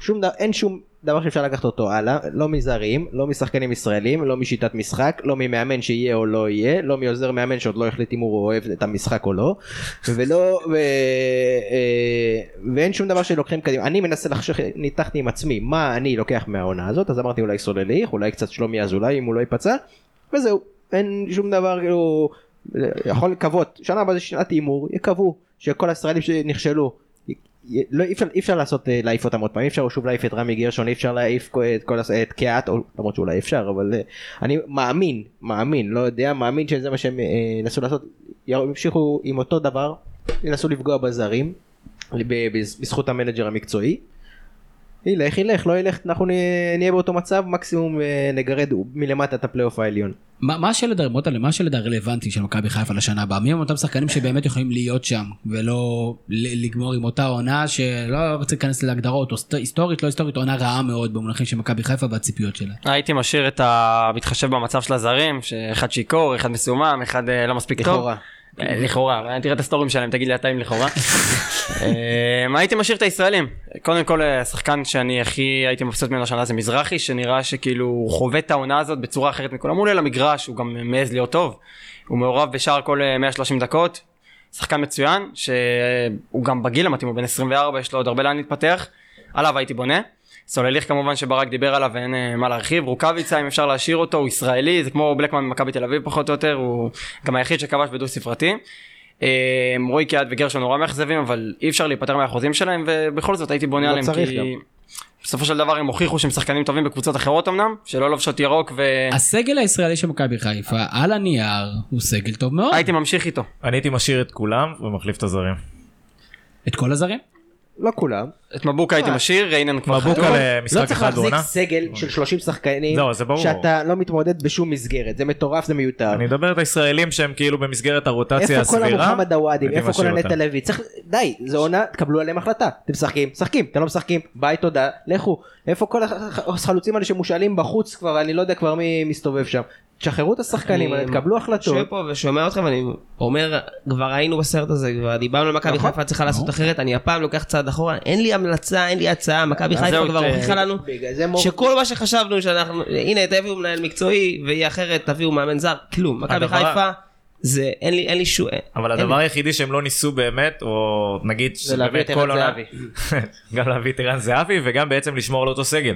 [SPEAKER 7] שום דבר, אין שום דבר שאפשר לקחת אותו הלאה, לא מזרים, לא משחקנים ישראלים, לא משיטת משחק, לא ממאמן שיהיה או לא יהיה, לא מעוזר מאמן שעוד לא החליט אם הוא אוהב את המשחק או לא, ולא, ו, אה, ואין שום דבר שלוקחים קדימה. אני מנסה לחשוב, ניתחתי עם עצמי, מה אני לוקח מהעונה הזאת, אז אמרתי אולי סולליך, אולי קצת שלומי אזולאי אם הוא לא ייפצע, וזהו, אין שום דבר, כאילו, יכול לקוות, שנה הבאה זה שנת הימור, יקוו, שכל הישראלים שנכשלו, י- י- לא, אי אפשר, אי אפשר לעשות, אה, להעיף אותם עוד פעם, אי אפשר שוב להעיף את רמי גרשון, אי אפשר להעיף כל- את כל, הס- את קהת, או- למרות שאולי אפשר, אבל אה, אני מאמין, מאמין, לא יודע, מאמין שזה מה שהם אה, ינסו לעשות, י- ימשיכו עם אותו דבר, ינסו לפגוע בזרים, ב- בז- בזכות המנג'ר המקצועי. ילך ילך לא ילך אנחנו נהיה- נהיה באותו מצב מקסימום אה, נגרד מלמטה את הפלייאוף העליון.
[SPEAKER 4] מה מה השלד הרמוטלה, מה השלד הרלוונטי של מכבי חיפה לשנה הבאה? מי הם אותם שחקנים שבאמת יכולים להיות שם, ולא ל- לגמור עם אותה עונה שלא רוצה להיכנס להגדרות, או סט- היסטורית, לא היסטורית, עונה רעה מאוד במונחים של מכבי חיפה והציפיות שלה.
[SPEAKER 3] הייתי משאיר את ה... מתחשב במצב של הזרים, שאחד שיכור, אחד מסומם, אחד אה, לא מספיק טוב.
[SPEAKER 7] לכאורה.
[SPEAKER 3] אה, לכאורה, תראה את הסטורים שלהם, תגיד לי אתה אם לכאורה. אה, הייתי משאיר את הישראלים. קודם כל, אה, השחקן שאני הכי הייתי מבסוט ממנו השנה זה מזרחי, שנראה שכאילו הוא חווה את העונה הזאת בצורה אחרת מכולם. הוא עולה למגרש, הוא גם מעז להיות טוב. הוא מעורב בשער כל אה, 130 דקות. שחקן מצוין, שהוא גם בגיל המתאים, הוא בן 24, יש לו עוד הרבה לאן להתפתח. עליו הייתי בונה. סולליך כמובן שברק דיבר עליו ואין אה, מה להרחיב, רוקאביצה אם אפשר להשאיר אותו, הוא ישראלי, זה כמו בלקמן ממכבי תל אביב פחות או יותר, הוא גם היחיד שכבש בדו ספרתי. אה, רועי קיאט וגרשון נורא מאכזבים אבל אי אפשר להיפטר מהחוזים שלהם ובכל זאת הייתי בונה
[SPEAKER 7] לא
[SPEAKER 3] עליהם
[SPEAKER 7] צריך
[SPEAKER 3] כי
[SPEAKER 7] גם.
[SPEAKER 3] בסופו של דבר הם הוכיחו שהם שחקנים טובים בקבוצות אחרות אמנם, שלא לובשות ירוק והייתי
[SPEAKER 4] הסגל הישראלי של מכבי חיפה, על הנייר, הוא סגל טוב מאוד.
[SPEAKER 3] ממשיך איתו.
[SPEAKER 6] אני הייתי משאיר את כולם ומחליף את הזרים.
[SPEAKER 4] את כל הזרים?
[SPEAKER 7] לא כולם.
[SPEAKER 3] את מבוקה
[SPEAKER 7] אה.
[SPEAKER 3] הייתי משאיר, ריינן כבר
[SPEAKER 6] מבוקה
[SPEAKER 3] חתום.
[SPEAKER 7] לא
[SPEAKER 6] למשחק
[SPEAKER 7] צריך
[SPEAKER 6] אחד
[SPEAKER 7] להחזיק
[SPEAKER 6] בעונה.
[SPEAKER 7] סגל של 30 שחקנים
[SPEAKER 6] לא, זה ברור.
[SPEAKER 7] שאתה לא מתמודד בשום מסגרת זה מטורף זה מיותר.
[SPEAKER 6] אני מדבר את הישראלים שהם כאילו במסגרת הרוטציה
[SPEAKER 7] איפה כל
[SPEAKER 6] הסבירה.
[SPEAKER 7] המוחמד הוואדים
[SPEAKER 6] הייתי
[SPEAKER 7] איפה כל
[SPEAKER 6] משאיר
[SPEAKER 7] הנטע
[SPEAKER 6] אותם.
[SPEAKER 7] לוי צריך די זה עונה תקבלו עליהם החלטה אתם משחקים משחקים אתם לא משחקים ביי תודה לכו איפה כל הח- החלוצים האלה שמושאלים בחוץ כבר אני לא יודע כבר מי מסתובב שם תשחררו את השחקנים
[SPEAKER 5] אני-
[SPEAKER 7] האלה תקבלו
[SPEAKER 5] יושב
[SPEAKER 7] החלטות
[SPEAKER 5] פה ושומע אתכם ואני אומר כבר היינו בסרט הזה כבר דיברנו על מכבי
[SPEAKER 7] נכון.
[SPEAKER 5] חיפה צריכה לעשות אחרת אני הפעם לוקח צעד אחורה אין לי המלצה אין לי הצעה מכבי
[SPEAKER 3] אז
[SPEAKER 5] חיפה
[SPEAKER 3] זהו,
[SPEAKER 5] כבר
[SPEAKER 3] ת-
[SPEAKER 5] הוכיחה לנו
[SPEAKER 7] בגלל זה מור-
[SPEAKER 5] שכל מה שחשבנו שאנחנו הנה תביאו מנהל מקצועי ויהיה אחרת תביאו מאמן זר כלום מכבי
[SPEAKER 6] הדבר ה-
[SPEAKER 5] חיפה זה אין לי אין לי שום
[SPEAKER 6] אבל הדבר היחידי שהם לא ניסו באמת, או נגיד
[SPEAKER 7] להביא
[SPEAKER 6] שבאמת
[SPEAKER 7] את
[SPEAKER 6] כל
[SPEAKER 7] ערן
[SPEAKER 6] עונה,
[SPEAKER 7] זהבי.
[SPEAKER 6] גם להביא את ערן זהבי וגם בעצם לשמור על אותו סגל.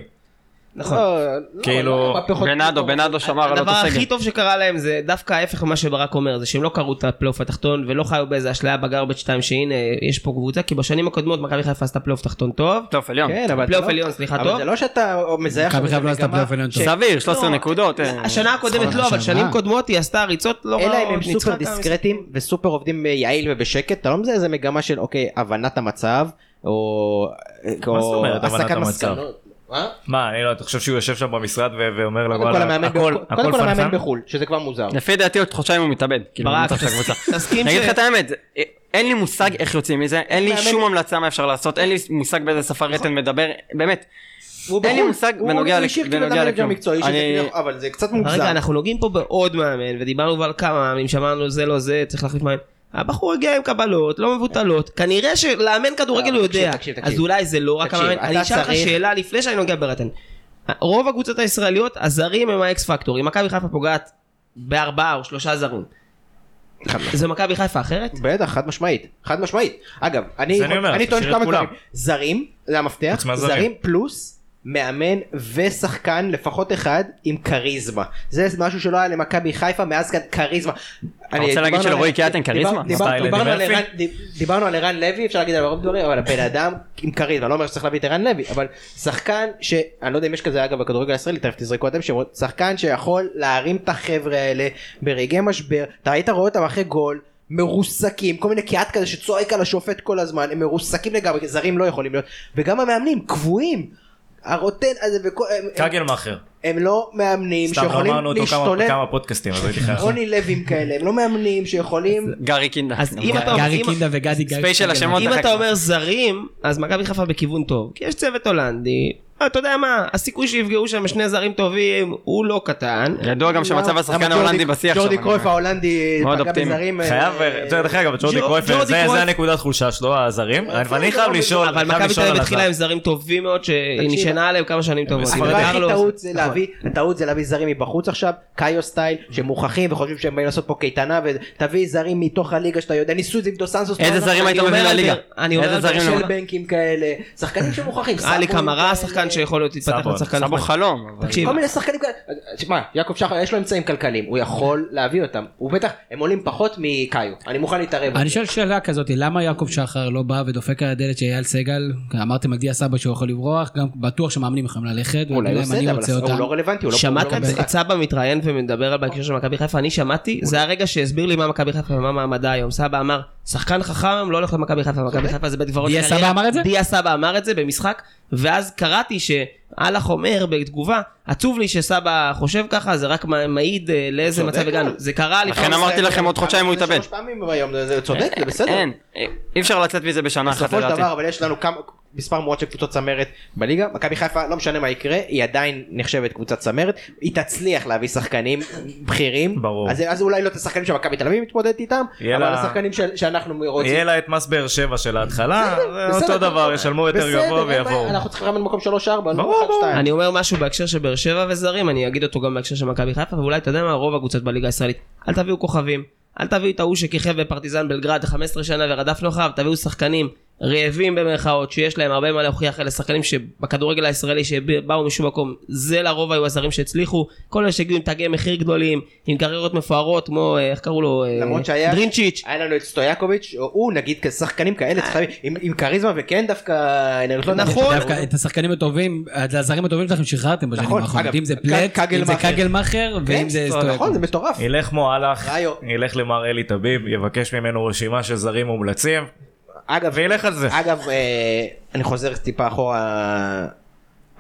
[SPEAKER 5] נכון.
[SPEAKER 7] לא,
[SPEAKER 6] כאילו-
[SPEAKER 7] לא, פחות-
[SPEAKER 3] בנאדו, בנאדו שמר על
[SPEAKER 5] הדבר
[SPEAKER 3] אותו סגל.
[SPEAKER 5] הכי טוב שקרה להם זה דווקא ההפך ממה שברק אומר, זה שהם לא קראו את הפלייאוף התחתון ולא חיו באיזה אשליה בגרבג' 2 שהנה יש פה קבוצה, כי בשנים הקודמות מכבי חיפה עשתה פלייאוף תחתון טוב.
[SPEAKER 3] טוב, עליון.
[SPEAKER 7] כן, אבל אתה
[SPEAKER 5] פלייאוף
[SPEAKER 7] לא-
[SPEAKER 5] עליון, סליחה,
[SPEAKER 7] אבל
[SPEAKER 5] טוב.
[SPEAKER 7] זה לא שאתה מזהה
[SPEAKER 4] מכבי חיפה לא
[SPEAKER 7] את
[SPEAKER 4] עשתה
[SPEAKER 7] המגמה
[SPEAKER 4] פלייאוף עליון טוב.
[SPEAKER 7] לא,
[SPEAKER 3] סביר, 13 נקודות. אה,
[SPEAKER 5] לא, כן. השנה הקודמת לא,
[SPEAKER 4] שעברה.
[SPEAKER 5] אבל שנים קודמות היא עשתה ריצות לא
[SPEAKER 7] אלא
[SPEAKER 5] רעות,
[SPEAKER 7] אם הם
[SPEAKER 5] ניצחה
[SPEAKER 7] סופר
[SPEAKER 5] כמה משחקים.
[SPEAKER 7] דיסקרטים וסופר עובדים אה, יעיל ובשקט, אתה לא מזהה איזה מגמה של אוקיי, הבנת המצב, או אה,
[SPEAKER 6] מה
[SPEAKER 7] או
[SPEAKER 6] זאת אומרת הבנת
[SPEAKER 7] הסקת
[SPEAKER 6] המצב?
[SPEAKER 7] מסקנות. מה?
[SPEAKER 6] מה, אני לא, אתה חושב שהוא יושב שם במשרד ו- ואומר
[SPEAKER 7] קודם כל
[SPEAKER 6] לוואלה,
[SPEAKER 7] המאמן
[SPEAKER 6] הכל
[SPEAKER 7] בחו"ל-
[SPEAKER 6] הכל
[SPEAKER 7] קודם כל המאמן
[SPEAKER 6] פנפן?
[SPEAKER 7] בחו"ל, שזה כבר מוזר.
[SPEAKER 3] לפי דעתי עוד חודשיים הוא מתאבד. כאילו,
[SPEAKER 5] ברק,
[SPEAKER 3] במצב של הקבוצה.
[SPEAKER 5] תסכים
[SPEAKER 3] אני אגיד
[SPEAKER 5] ש-
[SPEAKER 3] לך את האמת, אה, אין לי מושג איך יוצאים מזה, אין לי
[SPEAKER 7] מאמן- נכון.
[SPEAKER 3] שום המלצה מה אפשר לעשות, אין לי מושג באיזה שפה רטן מדבר, באמת.
[SPEAKER 7] הוא
[SPEAKER 3] אין לי
[SPEAKER 7] בחו"ל,
[SPEAKER 3] מושג
[SPEAKER 7] הוא
[SPEAKER 3] בנוגע
[SPEAKER 7] הוא
[SPEAKER 3] לכ-
[SPEAKER 7] כאילו
[SPEAKER 3] בנוגע
[SPEAKER 7] אדם מנג'ר
[SPEAKER 3] לכלום.
[SPEAKER 7] מקצועי, שזה
[SPEAKER 3] אני-
[SPEAKER 7] כאילו- אבל זה קצת מוגזם.
[SPEAKER 5] רגע, אנחנו נוגעים פה בעוד מאמן, ודיברנו כבר על כמה מאמנים, שאמרנו זה לא זה, צריך להחליף מאמן. הבחור הגיע עם קבלות, לא מבוטלות, כנראה שלאמן כדורגל הוא
[SPEAKER 7] לא, תקשיב,
[SPEAKER 5] יודע,
[SPEAKER 7] תקשיב, תקשיב.
[SPEAKER 5] אז אולי זה לא רק
[SPEAKER 7] תקשיב,
[SPEAKER 5] המאמן,
[SPEAKER 7] אתה
[SPEAKER 5] אני אשאל לך
[SPEAKER 7] צריך-
[SPEAKER 5] שאלה לפני שאני נוגע ברטן. רוב הקבוצות הישראליות, הזרים הם האקס פקטור, אם מכבי חיפה פוגעת בארבעה או שלושה זרים, זה מכבי חיפה אחרת?
[SPEAKER 7] בטח, חד משמעית, חד משמעית. אגב, אני
[SPEAKER 6] אז אני אומר,
[SPEAKER 7] אני טוען
[SPEAKER 6] תשאיר את
[SPEAKER 7] שכמה
[SPEAKER 6] כולם.
[SPEAKER 7] דברים. זרים, זה המפתח,
[SPEAKER 6] חוץ מהזרים.
[SPEAKER 7] זרים פלוס מאמן ושחקן, לפחות אחד, עם כריזמה. זה משהו שלא היה למכבי חיפה מאז כאן כריזמה. אני-
[SPEAKER 3] רוצה להגיד
[SPEAKER 7] דיברנו
[SPEAKER 3] שלרועי
[SPEAKER 7] על-
[SPEAKER 3] קיאטן
[SPEAKER 7] דיבר-
[SPEAKER 3] כריזמה?
[SPEAKER 7] דיבר-
[SPEAKER 6] סטייל אדי
[SPEAKER 7] דיברנו על
[SPEAKER 6] מרפי?
[SPEAKER 7] ערן- דיב- דיברנו על ערן לוי, אפשר להגיד עליו הרבה דברים, אבל הבן אדם עם כריזמה, לא אומר שצריך להביא את ערן לוי, אבל שחקן ש... אני לא יודע אם יש כזה אגב בכדורגל הישראלי, תכף תזרקו אתם, שמות, שחקן שיכול להרים את החבר'ה האלה ברגעי משבר, אתה היית רואה אותם אחרי גול. מרוסקים, כל מיני קיאט כזה שצועק על השופט כל הזמן, הם מרוסקים לגמרי, כי זרים לא יכולים להיות, וגם המאמנים קבועים, הרוטן הזה, וכל, הם, הם,
[SPEAKER 6] קגלמאכר,
[SPEAKER 7] הם לא מאמנים
[SPEAKER 6] סתם לא
[SPEAKER 7] שיכולים
[SPEAKER 6] אמרנו אותו כמה-
[SPEAKER 7] להשתולל,
[SPEAKER 6] כמה פודקאסטים, אז הייתי חייב.
[SPEAKER 7] רוני לוים כאלה, הם לא מאמנים שיכולים,
[SPEAKER 3] גארי קינדה. אוקיי.
[SPEAKER 5] אז אם אתה
[SPEAKER 4] גארי
[SPEAKER 5] אם-
[SPEAKER 4] קינדה וגדי גארי.
[SPEAKER 3] ספייס של השמות.
[SPEAKER 5] אם
[SPEAKER 3] דרך
[SPEAKER 5] אתה
[SPEAKER 3] אגב.
[SPEAKER 5] אומר זרים, אז מכבי חיפה בכיוון טוב, כי יש צוות הולנדי, אה, אתה יודע מה, הסיכוי שיפגעו שם שני זרים טובים הוא לא קטן.
[SPEAKER 3] ידוע גם שמצב השחקן
[SPEAKER 7] למה
[SPEAKER 3] ההולנדי
[SPEAKER 7] ג'ורדי-
[SPEAKER 3] בשיח
[SPEAKER 7] ג'ורדי קרויף
[SPEAKER 3] שם.
[SPEAKER 7] ההולנדי
[SPEAKER 3] מאוד
[SPEAKER 7] פגע
[SPEAKER 3] אופטימי.
[SPEAKER 7] בזרים, אה,
[SPEAKER 6] חייב,
[SPEAKER 7] אה,
[SPEAKER 6] דרך אגב, את ג'ורדי
[SPEAKER 5] ג'ו-
[SPEAKER 6] קרויף,
[SPEAKER 5] ג'ורדי
[SPEAKER 6] זה
[SPEAKER 5] קרויף.
[SPEAKER 6] זה הנקודת חולשה שלו, הזרים, אבל אני חייב לשאול,
[SPEAKER 5] אבל
[SPEAKER 6] אני חייב
[SPEAKER 5] מכבי תל
[SPEAKER 6] לשאול
[SPEAKER 5] אביב
[SPEAKER 6] לא, על
[SPEAKER 5] התחילה
[SPEAKER 6] הזר.
[SPEAKER 5] עם זרים טובים מאוד שנשענה עליהם כמה שנים טובות.
[SPEAKER 6] בסדר.
[SPEAKER 5] עם
[SPEAKER 7] הדבר הכי
[SPEAKER 5] קרלוס.
[SPEAKER 7] טעות זה
[SPEAKER 5] נכון.
[SPEAKER 7] להביא, הטעות זה להביא זרים מבחוץ עכשיו, קאיו סטייל, שמוכחים וחושבים שהם באים לעשות פה קייטנה, ותביא זרים מתוך הליגה שאתה יודע, ניסו את זה עם דו סנסוס,
[SPEAKER 3] איזה
[SPEAKER 7] לא
[SPEAKER 3] זרים
[SPEAKER 7] נכון,
[SPEAKER 3] היית
[SPEAKER 5] אומר
[SPEAKER 3] מביא
[SPEAKER 5] על
[SPEAKER 3] לליגה?
[SPEAKER 5] באר- אני אומר
[SPEAKER 3] איזה
[SPEAKER 5] על
[SPEAKER 3] זרים
[SPEAKER 5] באר
[SPEAKER 7] של
[SPEAKER 3] לא...
[SPEAKER 5] שבע.
[SPEAKER 7] בנקים כאלה, שחקנים שמוכחים,
[SPEAKER 5] נכון. עלי
[SPEAKER 7] סאבון
[SPEAKER 5] קמרה,
[SPEAKER 7] כאלה,
[SPEAKER 5] שחקן שיכול להיות להתפתח
[SPEAKER 6] סבון.
[SPEAKER 5] לשחקן.
[SPEAKER 3] סבו
[SPEAKER 5] נחמד.
[SPEAKER 3] חלום. אבל-
[SPEAKER 5] תקשיב,
[SPEAKER 7] כל מיני שחקנים כאלה, שמע, יעקב שחר יש לו אמצעים כלכליים, הוא יכול להביא אותם, הוא בטח, הם עולים פחות מקאיו, אני מוכן להתערב,
[SPEAKER 4] אני שואל שאלה כזאת, למה יעקב שחר לא בא ודופק על הדלת של אייל סגל? אמרתם על דיה סבא שהוא יכול לברוח, גם בטוח שמאמנים יכולים ללכת.
[SPEAKER 7] אולי הוא
[SPEAKER 4] ואולי
[SPEAKER 7] עושה את
[SPEAKER 4] אני
[SPEAKER 7] זה, אבל
[SPEAKER 4] רוצה
[SPEAKER 7] הוא
[SPEAKER 4] אותם.
[SPEAKER 7] לא רלוונטי, הוא לא פה, הוא
[SPEAKER 5] שמעת
[SPEAKER 7] לא במשחק.
[SPEAKER 5] את סבא מתראיין ומדבר על בהקשר של מכבי חיפה? אני שמעתי,
[SPEAKER 7] לא-
[SPEAKER 5] זה הרגע שהסביר לי מה מכבי חיפה ומה מעמדה היום. סבא אמר, שחקן חכם לא הולך למכבי חיפה, מכבי חיפה זה בית קברות
[SPEAKER 4] דיה
[SPEAKER 5] לקריירה."
[SPEAKER 4] סבא אמר את זה?
[SPEAKER 5] דיה סבא אמר את זה במשחק, ואז קראתי שאלאך אומר בתגובה, עצוב לי שסבא חושב ככה, זה רק מ- מעיד אה, לאיזה
[SPEAKER 7] צודק,
[SPEAKER 5] מצב הגענו.
[SPEAKER 7] אה.
[SPEAKER 5] זה קרה לפני...
[SPEAKER 3] לכן אמרתי לכם עוד חודשיים הוא
[SPEAKER 7] זה
[SPEAKER 3] יתאבד.
[SPEAKER 7] שלוש פעמים ביום, זה- זה צודק, זה בסדר.
[SPEAKER 6] כן,
[SPEAKER 3] אין, אי- אי אפשר לצאת מזה בשנה אחת
[SPEAKER 7] בסופו של
[SPEAKER 3] לדעתי.
[SPEAKER 7] דבר אבל יש לנו כמה מספר מועט של קבוצות צמרת בליגה מכבי חיפה לא משנה מה יקרה היא עדיין נחשבת קבוצת צמרת היא תצליח להביא שחקנים בכירים
[SPEAKER 6] ברור.
[SPEAKER 7] אז, אז אולי לא את השחקנים שמכבי תל אביב מתמודדת איתם
[SPEAKER 6] יהיה
[SPEAKER 7] אבל
[SPEAKER 6] לה-
[SPEAKER 7] השחקנים ש... שאנחנו רוצים.
[SPEAKER 6] יהיה לה את מס באר שבע של ההתחלה, זה
[SPEAKER 7] בסדר,
[SPEAKER 6] אותו
[SPEAKER 7] בסדר,
[SPEAKER 6] דבר, ישלמו יותר
[SPEAKER 7] בסדר,
[SPEAKER 6] גבוה
[SPEAKER 7] אין בעיה,
[SPEAKER 6] ויבואו.
[SPEAKER 7] אנחנו צריכים לרדת במקום 3-4. לא
[SPEAKER 6] ברור,
[SPEAKER 7] אחד,
[SPEAKER 6] ברור.
[SPEAKER 7] שתיים.
[SPEAKER 5] אני אומר משהו בהקשר של באר שבע וזרים, אני אגיד אותו גם בהקשר של מכבי חיפה, ואולי אתה יודע מה, רוב הקבוצות בליגה הישראלית. אל תביאו כוכבים, אל תביאו את ההוא שכיכב בפרטיזן בלגרד 15 שנה ורדפנו אחריו, תביאו שחקנים רעבים במרכאות, שיש להם הרבה מה להוכיח, אלה שחקנים שבכדורגל הישראלי שבאו משום מקום, זה לרוב היו הזרים שהצליחו, כל אלה שהגיעו עם תגי מחיר גדולים, עם קריירות מפוארות, כמו, אה, איך קראו לו, אה,
[SPEAKER 7] למרות שהיה
[SPEAKER 5] דרינצ'יץ'.
[SPEAKER 7] היה לנו את סטויאקוביץ' או הוא נגיד כשחקנים כאלה צריך להביא- עם- עם כריזמה וכן דווקא אנרגיות לא
[SPEAKER 5] נכון.
[SPEAKER 4] דווקא את השחקנים הטובים, את הזרים הטובים שלכם שחררתם בשנים
[SPEAKER 7] נכון,
[SPEAKER 4] האחרונות,
[SPEAKER 7] אגב,
[SPEAKER 4] אם זה
[SPEAKER 7] ק-
[SPEAKER 4] פלט, אם זה
[SPEAKER 7] קגלמאכר.
[SPEAKER 4] קגלמאכר, ואם זה
[SPEAKER 7] נכון זה
[SPEAKER 4] סטויקו.
[SPEAKER 7] מטורף.
[SPEAKER 6] ילך כמו הלך,
[SPEAKER 7] ראיו.
[SPEAKER 6] ילך למר אלי טביב, יבקש ממנו רשימה של זרים מומלצים,
[SPEAKER 7] אגב
[SPEAKER 6] וילך על זה.
[SPEAKER 7] אגב, אה, אני חוזר טיפה אחורה,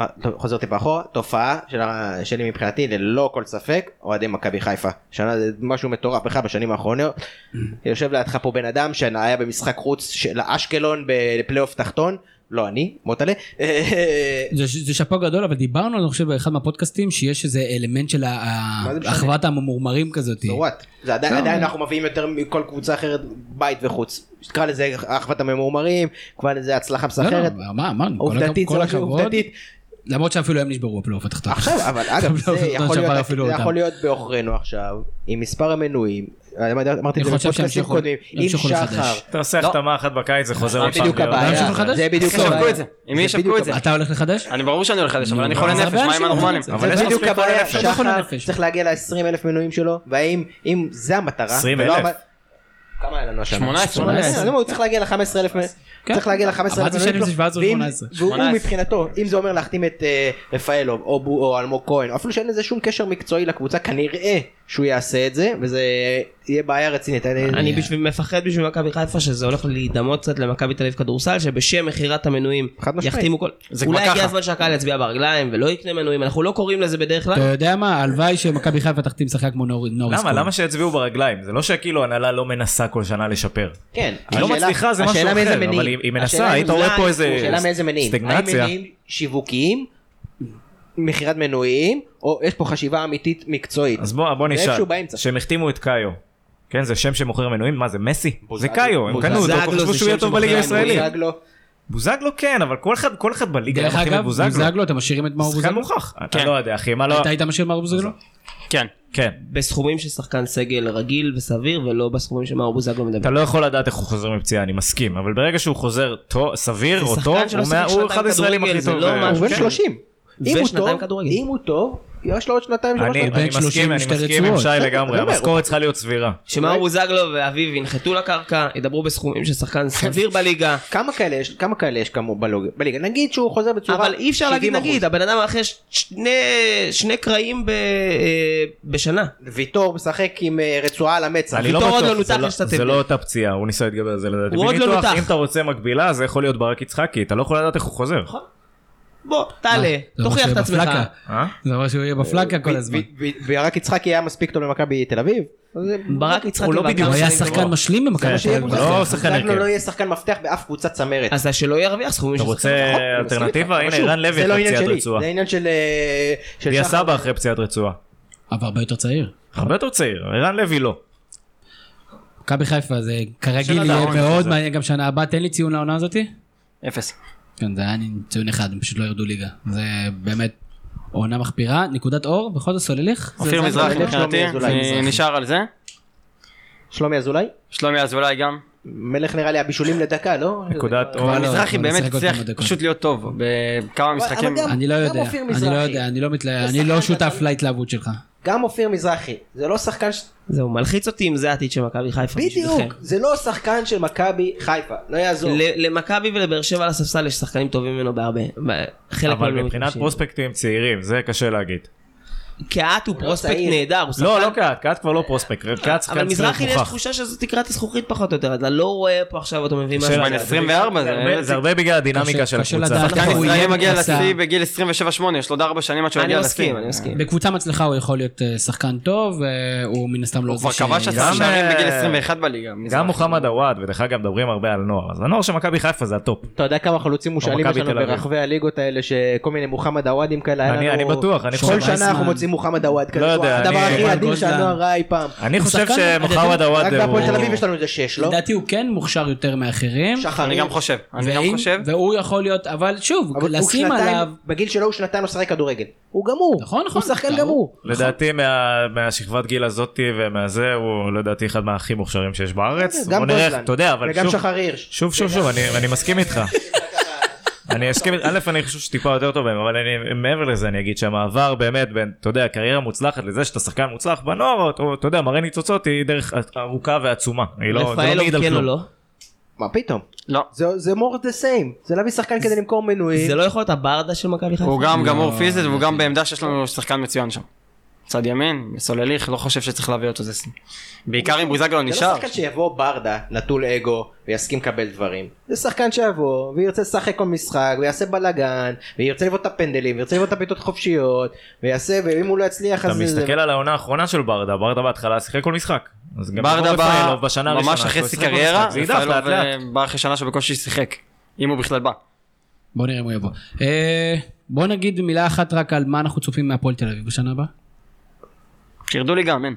[SPEAKER 7] אה, טוב, חוזר טיפה אחורה, תופעה של ה- שלי מבחינתי ללא כל ספק, אוהדי מכבי חיפה. שנה זה משהו מטורף בכלל בשנים האחרונות. יושב לידך פה בן אדם שהיה במשחק חוץ של אשקלון בפלייאוף תחתון, לא אני, מוטלה. אה,
[SPEAKER 4] זה זה שאפו גדול, אבל דיברנו, אני חושב, באחד מהפודקאסטים, שיש איזה אלמנט של
[SPEAKER 7] מה זה משנה?
[SPEAKER 4] אחוות הממורמרים כזאת.
[SPEAKER 7] So what? זה עדיין,
[SPEAKER 4] לא,
[SPEAKER 7] עדיין אנחנו מביאים יותר מכל קבוצה אחרת בית וחוץ. תקרא לזה אחוות הממורמרים, תקרא לזה הצלחה
[SPEAKER 4] לא, לא,
[SPEAKER 7] מסחררת.
[SPEAKER 4] מה, אמרנו, כל הכ-
[SPEAKER 7] עובדתית, זה
[SPEAKER 4] כל
[SPEAKER 7] מה ש-
[SPEAKER 4] הכבוד,
[SPEAKER 7] עובדתית,
[SPEAKER 4] למרות שאפילו הם נשברו בפלייאוף התחתון.
[SPEAKER 7] עכשיו אבל אגב
[SPEAKER 4] לא,
[SPEAKER 7] זה
[SPEAKER 4] לא
[SPEAKER 7] יכול
[SPEAKER 4] שבר
[SPEAKER 7] להיות
[SPEAKER 4] אפילו
[SPEAKER 7] זה
[SPEAKER 4] אותם.
[SPEAKER 7] יכול להיות בעוכרינו עכשיו עם מספר המנויים אמרתי את
[SPEAKER 4] יכול
[SPEAKER 7] זה
[SPEAKER 4] להיות שהם
[SPEAKER 7] בפודקאסטים
[SPEAKER 4] ימשיכו-
[SPEAKER 7] קודמים, עם
[SPEAKER 4] ימשיכו לחדש.
[SPEAKER 7] שחר,
[SPEAKER 6] אתה עושה
[SPEAKER 3] לא.
[SPEAKER 6] החתמה אחת בקיץ זה חוזר
[SPEAKER 7] זה
[SPEAKER 6] עוד פעם.
[SPEAKER 7] בדיוק
[SPEAKER 6] להיות-
[SPEAKER 4] אולי
[SPEAKER 7] הבעיה,
[SPEAKER 4] מישהו מחדש?
[SPEAKER 7] זה בדיוק
[SPEAKER 3] שישווקו
[SPEAKER 7] הבעיה,
[SPEAKER 3] את זה. עם מי
[SPEAKER 7] זה בדיוק
[SPEAKER 3] ישווקו את זה?
[SPEAKER 4] אתה הולך לחדש?
[SPEAKER 3] אני ברור שאני הולך לחדש, אבל אני חולה
[SPEAKER 4] אז הרבה
[SPEAKER 3] נפש, מה
[SPEAKER 4] אנשים
[SPEAKER 3] עם הנורמלים?
[SPEAKER 4] אומרים
[SPEAKER 6] אבל יש
[SPEAKER 7] זה
[SPEAKER 6] מספיק
[SPEAKER 7] בדיוק הבעיה,
[SPEAKER 6] חולי נפש.
[SPEAKER 4] לא חולי
[SPEAKER 7] שחר
[SPEAKER 4] נפש.
[SPEAKER 7] צריך להגיע ל-20 אלף מנויים שלו, והאם אם זה המטרה,
[SPEAKER 6] 20,000?
[SPEAKER 7] ולא המ- כמה היה לנו השנה?
[SPEAKER 3] 18,
[SPEAKER 7] 18. אז הוא צריך להגיע ל-15 אלף
[SPEAKER 4] כן.
[SPEAKER 7] צריך להגיע ל-15 אלף
[SPEAKER 4] אמרתי שאני מבין 17 או 18.
[SPEAKER 7] והוא
[SPEAKER 3] 18.
[SPEAKER 7] מבחינתו, אם זה אומר להחתים את אה, רפאלוב או בו- או אלמוג כהן, או אפילו שאין לזה שום קשר מקצועי לקבוצה, כנראה שהוא יעשה את זה, וזה יהיה בעיה רצינית.
[SPEAKER 5] אני בשביל, מפחד בשביל מכבי חיפה שזה הולך להידמות קצת למכבי תל אביב כדורסל שבשם מכירת המנויים
[SPEAKER 7] חד משמעית.
[SPEAKER 5] יחתימו כל...
[SPEAKER 3] זה כבר
[SPEAKER 5] אולי הגיע
[SPEAKER 3] ככה.
[SPEAKER 5] הזמן שהקהל יצביע ברגליים ולא יקנה מנויים אנחנו לא קוראים לזה בדרך
[SPEAKER 4] אתה
[SPEAKER 6] כן.
[SPEAKER 5] כלל.
[SPEAKER 4] יודע מה? הלוואי שמכבי חיפה תחתים שחקן כמו נור- נוריס.
[SPEAKER 6] למה?
[SPEAKER 4] כהן.
[SPEAKER 6] למה שיצביעו ברגליים? זה לא שכאילו הנהלה לא מנסה כל שנה לשפר.
[SPEAKER 7] כן.
[SPEAKER 6] היא לא
[SPEAKER 7] השאלה-
[SPEAKER 6] מצליחה, זה משהו
[SPEAKER 7] השאלה
[SPEAKER 6] אחר,
[SPEAKER 7] מאיזה
[SPEAKER 6] אבל
[SPEAKER 7] מניעים.
[SPEAKER 6] היא- היא מנסה,
[SPEAKER 7] השאלה
[SPEAKER 6] היית
[SPEAKER 7] אם
[SPEAKER 6] רואה
[SPEAKER 7] זה-
[SPEAKER 6] פה איזה
[SPEAKER 7] השאלה מאיזה מניעים.
[SPEAKER 6] סטגנציה.
[SPEAKER 7] האם מניעים שיווקיים, מכירת מנויים, או יש פה חשיבה אמיתית מקצועית.
[SPEAKER 6] אז בוא, בוא
[SPEAKER 7] זה
[SPEAKER 6] נשאל,
[SPEAKER 7] איפשהו באמצע.
[SPEAKER 6] שהם החתימו את קאיו, כן זה שם שמוכר מנויים, מה זה מסי? זה
[SPEAKER 7] בוזגלו.
[SPEAKER 6] קאיו, הם קנו אותו,
[SPEAKER 5] בוזגלו
[SPEAKER 6] חשבו
[SPEAKER 5] זה
[SPEAKER 6] שהוא יהיה
[SPEAKER 5] שם
[SPEAKER 6] טוב בליגה
[SPEAKER 5] שמוכר
[SPEAKER 6] הישראלית.
[SPEAKER 7] בוזגלו.
[SPEAKER 6] בוזגלו כן, אבל כל אחד, כל אחד בליגה
[SPEAKER 4] דרך
[SPEAKER 6] היה מחתים את
[SPEAKER 4] אגב,
[SPEAKER 6] בוזגלו.
[SPEAKER 4] בוזגלו, אתם משאירים את מאור
[SPEAKER 6] שחקן
[SPEAKER 4] בוזגלו?
[SPEAKER 6] מוכח, אתה
[SPEAKER 3] כן.
[SPEAKER 6] לא יודע אחי, מה לא...
[SPEAKER 4] אתה היית משאיר מאור בוזגלו?
[SPEAKER 3] כן.
[SPEAKER 6] כן.
[SPEAKER 5] בסכומים של שחקן סגל רגיל וסביר ולא בסכומים שמאור בוזגלו מדבר.
[SPEAKER 6] אתה לא יכול לדעת איך הוא חוזר מפציעה, אני מסכים, אבל ברגע שהוא חוזר טוב, סביר
[SPEAKER 5] זה
[SPEAKER 6] או
[SPEAKER 5] שחקן
[SPEAKER 6] טוב,
[SPEAKER 5] שלא
[SPEAKER 6] הוא מה-
[SPEAKER 5] שיחק
[SPEAKER 6] הוא אחד
[SPEAKER 5] שנתיים
[SPEAKER 6] הישראלים
[SPEAKER 5] כדורגל,
[SPEAKER 6] הכי
[SPEAKER 5] זה
[SPEAKER 6] טוב. אה,
[SPEAKER 5] לא
[SPEAKER 6] ו-
[SPEAKER 5] משהו.
[SPEAKER 7] הוא בן
[SPEAKER 5] כן.
[SPEAKER 7] 30. אם הוא
[SPEAKER 5] ושנתיים
[SPEAKER 7] טוב,
[SPEAKER 5] כדורגל.
[SPEAKER 7] אם הוא טוב, יש לו עוד שנתיים, שלוש
[SPEAKER 6] אני
[SPEAKER 7] שנתיים.
[SPEAKER 6] אני
[SPEAKER 4] בן 30
[SPEAKER 6] מסכים, אני
[SPEAKER 4] משתי
[SPEAKER 6] מסכים עם
[SPEAKER 4] רצועות.
[SPEAKER 6] שי לגמרי,
[SPEAKER 7] אני אומר,
[SPEAKER 6] המשכורת צריכה להיות סבירה.
[SPEAKER 5] שמאור בוזגלו ואביו ינחתו לקרקע ידברו בסכומים של שחקן סביר בליגה.
[SPEAKER 7] כמה כאלה יש, כמה כאלה יש כמו בלוג- בליגה? נגיד שהוא חוזר בצורה...
[SPEAKER 5] אבל אי אפשר להגיד
[SPEAKER 7] 70%.
[SPEAKER 5] נגיד הבן אדם אחרי שני שני קרעים ב- אה, בשנה.
[SPEAKER 7] ויטור משחק עם אה, רצועה על המצח.
[SPEAKER 6] אני לא
[SPEAKER 5] ויטור עוד
[SPEAKER 6] בטוח,
[SPEAKER 5] לא
[SPEAKER 6] זה
[SPEAKER 5] נותח
[SPEAKER 6] לא-
[SPEAKER 5] להשתתף.
[SPEAKER 6] זה לא אותה פציעה, הוא ניסה להתגבר על זה לדעתי.
[SPEAKER 5] הוא עוד לא
[SPEAKER 6] בניתוח,
[SPEAKER 5] נותח.
[SPEAKER 6] אם אתה רוצה מקבילה, זה יכול להיות ברק יצחקי, אתה לא יכול לדעת איך הוא חוזר.
[SPEAKER 5] בוא תעלה
[SPEAKER 4] זה אומר
[SPEAKER 5] תוכיח
[SPEAKER 4] שהוא
[SPEAKER 5] את
[SPEAKER 4] יהיה
[SPEAKER 5] עצמך.
[SPEAKER 4] בפלקה.
[SPEAKER 6] אה?
[SPEAKER 4] זה אומר שהוא יהיה בפלקה כל הזמן.
[SPEAKER 7] ו- ו- וירק יצחקי היה מספיק טוב למכבי תל אביב? אז זה-
[SPEAKER 5] ברק יצחק
[SPEAKER 6] הוא לא בדיוק-
[SPEAKER 4] הוא היה שחקן משלים במכבי
[SPEAKER 6] כן,
[SPEAKER 4] תל אביב.
[SPEAKER 6] הוא לא שחקן
[SPEAKER 7] בוזגלו
[SPEAKER 6] הרכב.
[SPEAKER 7] לא יהיה שחקן מפתח באף קבוצת צמרת. אה,
[SPEAKER 5] אז שלא ירוויח סכומים
[SPEAKER 6] אתה
[SPEAKER 5] של
[SPEAKER 6] רוצה
[SPEAKER 5] שחקן.
[SPEAKER 6] אלטרנטיבה?
[SPEAKER 7] אבל
[SPEAKER 6] הנה,
[SPEAKER 7] שוב,
[SPEAKER 6] ערן לוי
[SPEAKER 7] זה לא
[SPEAKER 6] אחרי
[SPEAKER 7] עניין
[SPEAKER 6] פציעת
[SPEAKER 7] שלי,
[SPEAKER 6] רצועה.
[SPEAKER 7] זה עניין של... אה, של
[SPEAKER 6] דיה
[SPEAKER 7] שחר.
[SPEAKER 6] סבא אחרי פציעת רצועה.
[SPEAKER 4] אבל הרבה יותר צעיר.
[SPEAKER 6] הרבה יותר צעיר, ערן לוי לא.
[SPEAKER 4] מכבי חיפה זה כרגיל
[SPEAKER 3] של
[SPEAKER 4] יהיה
[SPEAKER 3] הדאון,
[SPEAKER 4] מאוד
[SPEAKER 3] זה.
[SPEAKER 4] מעניין גם שנה הבאה. תן לי ציון לעונה הזאתי.
[SPEAKER 3] אפס.
[SPEAKER 4] כן, זה היה ציון אחד, הם פשוט לא ירדו ליגה. זה באמת עונה מחפירה. נקודת אור, בכל זאת סולליך.
[SPEAKER 3] אופיר
[SPEAKER 4] זה-
[SPEAKER 3] מזרחי
[SPEAKER 7] שלומי
[SPEAKER 3] מבחינתי,
[SPEAKER 7] אזולאי,
[SPEAKER 3] אני
[SPEAKER 7] מזרחי.
[SPEAKER 3] נשאר על זה.
[SPEAKER 7] שלומי אזולאי?
[SPEAKER 3] שלומי אזולאי גם.
[SPEAKER 7] מלך נראה לי הבישולים לדקה, לא?
[SPEAKER 6] נקודת אור.
[SPEAKER 4] לא,
[SPEAKER 3] מזרחי
[SPEAKER 4] הוא
[SPEAKER 3] באמת
[SPEAKER 4] משחק עוד
[SPEAKER 3] הצליח
[SPEAKER 4] כמה דקות.
[SPEAKER 3] פשוט להיות טוב בכמה משחקים.
[SPEAKER 7] גם-
[SPEAKER 4] אני לא יודע,
[SPEAKER 7] אופיר
[SPEAKER 4] אני לא
[SPEAKER 7] מזרחי.
[SPEAKER 4] יודע, אני לא מתלהב, אני
[SPEAKER 7] שחקן
[SPEAKER 4] לא שותף
[SPEAKER 7] בצד.
[SPEAKER 4] להתלהבות שלך.
[SPEAKER 7] גם אופיר מזרחי, זה לא שחקן... ש-
[SPEAKER 5] זהו מלחיץ אותי אם זה העתיד של מכבי חיפה.
[SPEAKER 7] בדיוק,
[SPEAKER 5] בשבילכם.
[SPEAKER 7] זה לא שחקן של מכבי חיפה, לא יעזור.
[SPEAKER 5] ל- למכבי ולבאר שבע על הספסל יש שחקנים טובים ממנו בהרבה. ב- חלק מהם
[SPEAKER 6] אבל
[SPEAKER 5] לא
[SPEAKER 6] מבחינת
[SPEAKER 5] מתלבשים.
[SPEAKER 6] פרוספקטים צעירים, זה קשה להגיד.
[SPEAKER 5] קהת הוא פרוספקט
[SPEAKER 7] צעיר.
[SPEAKER 5] נהדר. הוא שחקן-
[SPEAKER 6] לא, לא קהת, קהת כבר לא פרוספקט, קהת
[SPEAKER 5] אבל
[SPEAKER 6] שחקן צריך
[SPEAKER 5] מזרחי
[SPEAKER 6] להיות
[SPEAKER 5] יש
[SPEAKER 6] מוכח. לא,
[SPEAKER 5] תחושה שזו תקרת הזכוכית פחות או יותר. אתה לא רואה פה עכשיו אותו מביא
[SPEAKER 6] שאלה,
[SPEAKER 5] משהו.
[SPEAKER 3] בן 24
[SPEAKER 6] זה
[SPEAKER 3] זה-
[SPEAKER 6] הרבה- זה הרבה בגלל הדינמיקה
[SPEAKER 4] קשה-
[SPEAKER 6] של
[SPEAKER 4] קשה
[SPEAKER 6] הקבוצה. נכון.
[SPEAKER 4] לדעת.
[SPEAKER 3] שחקן
[SPEAKER 4] הוא
[SPEAKER 3] ישראלי
[SPEAKER 4] יהיה
[SPEAKER 3] מגיע
[SPEAKER 4] מסע.
[SPEAKER 3] לשיא בגיל 27-8, יש לו עוד 4 שנים עד שהוא
[SPEAKER 5] אני
[SPEAKER 3] יגיע
[SPEAKER 5] מסכים,
[SPEAKER 3] לשיא.
[SPEAKER 5] אני מסכים.
[SPEAKER 4] בקבוצה מצליחה הוא יכול להיות אה, שחקן טוב, אה, הוא מן הסתם לא...
[SPEAKER 3] הוא
[SPEAKER 4] זה
[SPEAKER 3] כבר
[SPEAKER 4] ש-
[SPEAKER 3] כבש
[SPEAKER 6] גם,
[SPEAKER 3] עשרה שערים
[SPEAKER 6] אה,
[SPEAKER 3] בגיל 21 בליגה. מזרחי.
[SPEAKER 6] גם מוחמד עוואד, ודרך אגב מדברים הרבה על נוער, אז הנוער של מכבי חיפה זה הטופ.
[SPEAKER 7] אתה יודע כמה חלוצים מושאלים יש
[SPEAKER 6] מכבי
[SPEAKER 7] לנו
[SPEAKER 6] תל אביב.
[SPEAKER 7] ברחבי הליגות האלה שכל מיני מוחמד עוואדים כאלה היה
[SPEAKER 6] אני-
[SPEAKER 7] לנו-
[SPEAKER 6] אני בטוח, אני חושב-
[SPEAKER 7] כל שנה אנחנו
[SPEAKER 4] אייסמן.
[SPEAKER 7] מוצאים מוחמד עוואד כזה,
[SPEAKER 6] לא
[SPEAKER 7] הוא
[SPEAKER 6] יודע,
[SPEAKER 7] הדבר
[SPEAKER 6] אני-
[SPEAKER 7] הכי
[SPEAKER 4] גוזלן.
[SPEAKER 7] אדיר שהנוער ראה אי פעם.
[SPEAKER 6] אני
[SPEAKER 4] הוא
[SPEAKER 6] חושב
[SPEAKER 4] שחקן-
[SPEAKER 6] שמוחמד עוואד
[SPEAKER 7] רק
[SPEAKER 6] הוא...
[SPEAKER 7] בהפועל תל אביב יש לנו איזה שש, לא?
[SPEAKER 4] לדעתי הוא כן מוכשר יותר מאחרים.
[SPEAKER 7] שחר,
[SPEAKER 3] אני גם חושב, אני
[SPEAKER 4] ואם-
[SPEAKER 3] גם חושב.
[SPEAKER 4] והוא יכול להיות, אבל שוב,
[SPEAKER 7] אבל הוא
[SPEAKER 4] לשים עליו...
[SPEAKER 7] שנתיים, בגיל שלו הוא שנתיים לא שחק כדורגל. הוא גמור.
[SPEAKER 4] נכון, נכון.
[SPEAKER 7] הוא שחקן
[SPEAKER 4] ברור.
[SPEAKER 7] גמור.
[SPEAKER 6] לדעתי מה- מהשכבת גיל הזאתי ומהזה הוא לדעתי אחד מהכי מוכשרים שיש בארץ.
[SPEAKER 7] גם
[SPEAKER 6] בוא נראה איך-
[SPEAKER 7] גוזלן.
[SPEAKER 6] אתה יודע, אבל
[SPEAKER 7] וגם
[SPEAKER 6] שוב-
[SPEAKER 7] שחר הירש.
[SPEAKER 6] שוב שוב שוב אני אני מסכים איתך. אני אסכים, א' אני חושב שטיפה יותר טוב בהם, אבל אני, מעבר לזה אני אגיד שהמעבר באמת בין, אתה יודע, קריירה מוצלחת לזה שאתה שחקן מוצלח בנוער, או אתה יודע, מראה ניצוצות היא דרך ארוכה ועצומה. היא לא, זה לא
[SPEAKER 5] רפאלוב
[SPEAKER 6] מעיד על
[SPEAKER 5] כן או
[SPEAKER 6] כלום.
[SPEAKER 5] לא?
[SPEAKER 7] מה פתאום?
[SPEAKER 3] לא.
[SPEAKER 7] זה זה more the same. זה להביא שחקן כדי למכור מנויים.
[SPEAKER 5] זה לא יכול להיות הברדה של מכבי חיפה?
[SPEAKER 3] הוא גם גמור פיזית והוא גם בעמדה שיש לנו שחקן מצוין שם. צד ימין, סולליך, לא חושב שצריך להביא אותו זה סין. בעיקר אם בוזגלו
[SPEAKER 7] זה לא
[SPEAKER 3] נשאר.
[SPEAKER 7] שחקן שיבוא ברדה, נטול אגו, ויסכים לקבל דברים. זה שחקן שיבוא, וירצה לשחק כל משחק, ויעשה בלאגן, וירצה לבעוט את הפנדלים, וירצה לבעוט את הפיתות חופשיות, ויעשה, ואם הוא לא יצליח
[SPEAKER 6] אתה
[SPEAKER 7] אז... זה-
[SPEAKER 6] מסתכל על העונה האחרונה של ברדה, ברדה בהתחלה שיחק כל משחק. אז גם
[SPEAKER 3] ברדה
[SPEAKER 6] כמו
[SPEAKER 3] בא
[SPEAKER 6] רפאלוב בשנה
[SPEAKER 3] ממש
[SPEAKER 6] הראשונה
[SPEAKER 3] אחרי
[SPEAKER 6] שהוא
[SPEAKER 3] שיא
[SPEAKER 6] שיחק כל
[SPEAKER 3] קריירה,
[SPEAKER 6] משחק. זה ידעך לאט
[SPEAKER 3] רפאלוב
[SPEAKER 6] לאט.
[SPEAKER 3] אה, בא אחרי שנה שבקושי שיחק. אם הוא בכלל בא.
[SPEAKER 4] בוא נראה אם הוא יבוא. אה, בוא נגיד מילה אחת רק על מה אנחנו צופים מהפועל תל אביב בשנה הבאה.
[SPEAKER 3] שירדו ליגה, אמן.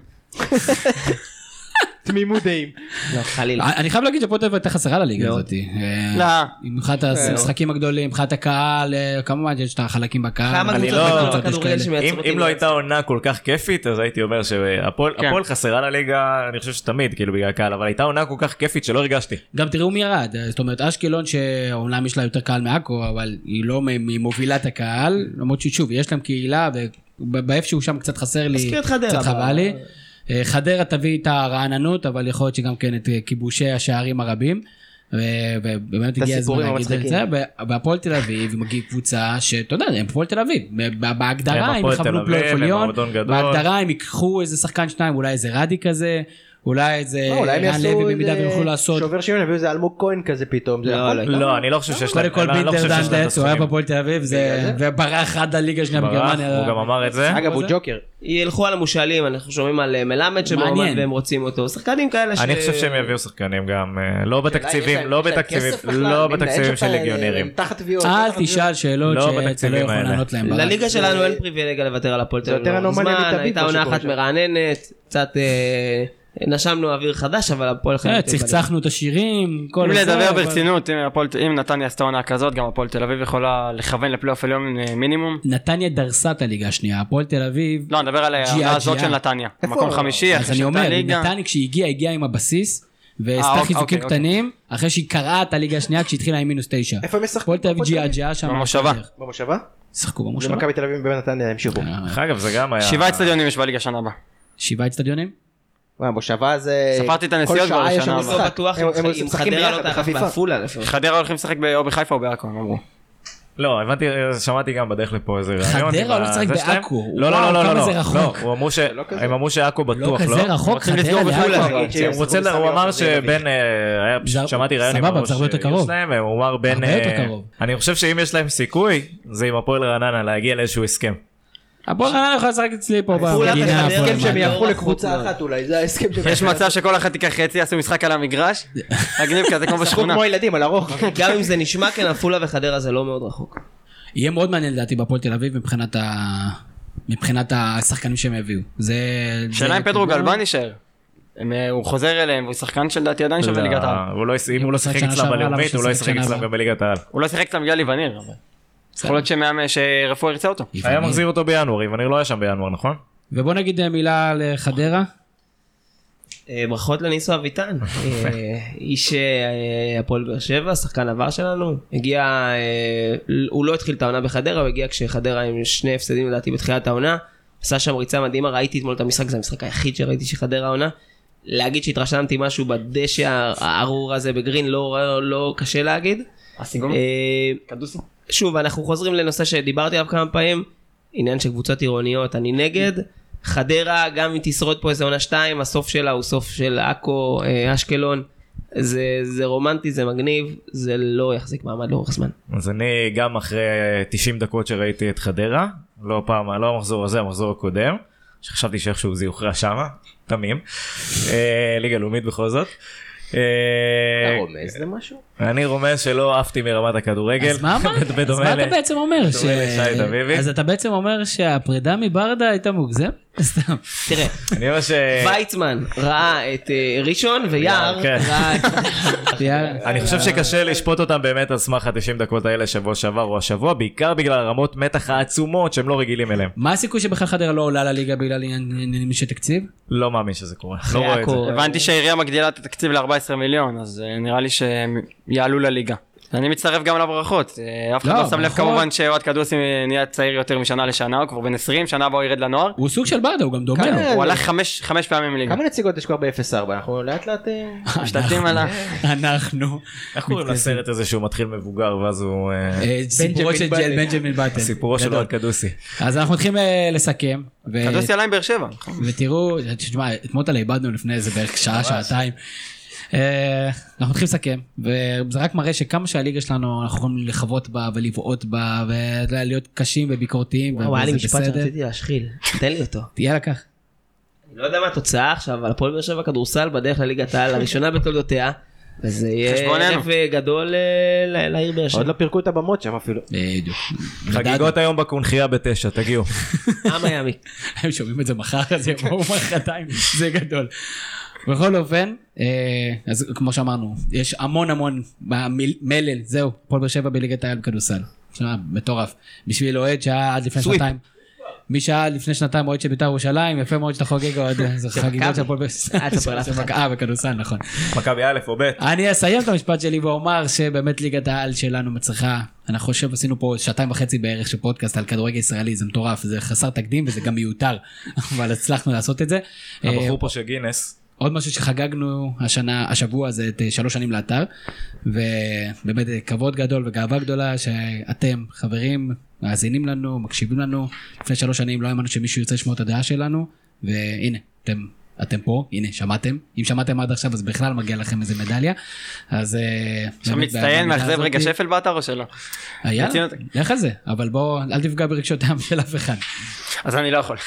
[SPEAKER 7] תמימות דעים.
[SPEAKER 5] לא, חלילה.
[SPEAKER 4] אה, אני חייב להגיד שפוטב הייתה חסרה לליגה
[SPEAKER 5] מאוד.
[SPEAKER 4] הזאת. אה,
[SPEAKER 3] לא.
[SPEAKER 4] עם מבחינת המשחקים הגדולים, מבחינת הקהל, אה, כמובן שיש את החלקים בקהל.
[SPEAKER 5] כמה
[SPEAKER 6] אני
[SPEAKER 5] קבוצות
[SPEAKER 6] לא-
[SPEAKER 5] בקבוצת
[SPEAKER 4] יש
[SPEAKER 5] כדורגל
[SPEAKER 4] כאלה.
[SPEAKER 6] אם,
[SPEAKER 5] שמייצרות
[SPEAKER 6] אם לא
[SPEAKER 5] ליגה.
[SPEAKER 6] הייתה עונה כל כך כיפית אז הייתי אומר שהפועל
[SPEAKER 3] כן.
[SPEAKER 6] הפועל חסרה לליגה אני חושב שתמיד כאילו בגלל הקהל אבל הייתה עונה כל כך כיפית שלא הרגשתי.
[SPEAKER 4] גם תראו מי ירד, זאת אומרת אשקלון שאומנם יש לה יותר קהל מעכו, אבל היא לא ממובילת הקהל, למרות ששוב, יש להם קהילה, ובאיפשהו שם קצת חסר לי,
[SPEAKER 5] מזכיר את חדרה.
[SPEAKER 4] קצת חבל לי. אה, חדרה תביא את הרעננות, אבל יכול להיות שגם כן את אה, כיבושי השערים הרבים. ו- ובאמת
[SPEAKER 7] את
[SPEAKER 4] הגיע הזמן
[SPEAKER 7] הסיפורים
[SPEAKER 4] להגיד את זה,
[SPEAKER 7] המצחיקים.
[SPEAKER 4] והפועל תל אביב מגיעה קבוצה שאתה יודע, הם הפועל תל אביב, ב- בהגדרה
[SPEAKER 6] הם
[SPEAKER 4] הם
[SPEAKER 6] הפועל תל
[SPEAKER 4] יכוונו
[SPEAKER 6] אביב,
[SPEAKER 4] פלייאוף
[SPEAKER 6] הם
[SPEAKER 4] עליון,
[SPEAKER 6] מועדון גדול.
[SPEAKER 4] בהגדרה הם ייקחו איזה שחקן שניים, אולי איזה רדי כזה, אולי איזה
[SPEAKER 7] לא, אולי הם
[SPEAKER 4] רן
[SPEAKER 7] יעשו
[SPEAKER 4] אה, לוי במידה
[SPEAKER 7] איזה
[SPEAKER 4] והם יוכלו לעשות,
[SPEAKER 7] שובר שוויון, יביאו איזה אלמוג כהן כזה פתאום. זה
[SPEAKER 5] לא,
[SPEAKER 7] יכול-
[SPEAKER 5] לא,
[SPEAKER 6] לא אני לא חושב שיש להם
[SPEAKER 4] קודם כל
[SPEAKER 6] אני לא
[SPEAKER 4] בינטר
[SPEAKER 6] חושב שיש להם את
[SPEAKER 4] דנדס, הוא היה
[SPEAKER 6] הסכומים.
[SPEAKER 4] בפועל תל אביב, זה- וברח עד לליגה השנייה
[SPEAKER 6] ברח,
[SPEAKER 4] בגרמניה.
[SPEAKER 6] הוא גם אמר את
[SPEAKER 4] אה,
[SPEAKER 6] זה.
[SPEAKER 7] אגב, הוא
[SPEAKER 4] לא.
[SPEAKER 7] ג'וקר.
[SPEAKER 5] ילכו על המושאלים, אנחנו שומעים על אה, מלמד שמועמד
[SPEAKER 4] מעניין.
[SPEAKER 5] והם רוצים אותו. שחקנים כאלה ש...
[SPEAKER 6] אני חושב שהם יביאו שחקנים גם אה, לא
[SPEAKER 7] יש
[SPEAKER 6] בתקציבים
[SPEAKER 7] להם-
[SPEAKER 6] לא
[SPEAKER 7] יש להם
[SPEAKER 6] בתקציבים
[SPEAKER 7] כסף בכלל,
[SPEAKER 6] לא
[SPEAKER 7] הם-
[SPEAKER 6] בתקציבים
[SPEAKER 7] הם
[SPEAKER 6] של
[SPEAKER 7] שם,
[SPEAKER 6] לגיונרים.
[SPEAKER 7] הם תחת תביעות.
[SPEAKER 4] אל
[SPEAKER 7] תחת תביעות.
[SPEAKER 4] תשאל שאלות
[SPEAKER 6] לא
[SPEAKER 4] שאתה לא
[SPEAKER 6] בתקציבים
[SPEAKER 4] יכול
[SPEAKER 6] האלה.
[SPEAKER 4] לענות להם. ברק.
[SPEAKER 5] לליגה שלנו אין פריבילגיה לוותר על הפועל תל
[SPEAKER 7] זה
[SPEAKER 5] אביב. לא
[SPEAKER 7] יותר אנומליה
[SPEAKER 5] מזמן,
[SPEAKER 7] מתאבית,
[SPEAKER 5] הייתה
[SPEAKER 7] מה
[SPEAKER 5] עונה
[SPEAKER 7] שקורה
[SPEAKER 5] אחת
[SPEAKER 7] שם.
[SPEAKER 5] מרעננת, קצת אה, נשמנו אוויר חדש, אבל הפועל
[SPEAKER 4] אה,
[SPEAKER 5] חייבת...
[SPEAKER 4] צחצחנו את השירים, כל
[SPEAKER 3] אם
[SPEAKER 4] זה,
[SPEAKER 3] לדבר
[SPEAKER 4] אבל-
[SPEAKER 3] ברצינות, אם הפועל- אם נתניה עשתה עונה כזאת, גם הפועל תל אביב יכולה לכוון לפלייאוף עליון אה, מינימום.
[SPEAKER 4] נתניה דרסה את הליגה השנייה, הפועל תל אביב.
[SPEAKER 3] לא, נדבר על העונה
[SPEAKER 4] ג'יה,
[SPEAKER 3] הזאת
[SPEAKER 4] ג'יה.
[SPEAKER 3] של נתניה.
[SPEAKER 7] איפה?
[SPEAKER 3] מקום חמישי,
[SPEAKER 4] אז
[SPEAKER 3] אחרי
[SPEAKER 4] אני
[SPEAKER 3] שעלתה
[SPEAKER 4] אומר,
[SPEAKER 3] ליגה.
[SPEAKER 4] נתניה כשהיא הגיעה, הגיעה עם הבסיס,
[SPEAKER 3] אה,
[SPEAKER 4] ועשתה
[SPEAKER 3] אוקיי,
[SPEAKER 4] חיזוקים
[SPEAKER 3] אוקיי,
[SPEAKER 4] קטנים, אחרי שהיא קרעה את הליגה השנייה כשהתחילה עם מינוס תשע.
[SPEAKER 7] איפה הם משחקים?
[SPEAKER 4] הפועל תל אביב
[SPEAKER 7] הפועל תל אביב?
[SPEAKER 4] ג'יאג'יה שם.
[SPEAKER 3] במושבה.
[SPEAKER 7] במושבה?
[SPEAKER 4] שיחקו
[SPEAKER 7] זה
[SPEAKER 4] במושבה.
[SPEAKER 7] מכבי תל אביב בנתניה המשיכו.
[SPEAKER 4] אה,
[SPEAKER 6] דרך אגב זה גם היה.
[SPEAKER 3] שבעה אצטדיונים יש בליגה שנה הבאה.
[SPEAKER 4] שבעה אצטדיונים?
[SPEAKER 7] וואי, מושבה זה...
[SPEAKER 3] ספרתי את הנסיעות
[SPEAKER 7] כל שעה
[SPEAKER 3] כבר
[SPEAKER 7] יש
[SPEAKER 3] לשנה
[SPEAKER 7] שם
[SPEAKER 3] הבאה.
[SPEAKER 5] לא
[SPEAKER 7] משחק.
[SPEAKER 5] בטוח
[SPEAKER 7] הם-
[SPEAKER 5] אם
[SPEAKER 7] הם
[SPEAKER 5] אם
[SPEAKER 7] משחקים
[SPEAKER 5] חדרה לא
[SPEAKER 7] ביחד,
[SPEAKER 5] תערב
[SPEAKER 7] בחפיפה.
[SPEAKER 5] בעפולה לפעמים.
[SPEAKER 3] חדרה הולכים לשחק ב- או בחיפה או בעכו, הם אמרו.
[SPEAKER 6] לא, הבנתי, שמעתי גם בדרך לפה איזה רעיון. עם
[SPEAKER 4] חדרה
[SPEAKER 6] ה-
[SPEAKER 4] לא לשחק
[SPEAKER 6] זה שלהם.
[SPEAKER 4] בעכו.
[SPEAKER 6] לא, לא,
[SPEAKER 4] וואו,
[SPEAKER 6] לא, לא,
[SPEAKER 4] כמה
[SPEAKER 6] לא.
[SPEAKER 4] זה רחוק.
[SPEAKER 6] לא, הוא אמרו ש- הם אמרו שעכו בטוח,
[SPEAKER 4] לא
[SPEAKER 6] לא?
[SPEAKER 4] כזה רחוק,
[SPEAKER 3] רוצים
[SPEAKER 4] חדרה
[SPEAKER 3] לסגור בחו"ל,
[SPEAKER 4] לעכו.
[SPEAKER 3] אז-
[SPEAKER 6] הוא
[SPEAKER 7] כן,
[SPEAKER 6] רוצה, ל- הוא אמר שבין, אה, היה פשוט-
[SPEAKER 4] זה-
[SPEAKER 6] שמעתי ראיון עם
[SPEAKER 4] סבבה,
[SPEAKER 6] אמרו
[SPEAKER 4] זה הרבה יותר
[SPEAKER 6] שיש
[SPEAKER 4] קרוב.
[SPEAKER 6] להם, הוא אמר בין,
[SPEAKER 4] הרבה יותר
[SPEAKER 6] אה,
[SPEAKER 4] קרוב.
[SPEAKER 6] אני חושב שאם יש להם סיכוי, זה עם הפועל רעננה להגיע לאיזשהו הסכם.
[SPEAKER 4] הפועל רעננה יכולה לשחק אצלי פה במדינה.
[SPEAKER 5] וחדרה,
[SPEAKER 4] הפועל
[SPEAKER 7] הסכם שהם
[SPEAKER 4] רעננה.
[SPEAKER 7] יהפכו
[SPEAKER 5] לא
[SPEAKER 7] לקבוצה
[SPEAKER 5] רחוק
[SPEAKER 7] אחת אולי, זה ההסכם שהם...
[SPEAKER 3] יש מצב שכל אחת תיקח חצי, יעשו משחק על המגרש, מגניב כזה כמו
[SPEAKER 7] ישחקו
[SPEAKER 3] בשכונה.
[SPEAKER 7] כמו ילדים על הרוחב.
[SPEAKER 6] אה,
[SPEAKER 5] גם אם זה נשמע כן, עפולה וחדרה זה לא מאוד רחוק.
[SPEAKER 4] יהיה מאוד מעניין לדעתי בהפועל תל אביב מבחינת ה... מבחינת השחקנים שהם יביאו. זה...
[SPEAKER 3] שאלה אם
[SPEAKER 4] זה-
[SPEAKER 3] פדרו גלבן יישאר. הם, אה, הוא חוזר אליהם, והוא שחקן שלדעתי עדיין שווה ליגת העל.
[SPEAKER 6] הוא לא יש- אם
[SPEAKER 4] אם
[SPEAKER 6] הוא לא
[SPEAKER 4] הוא שחק
[SPEAKER 6] שיחק
[SPEAKER 4] שנה
[SPEAKER 6] אצלם
[SPEAKER 4] שעברה, למה
[SPEAKER 6] בלאומית, הוא לא
[SPEAKER 4] שישחק
[SPEAKER 6] ישחק
[SPEAKER 4] שנה
[SPEAKER 6] אצלם
[SPEAKER 4] הבאה?
[SPEAKER 6] גם בליגת העל.
[SPEAKER 3] הוא לא שיחק אצלם בגלל איווניר, אבל. יכול להיות שמאמן- שרפואה ירצה אותו.
[SPEAKER 4] יפעל.
[SPEAKER 6] היה מחזיר אותו בינואר, איווניר לא היה שם בינואר, נכון?
[SPEAKER 4] ובוא נגיד אה, מילה על חדרה.
[SPEAKER 5] אה, ברכות לניסו אביטן, אה, איש אה, הפועל באר שבע, שחקן עבר שלנו, הגיע, אה, הוא לא התחיל את העונה בחדרה, הוא הגיע כשחדרה עם שני הפסדים לדעתי בתחילת העונה, עשה שם ריצה מדהימה, ראיתי אתמול את המשחק, זה המשחק היחיד שראיתי של חדרה העונה, להגיד שהתרשמתי משהו בדשא הארור הזה בגרין, לא, לא, לא קשה להגיד.
[SPEAKER 3] הסיגום?
[SPEAKER 5] אה,
[SPEAKER 3] קדוסי?
[SPEAKER 5] שוב, אנחנו חוזרים לנושא שדיברתי עליו כמה פעמים, עניין של קבוצות עירוניות, אני נגד. חדרה, גם אם תשרוד פה איזה עונה שתיים, הסוף שלה הוא סוף של עכו, אה, אשקלון. זה, זה רומנטי, זה מגניב, זה לא יחזיק מעמד לאורך זמן.
[SPEAKER 6] אז אני גם אחרי 90 דקות שראיתי את חדרה, לא פעם, לא המחזור הזה, המחזור הקודם, שחשבתי שאיכשהו זה יוכרע שמה, תמים, אה, ליגה לאומית בכל זאת. אה,
[SPEAKER 7] רומז למשהו?
[SPEAKER 6] אני רומז שלא עפתי מרמת הכדורגל.
[SPEAKER 4] אז מה אמרת? אז
[SPEAKER 6] בדומה
[SPEAKER 4] מה
[SPEAKER 6] ל-
[SPEAKER 4] אתה בעצם אומר? ש-
[SPEAKER 6] בדומה לשי דוידי.
[SPEAKER 4] אז אתה בעצם אומר שהפרידה מברדה הייתה מוגזמת? סתם.
[SPEAKER 5] תראה,
[SPEAKER 6] אני אומר ש...
[SPEAKER 5] ויצמן ראה את אה, ראשון ויער
[SPEAKER 6] אה. כן.
[SPEAKER 5] ראה את...
[SPEAKER 6] אני חושב שקשה לשפוט אותם באמת על סמך ה-90 דקות האלה שבוע שעבר או השבוע, בעיקר בגלל רמות מתח העצומות שהם לא רגילים אליהם.
[SPEAKER 4] מה הסיכוי שבכלל חדרה לא עולה לליגה בגלל עניינים של תקציב?
[SPEAKER 6] לא מאמין שזה קורה, לא רואה את זה.
[SPEAKER 5] עכו.
[SPEAKER 3] הבנתי שהעירייה מגדילה את התקציב ל-14 מיליון, אז אה, נראה לי שהם יעלו לליגה. אני מצטרף גם לברכות, אה, אף אחד
[SPEAKER 4] לא,
[SPEAKER 3] לא שם לב
[SPEAKER 4] ברכות.
[SPEAKER 3] כמובן שאוהד קדוסי נהיה צעיר יותר משנה לשנה, הוא כבר בן 20, שנה הבאה הוא ירד לנוער.
[SPEAKER 4] הוא סוג של ברדה, הוא גם דומה
[SPEAKER 7] כמה-
[SPEAKER 4] לו.
[SPEAKER 3] הוא הלך חמש חמש פעמים ליגה.
[SPEAKER 7] כמה נציגות יש כבר ב-0-4? אנחנו לאט לאט... אה,
[SPEAKER 3] משתלטים על ה...
[SPEAKER 4] אנחנו.
[SPEAKER 6] איך קוראים לסרט הזה שהוא מתחיל מבוגר ואז הוא... אה,
[SPEAKER 4] אה, סיפורו של
[SPEAKER 7] בטן.
[SPEAKER 4] ג'ל- בנג'מין בטן.
[SPEAKER 6] סיפורו של
[SPEAKER 4] גדול.
[SPEAKER 6] אוהד קדוסי.
[SPEAKER 4] אז אנחנו מתחילים אה, לסכם. ו-
[SPEAKER 3] קדוסי עלה עם באר שבע. נכון?
[SPEAKER 4] ותראו, תשמע, את מוטלה איבדנו לפני איזה בערך שעה, שעתיים. אה, אנחנו מתחילים לסכם, וזה רק מראה שכמה שהליגה שלנו, אנחנו יכולים לחוות בה ולבעוט בה, ולהיות קשים וביקורתיים,
[SPEAKER 5] וואו, היה לי
[SPEAKER 4] וזה
[SPEAKER 5] משפט
[SPEAKER 4] בסדר.
[SPEAKER 5] שרציתי להשחיל, תן לי אותו.
[SPEAKER 4] יאללה, קח.
[SPEAKER 5] אני לא יודע מה התוצאה עכשיו, אבל הפועל באר שבע כדורסל בדרך לליגת העל, הראשונה בתולדותיה, וזה יהיה
[SPEAKER 3] חשבוננו.
[SPEAKER 5] ערב אה, גדול אה, ל- לעיר
[SPEAKER 6] כן.
[SPEAKER 5] באר שבע.
[SPEAKER 7] עוד לא פירקו את הבמות שם אפילו.
[SPEAKER 4] בדיוק.
[SPEAKER 6] חגיגות היום בקונכייה בתשע, תגיעו.
[SPEAKER 5] אה, מיאמי.
[SPEAKER 4] הם שומעים את זה מחר, אז יבואו מחרתיים, זה גדול. בכל אופן, אה, אז כמו שאמרנו, יש המון המון במיל- מלל, זהו, הפועל באר שבע בליגת העל בכדורסל. תשמע, מטורף. בשביל אוהד שהיה עד לפני שנתיים. מי שהיה לפני שנתיים אוהד של בית"ר ירושלים, יפה מאוד שאתה חוגג אוהד, אה, זה חגיגות של הפועל באר שבע.
[SPEAKER 5] אל תספר לאף
[SPEAKER 4] של מכבי- אה, בכדורסל, נכון.
[SPEAKER 6] מכבי א' או ב'.
[SPEAKER 4] אני אסיים את המשפט שלי ואומר שבאמת ליגת העל שלנו מצליחה. אני חושב עשינו פה שעתיים וחצי בערך של פודקאסט על כדורגל ישראלי, זה מטורף, זה חסר תקדים וזה גם מיותר, אבל הצלחנו לעשות את זה. אה,
[SPEAKER 6] הבחור פה של גינס.
[SPEAKER 4] עוד משהו שחגגנו השנה, השבוע, זה את אה, שלוש שנים לאתר, ובאמת אה, כבוד גדול וגאווה גדולה שאתם, חברים, מאזינים לנו, מקשיבים לנו. לפני שלוש שנים לא האמנו שמישהו ירצה לשמוע את הדעה שלנו, והנה, אתם, אתם פה, הנה, שמעתם. אם שמעתם עד עכשיו אז בכלל מגיע לכם איזה מדליה. אז... אה,
[SPEAKER 3] עכשיו
[SPEAKER 4] באמת,
[SPEAKER 3] מצטיין,
[SPEAKER 4] במידה
[SPEAKER 3] מאכזב
[SPEAKER 4] הזאת-
[SPEAKER 3] רגע שפל באתר או שלא?
[SPEAKER 4] היה?
[SPEAKER 3] רצינות.
[SPEAKER 4] לך על זה, אבל בוא, אל תפגע ברגשותיהם של אף אחד.
[SPEAKER 3] אז אני לא יכול.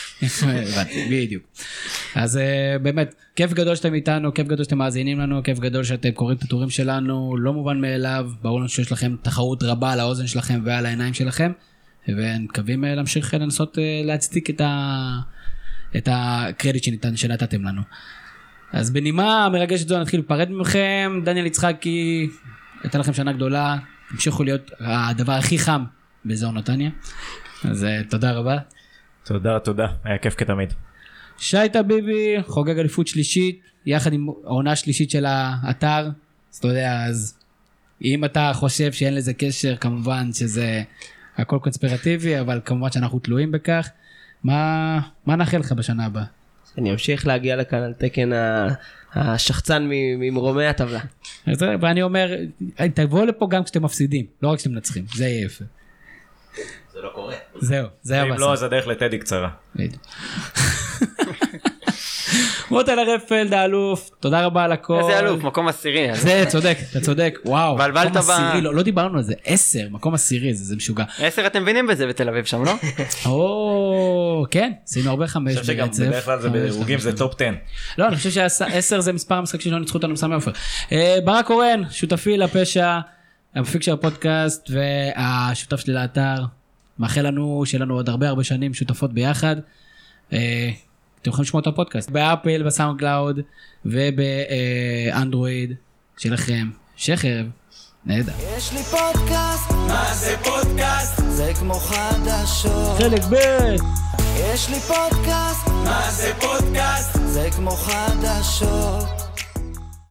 [SPEAKER 4] הבנתי, בדיוק. אז אה, באמת, כיף גדול שאתם איתנו, כיף גדול שאתם מאזינים לנו, כיף גדול שאתם קוראים את הטורים שלנו, לא מובן מאליו, ברור לנו שיש לכם תחרות רבה על האוזן שלכם ועל העיניים שלכם, ומקווים אה, להמשיך אה, לנסות אה, להצדיק את, ה... את הקרדיט שניתן, שנתתם לנו. אז בנימה מרגשת זו נתחיל להיפרד ממכם, דניאל יצחקי, הייתה לכם שנה גדולה, המשיכו להיות הדבר הכי חם באזור נתניה, אז אה, תודה רבה.
[SPEAKER 6] תודה, תודה. היה כיף כתמיד.
[SPEAKER 4] שי טביבי חוגג אליפות שלישית, יחד עם העונה השלישית של האתר, אז אתה יודע, אז אם אתה חושב שאין לזה קשר, כמובן שזה הכל קונספירטיבי, אבל כמובן שאנחנו תלויים בכך. מה, מה נאחל לך בשנה הבאה?
[SPEAKER 5] אני אמשיך להגיע לכאן על תקן ה- השחצן מ- ממרומי הטבלה.
[SPEAKER 4] אז זה- ואני אומר, תבואו לפה גם כשאתם מפסידים, לא רק כשאתם מנצחים, זה יהיה יפה. זה לא קורה. זהו, זה היה
[SPEAKER 6] אם לא, אז הדרך לטדי קצרה.
[SPEAKER 4] בדיוק. מוטל הרפלד האלוף, תודה רבה על הכל.
[SPEAKER 3] איזה אלוף, מקום עשירי. אז
[SPEAKER 4] זה צודק, אתה צודק, וואו.
[SPEAKER 3] בלבלת
[SPEAKER 4] מקום
[SPEAKER 3] ב-
[SPEAKER 4] עשירי, לא, לא דיברנו על זה, עשר, מקום עשירי, זה, זה משוגע.
[SPEAKER 3] עשר אתם מבינים בזה בתל אביב שם, לא?
[SPEAKER 4] או, כן, עשינו הרבה חמש
[SPEAKER 6] אני
[SPEAKER 4] ברצף.
[SPEAKER 6] חושב שגם בדרך כלל זה
[SPEAKER 4] חמש,
[SPEAKER 6] בדירוגים
[SPEAKER 4] חמש,
[SPEAKER 6] זה
[SPEAKER 4] חמש.
[SPEAKER 6] טופ 10.
[SPEAKER 4] לא, אני חושב שעשר זה מספר המשחק שלא ניצחו אותנו בסמי עופר. אה, ברק קורן, שותפי לפשע, המפיק של הפודקאסט והשותף שלי לאתר. מאחל לנו שיהיה לנו עוד הרבה הרבה שנים שותפות ביחד. אה, אתם יכולים לשמוע את הפודקאסט באפל, בסאונד קלאוד ובאנדרואיד שלכם. שיהיה ערב, נהדר.
[SPEAKER 1] יש לי פודקאסט,
[SPEAKER 2] מה זה פודקאסט?
[SPEAKER 1] זה כמו חדשות.
[SPEAKER 4] חלק ב'
[SPEAKER 1] יש לי פודקאסט,
[SPEAKER 2] מה זה פודקאסט?
[SPEAKER 1] זה כמו חדשות.